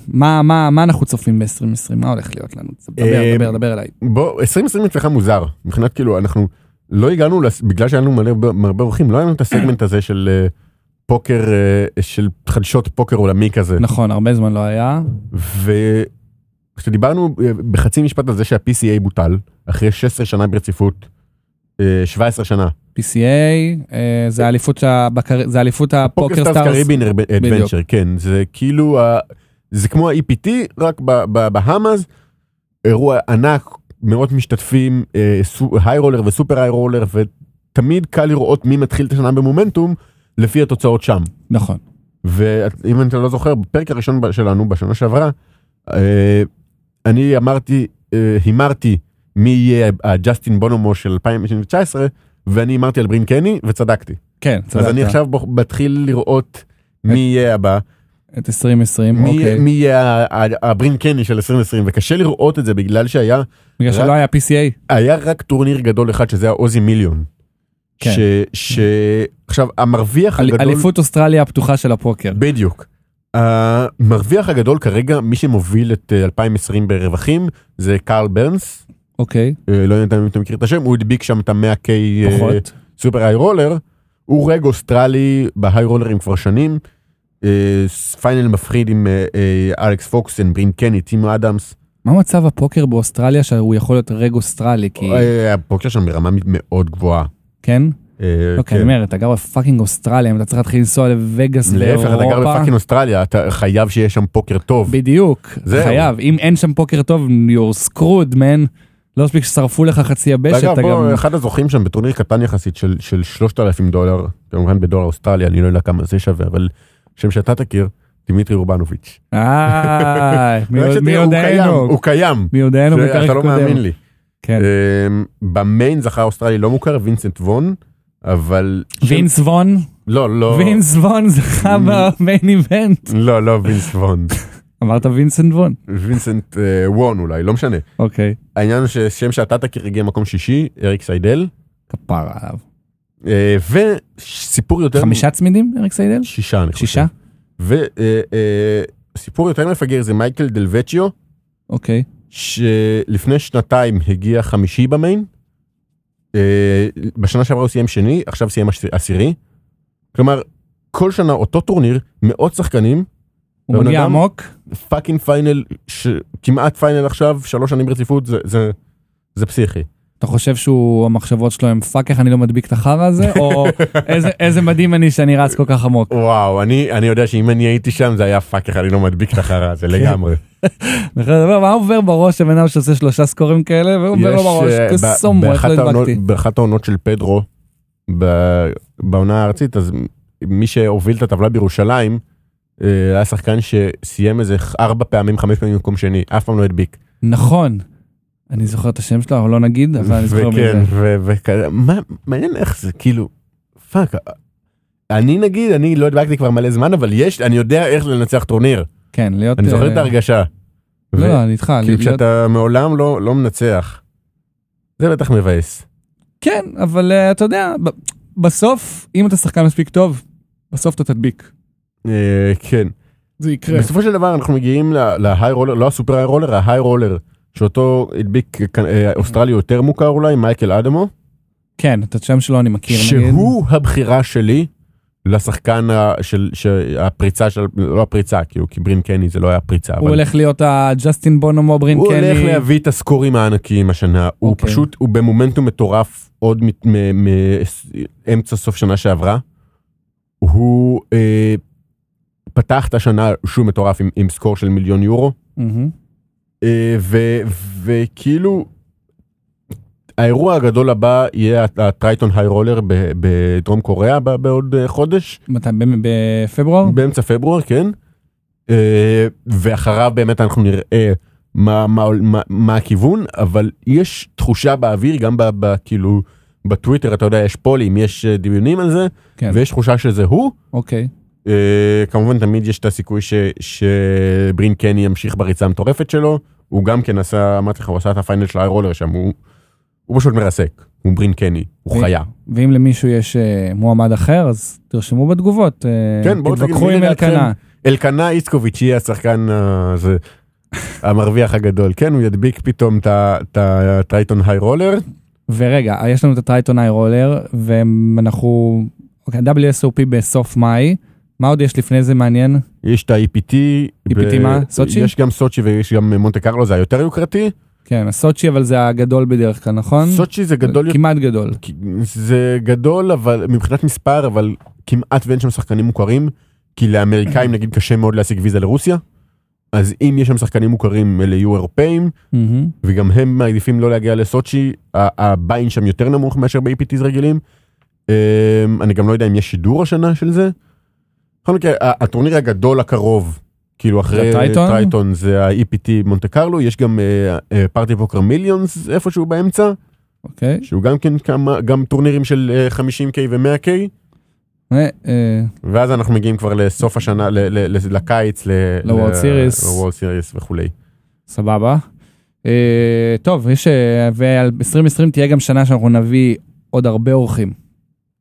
Speaker 1: מה מה מה אנחנו צופים ב-2020 מה הולך להיות לנו דבר
Speaker 2: אה,
Speaker 1: דבר דבר אליי.
Speaker 2: בוא 2020 אצלך מוזר מבחינת כאילו אנחנו לא הגענו לס- בגלל שהיה לנו מלא הרבה אורחים לא היה לנו את הסגמנט הזה של אה, פוקר אה, של חדשות פוקר עולמי כזה
Speaker 1: נכון הרבה זמן לא היה
Speaker 2: וכשדיברנו אה, בחצי משפט על זה שה-PCA בוטל אחרי 16 שנה ברציפות אה, 17 שנה.
Speaker 1: PCA אה, זה האליפות הבקר- זה האליפות
Speaker 2: פוקר
Speaker 1: הפוקר
Speaker 2: סטארס
Speaker 1: סטארס
Speaker 2: קריבין
Speaker 1: בדיוק.
Speaker 2: אדוונצ'ר, כן, זה כאילו, ה- זה כמו ה-EPT, רק ב- בבהאמאז, אירוע ענק, מאות משתתפים, אה, היי רולר וסופר היי רולר, ותמיד קל לראות מי מתחיל את השנה במומנטום, לפי התוצאות שם.
Speaker 1: נכון
Speaker 2: ואם אתה לא זוכר, בפרק הראשון ב- שלנו, בשנה שעברה, אה, אני אמרתי, אה, הימרתי מי יהיה הג'סטין בונומו של 2019, ואני הימרתי על ברין קני וצדקתי.
Speaker 1: כן,
Speaker 2: אז
Speaker 1: צדקת.
Speaker 2: אני עכשיו בוח- מתחיל לראות מי יהיה הבא,
Speaker 1: את 2020,
Speaker 2: מי
Speaker 1: אוקיי.
Speaker 2: מי יהיה ה- ה- הברין קני של 2020, וקשה לראות את זה בגלל שהיה
Speaker 1: בגלל שלא
Speaker 2: רק-
Speaker 1: היה PCA.
Speaker 2: היה רק טורניר גדול אחד שזה האוזי מיליון.
Speaker 1: כן.
Speaker 2: ש... ש... עכשיו המרוויח
Speaker 1: אל-
Speaker 2: הגדול...
Speaker 1: אליפות אוסטרליה הפתוחה של הפוקר.
Speaker 2: בדיוק. המרוויח הגדול כרגע, מי שמוביל את אה, 2020 ברווחים, זה קארל ברנס.
Speaker 1: אוקיי,
Speaker 2: אה, לא יודע אם אתה מכיר את השם, הוא הדביק שם את ה-100K אה,
Speaker 1: פחות.
Speaker 2: סופר היי רולר. הוא רג אוסטרלי בהיי רולרים כבר שנים. אה, פיינל מפחיד עם אה, אה, אלכס פוקסן, ברין קני, טימו אדמס.
Speaker 1: מה מצב הפוקר באוסטרליה שהוא יכול להיות רג אוסטרלי? כי...
Speaker 2: אה, הפוקר שם ברמה מאוד גבוהה.
Speaker 1: כן?
Speaker 2: אה,
Speaker 1: אוקיי, אני
Speaker 2: כן.
Speaker 1: אומר, אתה גר בפאקינג אוסטרליה, אם אתה צריך להתחיל לנסוע לווגאס
Speaker 2: להפך, אתה גר
Speaker 1: ואירופה.
Speaker 2: בפאקינג אוסטרליה, אתה חייב שיהיה שם פוקר טוב.
Speaker 1: בדיוק,
Speaker 2: זהו.
Speaker 1: חייב. אם אין שם פוקר טוב, you're screwed, man. לא מספיק ששרפו לך חצי יבשת,
Speaker 2: אגב,
Speaker 1: אתה
Speaker 2: בוא,
Speaker 1: גם...
Speaker 2: אחד הזוכים שם בטורניר קטן יחסית של, של 3,000 דולר, כמובן בדולר אוסטרלי, אני לא יודע כמה זה שווה, אבל שם שאתה תכיר, דמיטרי רובנוביץ'.
Speaker 1: אה, מי
Speaker 2: רק
Speaker 1: יודע- מי
Speaker 2: שתראה, הוא קיים,
Speaker 1: יודענו?
Speaker 2: הוא קיים,
Speaker 1: מי יודענו
Speaker 2: זה-
Speaker 1: בפרק
Speaker 2: אתה לא
Speaker 1: קודם.
Speaker 2: מאמין לי.
Speaker 1: כן.
Speaker 2: אמ, במיין זכה אוסטרלי לא מוכר, וינסנט וון, אבל... שם-
Speaker 1: וינס וון,
Speaker 2: לא, לא,
Speaker 1: וינס וון זכה במיין איבנט.
Speaker 2: לא, לא וינס וון,
Speaker 1: אמרת וינסנט וון,
Speaker 2: וינסנט אה, וון אולי, לא משנה.
Speaker 1: אוקיי.
Speaker 2: העניין הוא ששם שאתה תכיר הגיע מקום שישי, אריק סיידל,
Speaker 1: כפרה עליו.
Speaker 2: אה, וסיפור יותר...
Speaker 1: חמישה צמידים, אריק סיידל?
Speaker 2: שישה, אני חושב.
Speaker 1: שישה?
Speaker 2: וסיפור יותר מפגר זה מייקל דלווצ'יו,
Speaker 1: אוקיי.
Speaker 2: שלפני שנתיים הגיע חמישי במיין, אה, בשנה שעברה הוא סיים שני, עכשיו סיים עש- עשירי. כלומר, כל שנה אותו טורניר, מאות שחקנים,
Speaker 1: הוא
Speaker 2: הבן
Speaker 1: מגיע
Speaker 2: אדם-
Speaker 1: עמוק,
Speaker 2: פאקינג פיינל, ש- כמעט פיינל עכשיו, שלוש שנים ברציפות, זה- זה- זה פסיכי.
Speaker 1: אתה חושב שהוא, המחשבות שלו הם פאק איך אני לא מדביק את החרא הזה, או "איזה- איזה מדהים אני שאני רץ כל כך עמוק.
Speaker 2: וואו, אני אני יודע שאם אני הייתי שם זה היה פאק איך אני לא מדביק את החרא הזה לגמרי.
Speaker 1: אני יכול לדבר, מה עובר בראש של בן אדם שעושה שלושה סקורים כאלה, ועובר לו
Speaker 2: יש,
Speaker 1: בראש,
Speaker 2: אה, ב-
Speaker 1: כסומו, איך
Speaker 2: באחת
Speaker 1: לא
Speaker 2: העונות-
Speaker 1: הדבקתי.
Speaker 2: באחת העונות של פדרו, ב- בעונה הארצית, אז מי שהוביל את הטבלה בירושלים, אה, היה שחקן שסיים איזה ארבע פעמים, חמש פעמים במקום שני, אף פעם לא הדביק.
Speaker 1: נכון. אני זוכר את השם שלו, אבל לא נגיד, אבל אני זוכר מי זה.
Speaker 2: וכן, ו- וכאלה, מה- מעניין איך זה, כאילו, פאק. אני נגיד, אני לא הדבקתי כבר מלא זמן, אבל יש, אני יודע איך לנצח טורניר.
Speaker 1: כן, להיות...
Speaker 2: אני זוכר
Speaker 1: אה,
Speaker 2: את ההרגשה.
Speaker 1: לא,
Speaker 2: ו-
Speaker 1: לא, אני איתך.
Speaker 2: כאילו
Speaker 1: להיות-
Speaker 2: כשאתה מעולם לא לא מנצח. זה בטח מבאס.
Speaker 1: כן, אבל אה, אתה יודע, ב- בסוף, אם אתה שחקן מספיק טוב, בסוף אתה תדביק.
Speaker 2: אה, כן.
Speaker 1: זה יקרה.
Speaker 2: בסופו של דבר אנחנו מגיעים ל- להיי רולר, לא הסופר היי רולר, ההיי רולר, שאותו הדביק כ- אה, אוסטרלי יותר מוכר אולי, מייקל אדמו,
Speaker 1: כן, את השם שלו אני מכיר, נגיד.
Speaker 2: שהוא הבחירה שלי לשחקן ה- של של- הפריצה של, לא הפריצה, כאילו, כי ברין קני זה לא היה פריצה,
Speaker 1: הוא
Speaker 2: אבל
Speaker 1: הולך להיות הג'סטין בונומו ברין
Speaker 2: הוא הולך
Speaker 1: קלי.
Speaker 2: להביא את הסקורים הענקיים השנה, הוא
Speaker 1: אוקיי.
Speaker 2: פשוט, הוא במומנטום מטורף עוד מאמצע סוף שנה שעברה. הוא אה, פתח את השנה שהוא מטורף עם- עם סקור של מיליון יורו.
Speaker 1: מהמם.
Speaker 2: אה, ו- וכאילו האירוע הגדול הבא יהיה הטרייטון היי רולר ב- בדרום קוריאה ב- בעוד אה, חודש
Speaker 1: מתי? ב- בפברואר?
Speaker 2: באמצע פברואר כן אה, ואחריו באמת אנחנו נראה מה, מה, מה, מה הכיוון אבל יש תחושה באוויר גם ב- ב- כאילו בטוויטר אתה יודע יש פולים יש אה, דיונים על זה
Speaker 1: כן,
Speaker 2: ויש תחושה שזה הוא.
Speaker 1: אוקיי.
Speaker 2: אה, כמובן תמיד יש את הסיכוי ש, שברין קני ימשיך בריצה המטורפת שלו, הוא גם כן עשה, אמרתי לך, הוא עשה את הפיינל של האיירולר שם, הוא, הוא פשוט מרסק, הוא ברין קני, הוא
Speaker 1: ו-
Speaker 2: חיה.
Speaker 1: ואם למישהו יש אה, מועמד אחר, אז תרשמו בתגובות. אה,
Speaker 2: כן, בואו תגידו
Speaker 1: תתווכחו
Speaker 2: מי
Speaker 1: עם
Speaker 2: לדעתכם.
Speaker 1: אלקנה.
Speaker 2: אלקנה איצקוביץ' יהיה השחקן הזה, המרוויח הגדול, כן, הוא ידביק פתאום את ה- את הטרייטון היי רולר,
Speaker 1: ורגע, יש לנו את הטרייטון איי רולר, ואנחנו... אוקיי, WSOP בסוף מאי. מה עוד יש לפני זה מעניין?
Speaker 2: יש את ה-EPT,
Speaker 1: EPT E מה? סוצ'י?
Speaker 2: יש גם סוצ'י ויש גם מונטה קרלו, זה היותר יוקרתי,
Speaker 1: כן, הסוצ'י, אבל זה הגדול בדרך כלל, נכון?
Speaker 2: סוצ'י זה גדול יותר.
Speaker 1: כמעט גדול.
Speaker 2: כי זה גדול אבל מבחינת מספר אבל כמעט ואין שם שחקנים מוכרים כי לאמריקאים נגיד קשה מאוד להשיג ויזה לרוסיה. אז אם יש שם שחקנים מוכרים אלה יהיו אירופאים
Speaker 1: מהמם.
Speaker 2: וגם הם מעדיפים לא להגיע לסוצ'י ה- הביין שם יותר נמוך מאשר ב-EPTs רגילים. אמ, אני גם לא יודע אם יש שידור השנה של זה. בכל מקרה ה- הטורניר הגדול הקרוב כאילו אחרי
Speaker 1: הטרייטון?
Speaker 2: טרייטון זה ה-EPT מונטה קרלו, יש גם אה, פארטי פוקר מיליונס איפשהו באמצע,
Speaker 1: אוקיי.
Speaker 2: שהוא גם כן כמה, גם טורנירים של אה, 50K ו-100K,
Speaker 1: אה, אה,
Speaker 2: ואז אנחנו מגיעים כבר לסוף השנה, ל- ל- ל- לקיץ,
Speaker 1: ל-World Series.
Speaker 2: לוורלד סיריס וכולי.
Speaker 1: סבבה. אה, טוב, יש... ו-2020 תהיה גם שנה שאנחנו נביא עוד הרבה אורחים.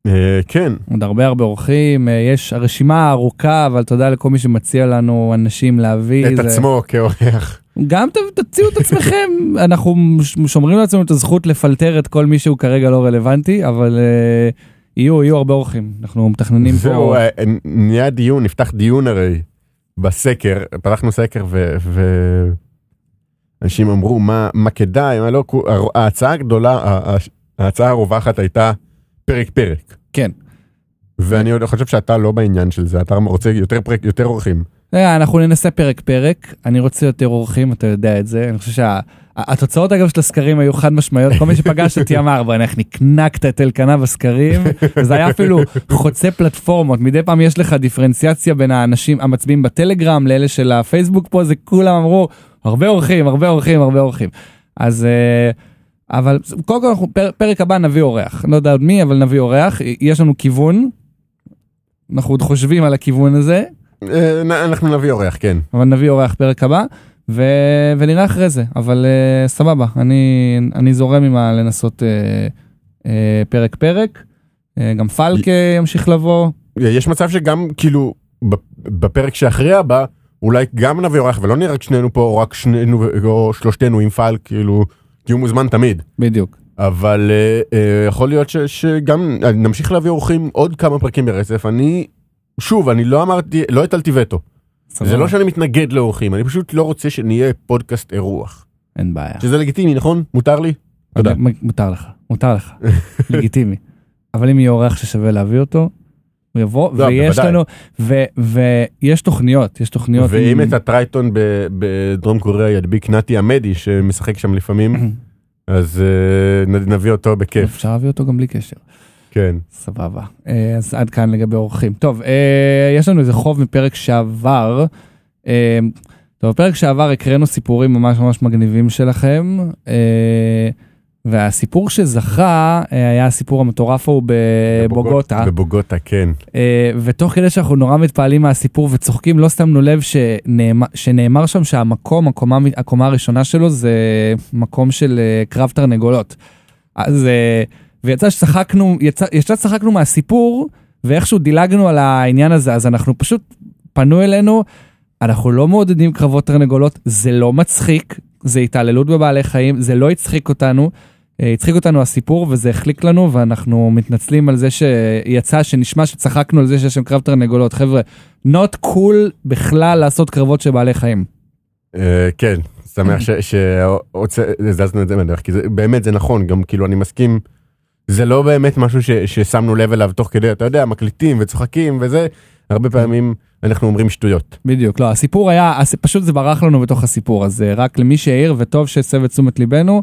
Speaker 2: אה, כן,
Speaker 1: עוד הרבה הרבה אורחים. אה, יש הרשימה ארוכה, אבל תודה לכל מי שמציע לנו אנשים להביא.
Speaker 2: את
Speaker 1: זה-
Speaker 2: עצמו כאורח.
Speaker 1: גם ת- תציעו את עצמכם, אנחנו ש- שומרים לעצמנו את הזכות לפלטר את כל מי שהוא כרגע לא רלוונטי, אבל אה, יהיו, יהיו הרבה אורחים, אנחנו מתכננים
Speaker 2: זהו,
Speaker 1: פה.
Speaker 2: אה, נהיה דיון, נפתח דיון הרי בסקר, פתחנו סקר ו... ו... אנשים אמרו מה, מה כדאי, מה לא, כו- הר- ההצעה הגדולה, ה- ה- ההצעה הרווחת הייתה פרק פרק.
Speaker 1: כן.
Speaker 2: ואני עוד חושב שאתה לא בעניין של זה, אתה רוצה יותר פרק, יותר אורחים.
Speaker 1: אה, אנחנו ננסה פרק פרק, אני רוצה יותר אורחים, אתה יודע את זה, אני חושב שהתוצאות אגב של הסקרים היו חד משמעיות, כל מי שפגש אותי אמר בוא'נה איך נקנקת את אלקנה בסקרים, וזה היה אפילו חוצה פלטפורמות, מדי פעם יש לך דיפרנציאציה בין האנשים המצביעים בטלגרם לאלה של הפייסבוק פה, זה כולם אמרו הרבה אורחים, הרבה אורחים, הרבה אורחים. אז... אה, אבל קודם כל אנחנו, פר, פרק הבא נביא אורח, לא יודע עוד מי, אבל נביא אורח, יש לנו כיוון, אנחנו עוד חושבים על הכיוון הזה,
Speaker 2: אה, נ- אנחנו נביא אורח, כן.
Speaker 1: אבל נביא אורח פרק הבא, ו... ונראה אחרי זה, אבל uh, סבבה, אני, אני זורם עם ה- לנסות uh, uh, פרק פרק, uh, גם פלקה ימשיך לבוא,
Speaker 2: אה, יש מצב שגם כאילו בפ- בפרק שאחרי הבא, אולי גם נביא אורח ולא נהיה רק שנינו פה, או רק שנינו, או שלושתנו עם פעל, כאילו, תהיו מוזמן תמיד.
Speaker 1: בדיוק.
Speaker 2: אבל uh, uh, יכול להיות ש, שגם אה, נמשיך להביא אורחים עוד כמה פרקים ברצף. אני, שוב, אני לא אמרתי, לא הטלתי וטו.
Speaker 1: סבבה.
Speaker 2: זה לא שאני מתנגד לאורחים, אני פשוט לא רוצה שנהיה פודקאסט אירוח.
Speaker 1: אין בעיה. אוקיי,
Speaker 2: שזה לגיטימי, נכון? מותר לי? תודה.
Speaker 1: מ- מותר לך, מותר לך, לגיטימי. אבל אם יהיה אורח ששווה להביא אותו, הוא יבוא,
Speaker 2: לא,
Speaker 1: ויש
Speaker 2: בוודאי.
Speaker 1: לנו, ו- ויש תוכניות, יש תוכניות.
Speaker 2: ואם
Speaker 1: עם-
Speaker 2: את הטרייטון ב- בדרום קוריאה ידביק נתי עמדי, שמשחק שם לפעמים, אז uh, נביא אותו בכיף,
Speaker 1: אפשר להביא אותו גם בלי קשר.
Speaker 2: כן.
Speaker 1: סבבה. אה, אז עד כאן לגבי אורחים. טוב, אה, יש לנו איזה חוב מפרק שעבר. אה, טוב, בפרק שעבר הקראנו סיפורים ממש ממש מגניבים שלכם, אה, והסיפור שזכה אה, היה הסיפור המטורף ההוא אה, בבוגוטה,
Speaker 2: בבוגוטה, כן.
Speaker 1: אה, ותוך כדי שאנחנו נורא מתפעלים מהסיפור וצוחקים, לא שמנו לב שנאמר, שנאמר שם שהמקום, הקומה, הקומה הראשונה שלו זה מקום של אה, קרב תרנגולות. אז אה, ויצא שצחקנו, יצא, יצא שצחקנו מהסיפור, ואיכשהו דילגנו על העניין הזה, אז אנחנו פשוט, פנו אלינו, אנחנו לא מעודדים קרבות תרנגולות, זה לא מצחיק, זה התעללות בבעלי חיים, זה לא הצחיק אותנו. אה, הצחיק אותנו הסיפור וזה החליק לנו ואנחנו מתנצלים על זה שיצא שנשמע שצחקנו על זה שיש שם קרב תרנגולות חבר'ה not cool בכלל לעשות קרבות של בעלי חיים.
Speaker 2: אה, כן, שמח שהזזנו את זה מהדרך, כי זה באמת זה נכון, גם כאילו אני מסכים, זה לא באמת משהו ש- ששמנו לב אליו תוך כדי, אתה יודע, מקליטים וצוחקים וזה, הרבה פעמים אנחנו אומרים שטויות.
Speaker 1: בדיוק לא הסיפור היה הס- פשוט זה ברח לנו בתוך הסיפור אז אה, רק למי שהעיר וטוב שהסב את תשומת ליבנו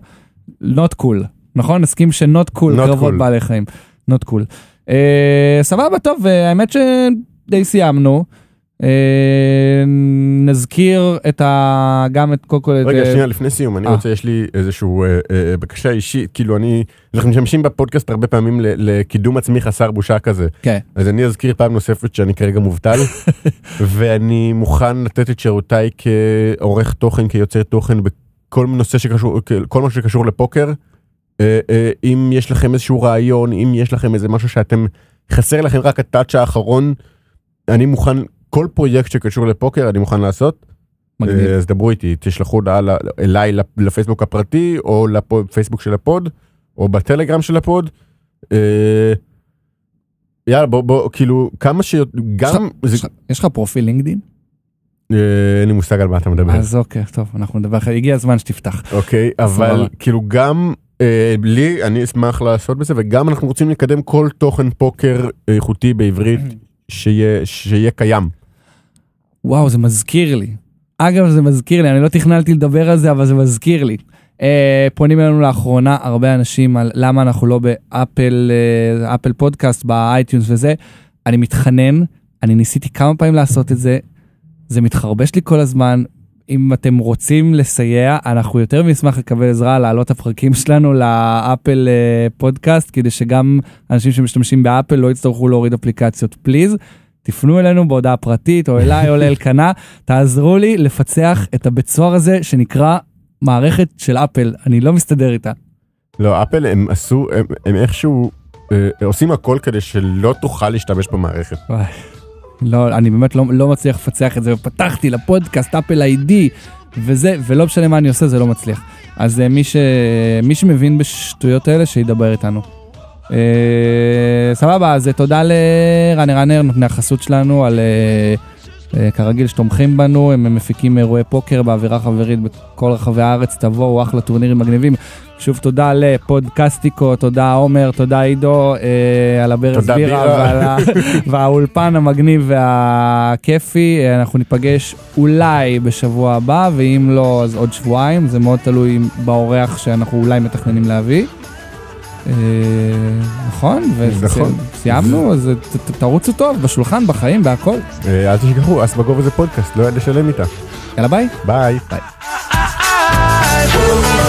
Speaker 1: not cool נכון נסכים ש not cool
Speaker 2: Not
Speaker 1: קרבות
Speaker 2: cool.
Speaker 1: בעלי חיים not cool. אה, סבבה טוב אה, האמת שדי סיימנו. אה, נזכיר את ה... גם את קודם כל את...
Speaker 2: רגע,
Speaker 1: אה,
Speaker 2: שנייה, לפני סיום, אני
Speaker 1: אה.
Speaker 2: רוצה, יש לי איזושהי אה, בקשה אישית, כאילו אני, אנחנו משמשים בפודקאסט הרבה פעמים ל- לקידום עצמי חסר בושה כזה.
Speaker 1: כן.
Speaker 2: אז אני אזכיר פעם נוספת שאני כרגע מובטל, ואני מוכן לתת את שירותיי כעורך תוכן, כיוצר תוכן, בכל נושא שקשור, כל מה שקשור לפוקר. אה, אה, אם יש לכם איזשהו רעיון, אם יש לכם איזה משהו שאתם, חסר לכם רק הטאץ' האחרון, אני מוכן, כל פרויקט שקשור לפוקר אני מוכן לעשות.
Speaker 1: מגניב.
Speaker 2: אה, אז דברו איתי, תשלחו הודעה ל- אליי לפ- לפייסבוק הפרטי, או לפייסבוק של הפוד, או בטלגרם של הפוד. אה, יאללה בוא בוא כאילו כמה שיותר גם זה
Speaker 1: יש לך- יש לך פרופיל לינקדין?
Speaker 2: אה, אין לי מושג על מה אתה מדבר
Speaker 1: אז אוקיי, טוב, אנחנו נדבר אחרי, הגיע הזמן שתפתח.
Speaker 2: אוקיי
Speaker 1: סבבה.
Speaker 2: אבל כאילו גם אה, לי אני אשמח לעשות בזה וגם אנחנו רוצים לקדם כל תוכן פוקר איכותי בעברית שיהיה שיהיה קיים
Speaker 1: וואו, זה מזכיר לי. אגב, זה מזכיר לי, אני לא תכננתי לדבר על זה, אבל זה מזכיר לי. אה, פונים אלינו לאחרונה הרבה אנשים על למה אנחנו לא באפל אה, אפל פודקאסט, באייטיונס וזה. אני מתחנן, אני ניסיתי כמה פעמים לעשות את זה, זה מתחרבש לי כל הזמן. אם אתם רוצים לסייע, אנחנו יותר מנשמח לקבל עזרה להעלות את הפרקים שלנו לאפל אה, פודקאסט, כדי שגם אנשים שמשתמשים באפל לא יצטרכו להוריד אפליקציות. פליז, תפנו אלינו בהודעה פרטית, או אליי או לאלקנה, תעזרו לי לפצח את הבית סוהר הזה שנקרא מערכת של אפל, אני לא מסתדר איתה.
Speaker 2: לא, אפל הם עשו, הם, הם איכשהו אה, עושים הכל כדי שלא תוכל להשתמש במערכת.
Speaker 1: וואי. לא, אני באמת לא, לא מצליח לפצח את זה, ופתחתי לפודקאסט אפל איי-די, וזה, ולא משנה מה אני עושה, זה לא מצליח. אז אה, מי, ש... מי שמבין בשטויות האלה, שידבר איתנו. אה, סבבה, אז אה, תודה לרן רנר, נותני החסות שלנו, על אה, אה, כרגיל שתומכים בנו, הם הם מפיקים אירועי פוקר באווירה חברית בכל רחבי הארץ, תבואו, אחלה טורנירים מגניבים. שוב תודה לפודקאסטיקו, תודה עומר, תודה עידו, אה, על הברז
Speaker 2: תודה,
Speaker 1: בירה
Speaker 2: בירה.
Speaker 1: ועל ה- והאולפן המגניב והכיפי. אה, אנחנו ניפגש אולי בשבוע הבא, ואם לא, אז עוד שבועיים, זה מאוד תלוי באורח שאנחנו אולי מתכננים להביא. אה, נכון,
Speaker 2: נכון.
Speaker 1: וסיימנו, אז ת- ת- תרוצו טוב, בשולחן, בחיים, בהכל.
Speaker 2: אה, אל תשכחו, אס בגובה זה פודקאסט, לא יודע לשלם איתה.
Speaker 1: יאללה ביי.
Speaker 2: ביי.
Speaker 3: I will